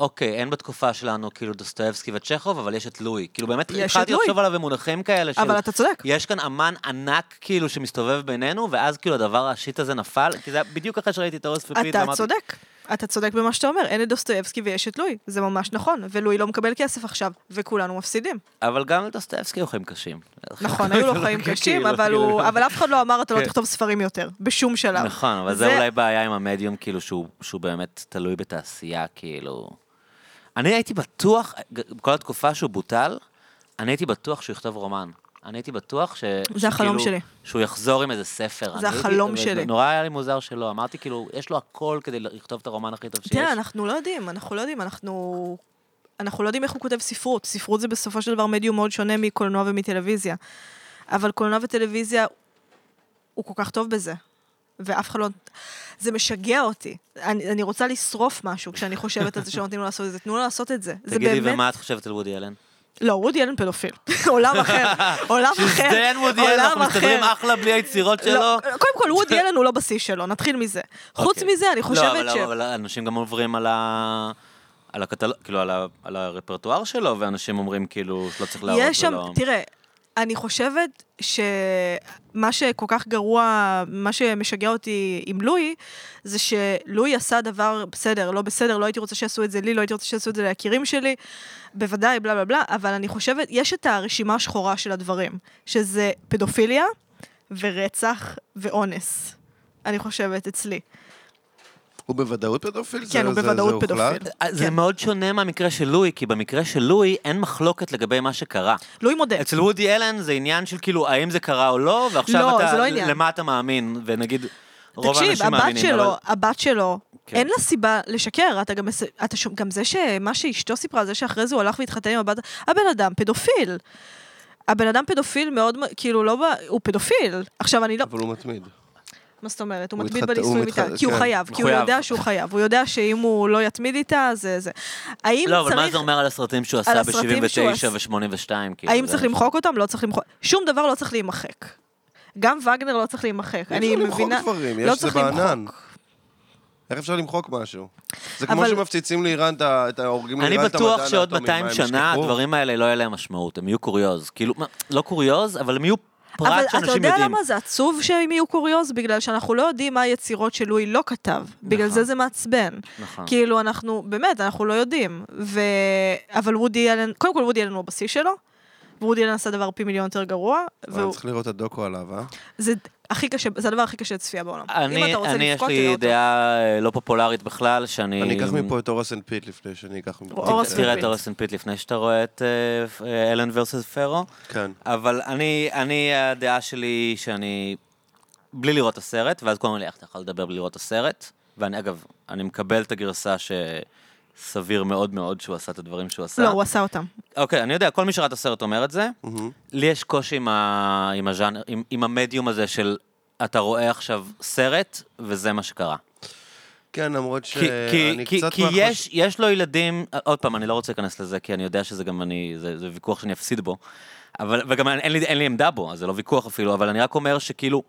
Speaker 4: אוקיי, אין בתקופה שלנו כאילו דוסטויבסקי וצ'כוב, אבל יש את לואי. כאילו באמת,
Speaker 3: יש את
Speaker 4: התחלתי
Speaker 3: לואי.
Speaker 4: לחשוב עליו במונחים כאלה של...
Speaker 3: אבל אתה צודק.
Speaker 4: יש כאן אמן ענק כאילו שמסתובב בינינו, ואז כאילו הדבר השיט הזה נפל, כי זה היה בדיוק אחרי שראיתי את הורס ופיט,
Speaker 3: אתה צודק. אתה צודק במה שאתה אומר, אין את דוסטויבסקי ויש את לואי, זה ממש נכון, ולואי לא מקבל כסף עכשיו, וכולנו מפסידים.
Speaker 4: אבל גם לדוסטויבסקי היו חיים קשים.
Speaker 3: נכון, היו לו
Speaker 4: כאילו,
Speaker 3: חיים קשים,
Speaker 4: כאילו,
Speaker 3: אבל הוא-
Speaker 4: כאילו.
Speaker 3: אבל אף אחד לא אמר, אתה לא
Speaker 4: כן.
Speaker 3: תכתוב ספרים יותר, בשום שלב.
Speaker 4: נכון, אבל זה אולי בעיה עם המדיום, כאילו, שהוא שהוא באמת תלוי בתעשייה, כאילו... אני הייתי בטוח, ג- בכל התקופה שהוא בוטל, אני הייתי בטוח שהוא יכתוב רומן. אני הייתי בטוח ש... שכאילו-
Speaker 3: החלום שלי.
Speaker 4: שהוא יחזור עם איזה ספר. אני הייתי-
Speaker 3: החלום
Speaker 4: ו-
Speaker 3: שלי.
Speaker 4: נורא היה לי מוזר שלא, אמרתי, כאילו, יש לו הכל כדי לכתוב את הרומן הכי טוב שיש.
Speaker 3: תראה, אנחנו לא יודעים, אנחנו לא יודעים, אנחנו... אנחנו לא יודעים איך הוא כותב ספרות. ספרות זה בסופו של דבר מדיום מאוד שונה מקולנוע ומטלוויזיה. אבל קולנוע וטלוויזיה, הוא כל כך טוב בזה. ואף אחד לא... זה משגע אותי. אני, אני רוצה לשרוף משהו כשאני חושבת על זה שלא נותנים לו לעשות את זה. תנו לו לעשות את זה. זה
Speaker 4: תגידי,
Speaker 3: באמת...
Speaker 4: ומה את חושבת על וודי אלן?
Speaker 3: לא, וודי אלן פדופיל. עולם אחר. עולם אחר.
Speaker 4: דיין וודי אלן, אנחנו
Speaker 3: כן, עולם אחר.
Speaker 4: מסתדרים אחלה בלי היצירות שלו.
Speaker 3: לא, קודם כל, וודי אלן הוא לא בשיא שלו, נתחיל מזה. חוץ
Speaker 4: אוקיי.
Speaker 3: מזה, אני חושבת
Speaker 4: לא,
Speaker 3: ש...
Speaker 4: אבל- אבל אנשים גם עוברים על ה... על הקטל... כאילו, על, ה... על הרפרטואר שלו, ואנשים אומרים, כאילו, שלא צריך להראות
Speaker 3: יש שם,
Speaker 4: ולא...
Speaker 3: תראה, אני חושבת שמה שכל כך גרוע, מה שמשגע אותי עם לואי, זה שלואי עשה דבר בסדר, לא בסדר, לא הייתי רוצה שיעשו את זה לי, לא הייתי רוצה שיעשו את זה ליקירים שלי, בוודאי, בלה בלה בלה, אבל אני חושבת, יש את הרשימה השחורה של הדברים, שזה פדופיליה ורצח ואונס, אני חושבת, אצלי.
Speaker 1: הוא בוודאות פדופיל?
Speaker 3: כן,
Speaker 1: זה-
Speaker 3: הוא
Speaker 1: זה- זה הוחלט?
Speaker 3: בוודאות פדופיל.
Speaker 4: אה, זה
Speaker 3: כן.
Speaker 4: מאוד שונה מהמקרה של לואי, כי במקרה של לואי אין מחלוקת לגבי מה שקרה.
Speaker 3: לואי מודה.
Speaker 4: אצל וודי אלן זה עניין של כאילו, האם זה קרה או לא,
Speaker 3: לא,
Speaker 4: ועכשיו
Speaker 3: זה לא
Speaker 4: אתה,
Speaker 3: עניין.
Speaker 4: למה אתה מאמין, ונגיד, רוב
Speaker 3: תקשיב,
Speaker 4: האנשים
Speaker 3: הבת
Speaker 4: מאמינים. אבל-
Speaker 3: שלו, הבת שלו,
Speaker 4: כן.
Speaker 3: אין לה סיבה לשקר. אתה גם מס- אתה שומע- גם זה שמה שאשתו סיפרה, זה שאחרי זה הוא הלך והתחתן עם הבת, הבן אדם פדופיל. הבן אדם פדופיל מאוד, מ- כאילו, לא ב... הוא פדופיל. עכשיו, אני לא...
Speaker 1: אבל הוא מתמיד.
Speaker 3: מה זאת אומרת? הוא
Speaker 1: הוא
Speaker 3: מתמיד
Speaker 1: מתחת-
Speaker 3: בנישואים
Speaker 1: הוא
Speaker 3: איתה,
Speaker 1: מתחת-
Speaker 3: כי הוא
Speaker 1: כן.
Speaker 3: חייב, כי הוא
Speaker 4: מחויב.
Speaker 3: יודע שהוא חייב, הוא יודע שאם הוא לא יתמיד איתה, זה זה. האם
Speaker 4: לא, אבל מה
Speaker 3: צריך...
Speaker 4: זה אומר על הסרטים שהוא
Speaker 3: על
Speaker 4: עשה
Speaker 3: הסרטים שהוא
Speaker 4: ב-79
Speaker 3: עשה.
Speaker 4: ו-82?
Speaker 3: האם צריך למחוק אותם? לא צריך למחוק. שום דבר לא צריך להימחק. גם וגנר לא צריך להימחק.
Speaker 1: אי
Speaker 3: אני
Speaker 1: אפשר למחוק
Speaker 3: מבינה...
Speaker 1: דברים,
Speaker 3: לא
Speaker 1: יש זה
Speaker 3: צריך למחוק.
Speaker 1: בענן. איך אפשר למחוק משהו? זה כמו
Speaker 3: אבל-
Speaker 1: שמפציצים לאיראן את ה- את ההורגים
Speaker 4: אני
Speaker 1: לאיראן את המדען האטומי.
Speaker 4: בטוח שעוד 200
Speaker 1: מה, הם
Speaker 4: שנה
Speaker 1: ישכחו?
Speaker 4: הדברים האלה לא יהיה להם משמעות, הם יהיו קוריוז. כאילו, מה, לא קוריוז, אבל הם יהיו
Speaker 3: אבל
Speaker 4: פרט
Speaker 3: אתה
Speaker 4: שאנשים
Speaker 3: יודע
Speaker 4: יודעים.
Speaker 3: למה זה עצוב שהם יהיו קוריוז? בגלל שאנחנו לא יודעים מה היצירות שלואי לא כתב. בגלל
Speaker 4: נכון.
Speaker 3: זה זה מעצבן.
Speaker 4: נכון.
Speaker 3: כאילו, אנחנו, באמת, אנחנו לא יודעים. ו... אבל וודי אלן, קודם כל וודי אלן הוא הבסיס שלו, וודי אלן עשה דבר פי מיליון יותר גרוע,
Speaker 1: וואי,
Speaker 3: והוא-
Speaker 1: צריך לראות את הדוקו עליו, אה?
Speaker 3: זה הכי קשה, זה הדבר הכי קשה לצפייה בעולם. אם
Speaker 4: אני,
Speaker 3: אתה רוצה
Speaker 4: אני יש
Speaker 3: לבכות,
Speaker 4: לי
Speaker 3: תראה אותו.
Speaker 4: דעה אה, לא פופולרית בכלל, שאני...
Speaker 1: אני אקח מפה את אורס אנד פיט לפני שאני אקח מפה.
Speaker 3: אורס
Speaker 1: את-
Speaker 3: אנד
Speaker 4: תראה
Speaker 3: פיט.
Speaker 4: את אורסן פיט לפני שאתה רואה את אה, פ- אה, אלן ורסס פרו.
Speaker 1: כן.
Speaker 4: אבל אני, אני, הדעה שלי היא שאני... בלי לראות את הסרט, ואז כולם אומרים לי, איך אתה יכול לדבר בלי לראות את הסרט? ואני, אגב, אני מקבל את הגרסה שסביר מאוד מאוד שהוא עשה את הדברים שהוא עשה.
Speaker 3: לא, הוא עשה אותם.
Speaker 4: אוקיי, אני יודע, כל מי שראה את הסרט אומר את זה. לי יש קושי עם, ה... עם, הז'אנר, עם, עם המדיום הזה של אתה רואה עכשיו סרט, וזה מה שקרה.
Speaker 1: כן, למרות
Speaker 4: כי, כי,
Speaker 1: שאני
Speaker 4: כי,
Speaker 1: קצת...
Speaker 4: כי
Speaker 1: מהחוש-
Speaker 4: יש, יש לו ילדים, עוד פעם, אני לא רוצה להיכנס לזה, כי אני יודע שזה גם אני, זה, זה ויכוח שאני אפסיד בו, אבל, וגם אין לי, אין לי עמדה בו, אז זה לא ויכוח אפילו, אבל אני רק אומר שכאילו,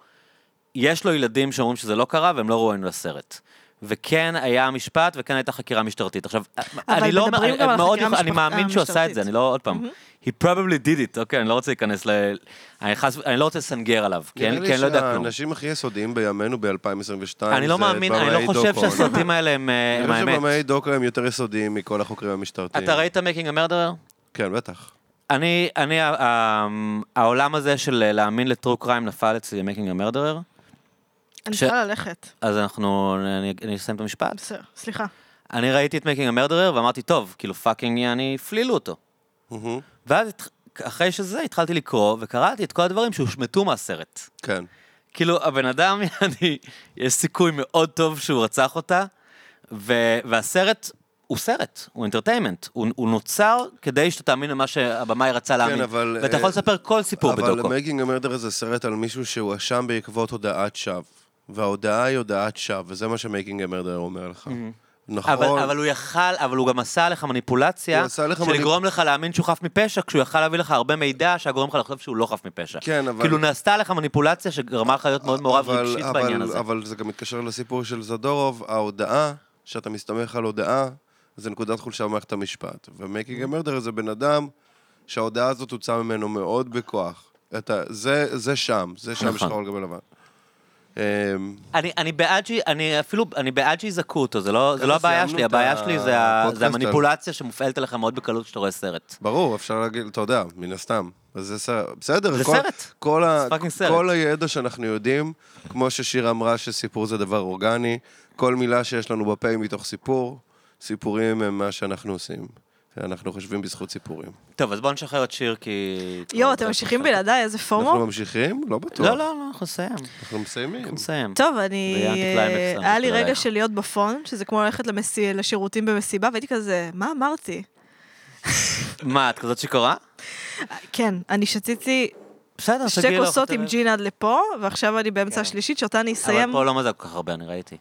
Speaker 4: יש לו ילדים שאומרים שזה לא קרה, והם לא ראויים לסרט. וכן היה משפט, וכן הייתה חקירה משטרתית. עכשיו, אני לא,
Speaker 3: מדברים גם
Speaker 4: אני-
Speaker 3: על
Speaker 4: מאוד
Speaker 3: החקירה
Speaker 4: יכול- אני
Speaker 3: המשפט-
Speaker 4: מאמין שהוא עשה את זה,
Speaker 3: המשטרתית.
Speaker 4: אני לא, עוד פעם, he probably did it, אוקיי, אני לא רוצה להיכנס ל... אני, חס, אני לא רוצה לסנגר עליו, כי
Speaker 1: נראה
Speaker 4: אני
Speaker 1: לי
Speaker 4: כי אני לא יודע כלום.
Speaker 1: שהאנשים הכי יסודיים בימינו ב-2022
Speaker 4: אני לא מאמין, אני לא חושב שהסרטים האלה הם אה,
Speaker 1: אני
Speaker 4: הם
Speaker 1: חושב
Speaker 4: האמת.
Speaker 1: שבמאי דוקו הם יותר יסודיים מכל החוקרים המשטרתיים.
Speaker 4: אתה ראית מייקינג המרדרר?
Speaker 1: כן, בטח.
Speaker 4: כן. אני, אני, ה- ה- העולם הזה של אה, להאמין לטרו קריים נפל אצלי מייקינג המרדרר,
Speaker 3: אני
Speaker 4: ש-
Speaker 3: צריכה ללכת.
Speaker 4: אז אנחנו, אני, אני אסיים את המשפט.
Speaker 3: בסדר, סליחה.
Speaker 4: אני ראיתי את מייקינג המרדרר ואמרתי, טוב, כאילו פאקינג יעני, הפלילו אותו.
Speaker 1: מהמם.
Speaker 4: ואז התח- אחרי שזה התחלתי לקרוא וקראתי את כל הדברים שהושמטו מהסרט.
Speaker 1: כן.
Speaker 4: כאילו, הבן אדם, יעני, יש סיכוי מאוד טוב שהוא רצח אותה, ו- והסרט הוא סרט, הוא אינטרטיימנט, הוא, הוא נוצר כדי שאתה תאמין למה שהבמאי רצה להאמין.
Speaker 1: אבל,
Speaker 4: ואתה
Speaker 1: אה,
Speaker 4: יכול לספר כל סיפור בדוקו.
Speaker 1: אבל מייקינג המרדר זה סרט על מישהו שהואשם בעקבות הודעת שווא. וההודעה היא הודעת שווא, וזה מה שמייקינג המרדר אומר לך. נכון.
Speaker 4: אבל, אבל הוא יכל, אבל הוא גם עשה לך מניפולציה,
Speaker 1: הוא עשה לך
Speaker 4: של
Speaker 1: מניפ-
Speaker 4: לגרום לך להאמין שהוא חף מפשע, כשהוא יכל להביא לך הרבה מידע שהיה גורם לך לחשוב שהוא לא חף מפשע.
Speaker 1: כן, אבל-
Speaker 4: כאילו נעשתה לך מניפולציה שגרמה לך להיות מאוד מעורב
Speaker 1: אבל-
Speaker 4: רגשית
Speaker 1: אבל-
Speaker 4: בעניין הזה.
Speaker 1: אבל זה גם מתקשר לסיפור של זדורוב, ההודעה, שאתה מסתמך על הודעה, זה נקודת חולשה במערכת המשפט.
Speaker 4: Mm.
Speaker 1: ומייקינג המרדר זה בן אדם שההודעה הזאת הוצאה ממנו מאוד בכוח. אתה, זה, זה שם, זה שם
Speaker 4: נכון.
Speaker 1: שחור על גבי לבן. אמ,
Speaker 4: אני, אני בעד ש... אני אפילו, אני בעד שיזכו אותו, זה לא, זה
Speaker 1: ככה
Speaker 4: לא הבעיה
Speaker 1: סיימנו
Speaker 4: שלי,
Speaker 1: את
Speaker 4: הבעיה שלי זה, ה-
Speaker 1: הפודקאסט
Speaker 4: זה המניפולציה שמופעלת עליך מאוד בקלות כשאתה רואה סרט.
Speaker 1: ברור, אפשר להגיד, אתה יודע, מן הסתם. אז זה סרט. בסדר,
Speaker 4: זה
Speaker 1: כל,
Speaker 4: סרט.
Speaker 1: כל, ה,
Speaker 4: זה fucking סרט.
Speaker 1: כל הידע שאנחנו יודעים, כמו ששיר אמרה שסיפור זה דבר אורגני, כל מילה שיש לנו בפה היא מתוך סיפור, סיפורים הם מה שאנחנו עושים. אנחנו חושבים בזכות סיפורים.
Speaker 4: טוב, אז בואו נשחרר את שיר כי...
Speaker 3: יואו, אתם ממשיכים בלעדיי, איזה
Speaker 1: אנחנו
Speaker 3: פומו?
Speaker 1: ממשיכים? לא בטוח.
Speaker 4: לא, לא, לא, אנחנו נסיים, אנחנו
Speaker 1: אנחנו מסיימים.
Speaker 4: נסיים.
Speaker 3: טוב, אני... אה,
Speaker 4: זה היה אנטי-קליימקס,
Speaker 3: היה לי
Speaker 4: אני
Speaker 3: רגע
Speaker 4: מתפלא.
Speaker 3: של להיות בפון, שזה כמו ללכת למס- לשירותים במסיבה, והייתי כזה, מה אמרתי?
Speaker 4: מה, את כזאת שיכורה?
Speaker 3: כן, אני שתיתי
Speaker 4: בסדר,
Speaker 3: שתי
Speaker 4: אה, תגידי לו,
Speaker 3: כוסות עם
Speaker 4: תראה.
Speaker 3: ג'ין עד לפה, ועכשיו אני באמצע השלישית, שאותה אני אסיים.
Speaker 4: אבל פה לא מזל כל כך הרבה, אני ראיתי.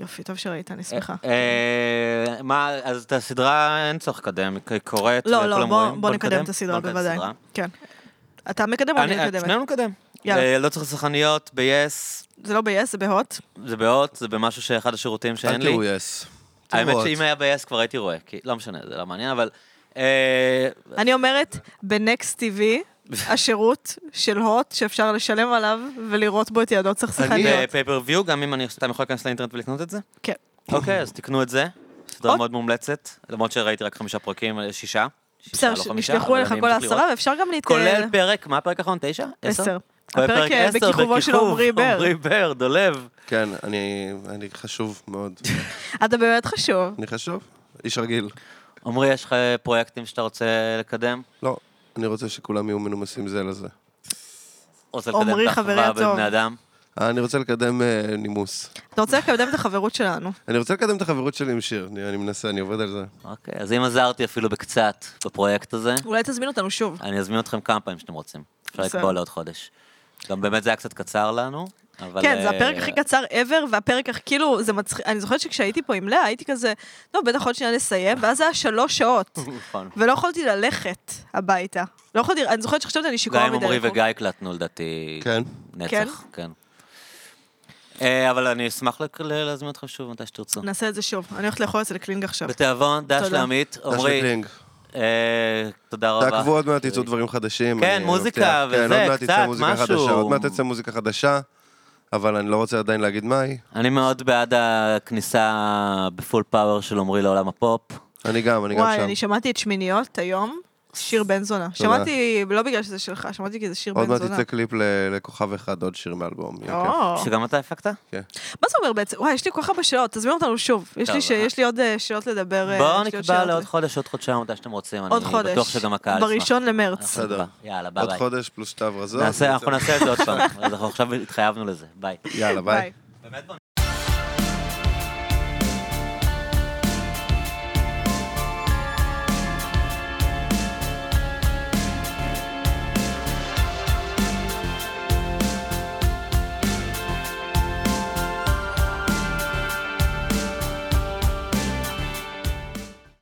Speaker 3: יופי, טוב שראית, אני שמחה.
Speaker 4: אה, מה, אז את הסדרה אין צורך לקדם, היא קורית,
Speaker 3: לא,
Speaker 4: וכולם
Speaker 3: לא, בוא-
Speaker 4: אה, רואים.
Speaker 3: בוא נקדם את הסדרה,
Speaker 4: בוא נקדם
Speaker 3: בוודאי.
Speaker 4: הסדרה.
Speaker 3: כן. אתה מקדם או אני
Speaker 4: אני- אה,
Speaker 3: מקדמת?
Speaker 4: שנינו נקדם.
Speaker 3: יאללה.
Speaker 4: אה, לא צריך שחקניות, ב-yes,
Speaker 3: זה לא ב-yes, זה בהוט.
Speaker 4: זה באות, זה במשהו שאחד השירותים שאין
Speaker 1: אל
Speaker 4: לי.
Speaker 1: תראו יס.
Speaker 4: האמת
Speaker 1: תראו
Speaker 4: שאם
Speaker 1: את.
Speaker 4: היה ב-yes כבר הייתי רואה, כי לא משנה, זה לא מעניין, אבל... אה,
Speaker 3: אני אומרת, בנקסט TV, השירות של הוט, שאפשר לשלם עליו ולראות בו את יעדות
Speaker 4: אה,
Speaker 3: שחקניות.
Speaker 4: בפייפריוויו, גם אם אני סתם יכול להיכנס לאינטרנט ולקנות את זה?
Speaker 3: כן.
Speaker 4: אוקיי, אז תקנו את זה. סדרה
Speaker 3: עוד-
Speaker 4: מאוד מומלצת, למרות שראיתי רק חמישה פרקים, אה, שישה. שישה,
Speaker 3: בסדר,
Speaker 4: לא חמישה,
Speaker 3: נשלחו
Speaker 4: אבל
Speaker 3: אליך
Speaker 4: אני
Speaker 3: כל
Speaker 4: אמשיך לראות.
Speaker 3: העשרה, ואפשר גם להתקרב.
Speaker 4: כולל פרק, מה הפרק האחרון? תשע?
Speaker 3: עשר. הפרק, אה,
Speaker 4: עשר,
Speaker 3: בכיכובו של עמרי בר.
Speaker 4: עמרי בר, דולב.
Speaker 1: כן, אני, אני חשוב מאוד.
Speaker 3: אתה באמת חשוב.
Speaker 1: אני חשוב? איש רגיל.
Speaker 4: עמרי, יש לך פרויקטים שאתה רוצה לקדם?
Speaker 1: לא, אני רוצה שכולם יהיו מנומסים זה לזה.
Speaker 4: רוצה לקדם
Speaker 3: עמרי,
Speaker 4: את
Speaker 3: חברי
Speaker 4: האחווה
Speaker 3: הטוב.
Speaker 4: בין בני אדם?
Speaker 1: אה, אני רוצה לקדם אה, נימוס.
Speaker 3: אתה רוצה לקדם את החברות שלנו.
Speaker 1: אני רוצה לקדם את החברות שלי עם שיר, אני, אני מנסה, אני עובד על זה.
Speaker 4: אוקיי, אז אם עזרתי אפילו בקצת בפרויקט הזה,
Speaker 3: אולי תזמין אותנו שוב.
Speaker 4: אני אזמין אתכם כמה פעמים שאתם רוצים. אפשר
Speaker 3: בסדר.
Speaker 4: לקבוע לעוד חודש. גם באמת זה היה קצת קצר לנו, אבל...
Speaker 3: כן, זה
Speaker 4: אה,
Speaker 3: הפרק הכי קצר ever, והפרק הכי, כאילו, זה מצחיק, אני זוכרת שכשהייתי פה עם לאה, הייתי כזה, לא, בטח עוד שנייה נסיים, ואז זה היה שלוש שעות,
Speaker 4: נכון.
Speaker 3: ולא יכולתי ללכת הביתה. לא יכולתי, אני זוכרת שחשבת אני
Speaker 4: גם
Speaker 3: שיכורה
Speaker 4: עם עמרי
Speaker 3: מדלקו.
Speaker 4: וגיא הקלטנו לדעתי
Speaker 1: כן.
Speaker 3: נכון? כן?
Speaker 4: נצח, כן. אה, אבל אני אשמח לק- ל- להזמין אתכם שוב מתי שתרצו.
Speaker 3: נעשה את זה שוב, אני הולכת לאכול אצל קלינג עכשיו.
Speaker 4: בתיאבון, דש
Speaker 3: נכון. תודה.
Speaker 4: לעמית,
Speaker 1: אשלי
Speaker 4: עמרי,
Speaker 1: קלינג.
Speaker 4: אה, תודה רבה.
Speaker 1: תעקבו עוד מעט יצאו דברים חדשים.
Speaker 4: כן,
Speaker 1: אני
Speaker 4: מוזיקה
Speaker 1: מבטיח. כן,
Speaker 4: וזה,
Speaker 1: עוד מעט תצא
Speaker 4: קצת,
Speaker 1: מוזיקה
Speaker 4: משהו.
Speaker 1: חדשה, עוד מעט תצא מוזיקה חדשה, אבל אני לא רוצה עדיין להגיד מהי.
Speaker 4: אני מאוד בעד הכניסה בפול פאוור של עמרי לעולם הפופ.
Speaker 1: אני גם, אני גם
Speaker 3: וואי,
Speaker 1: שם.
Speaker 3: אני שמעתי את שמיניות היום, שיר בן זונה. שמעתי, לא בגלל שזה שלך, שמעתי כי זה שיר
Speaker 1: עוד
Speaker 3: בן
Speaker 1: מעט
Speaker 3: זונה.
Speaker 1: יצא כן. קליפ ל- לכוכב אחד, עוד שיר מאלבום. יהיה כיף.
Speaker 3: או.
Speaker 4: שגם אתה
Speaker 3: אה,
Speaker 4: הפקת?
Speaker 3: מה זה אומר בעצם? וואי, יש לי כל כך הרבה שאלות, תזמין אותנו שוב. יש לי
Speaker 4: טוב,
Speaker 3: ש- יש לי עוד אה, שאלות לדבר. אה,
Speaker 4: בואו
Speaker 3: יש לי עוד
Speaker 4: נקבע
Speaker 3: שאלות.
Speaker 4: לעוד חודש, עוד חודשיים, מתי שאתם רוצים.
Speaker 3: עוד חודש.
Speaker 4: אני בטוח שגם הקהל ישמח.
Speaker 3: בראשון למרץ.
Speaker 4: אנחנו
Speaker 1: בסדר.
Speaker 4: נקבע. יאללה, ביי
Speaker 1: עוד
Speaker 4: ביי.
Speaker 1: חודש פלוס שתב רזון.
Speaker 4: נעשה- אנחנו נעשה את זה עוד פעם. אז אנחנו עכשיו התחייבנו לזה, ביי.
Speaker 1: יאללה, ביי.
Speaker 3: ביי.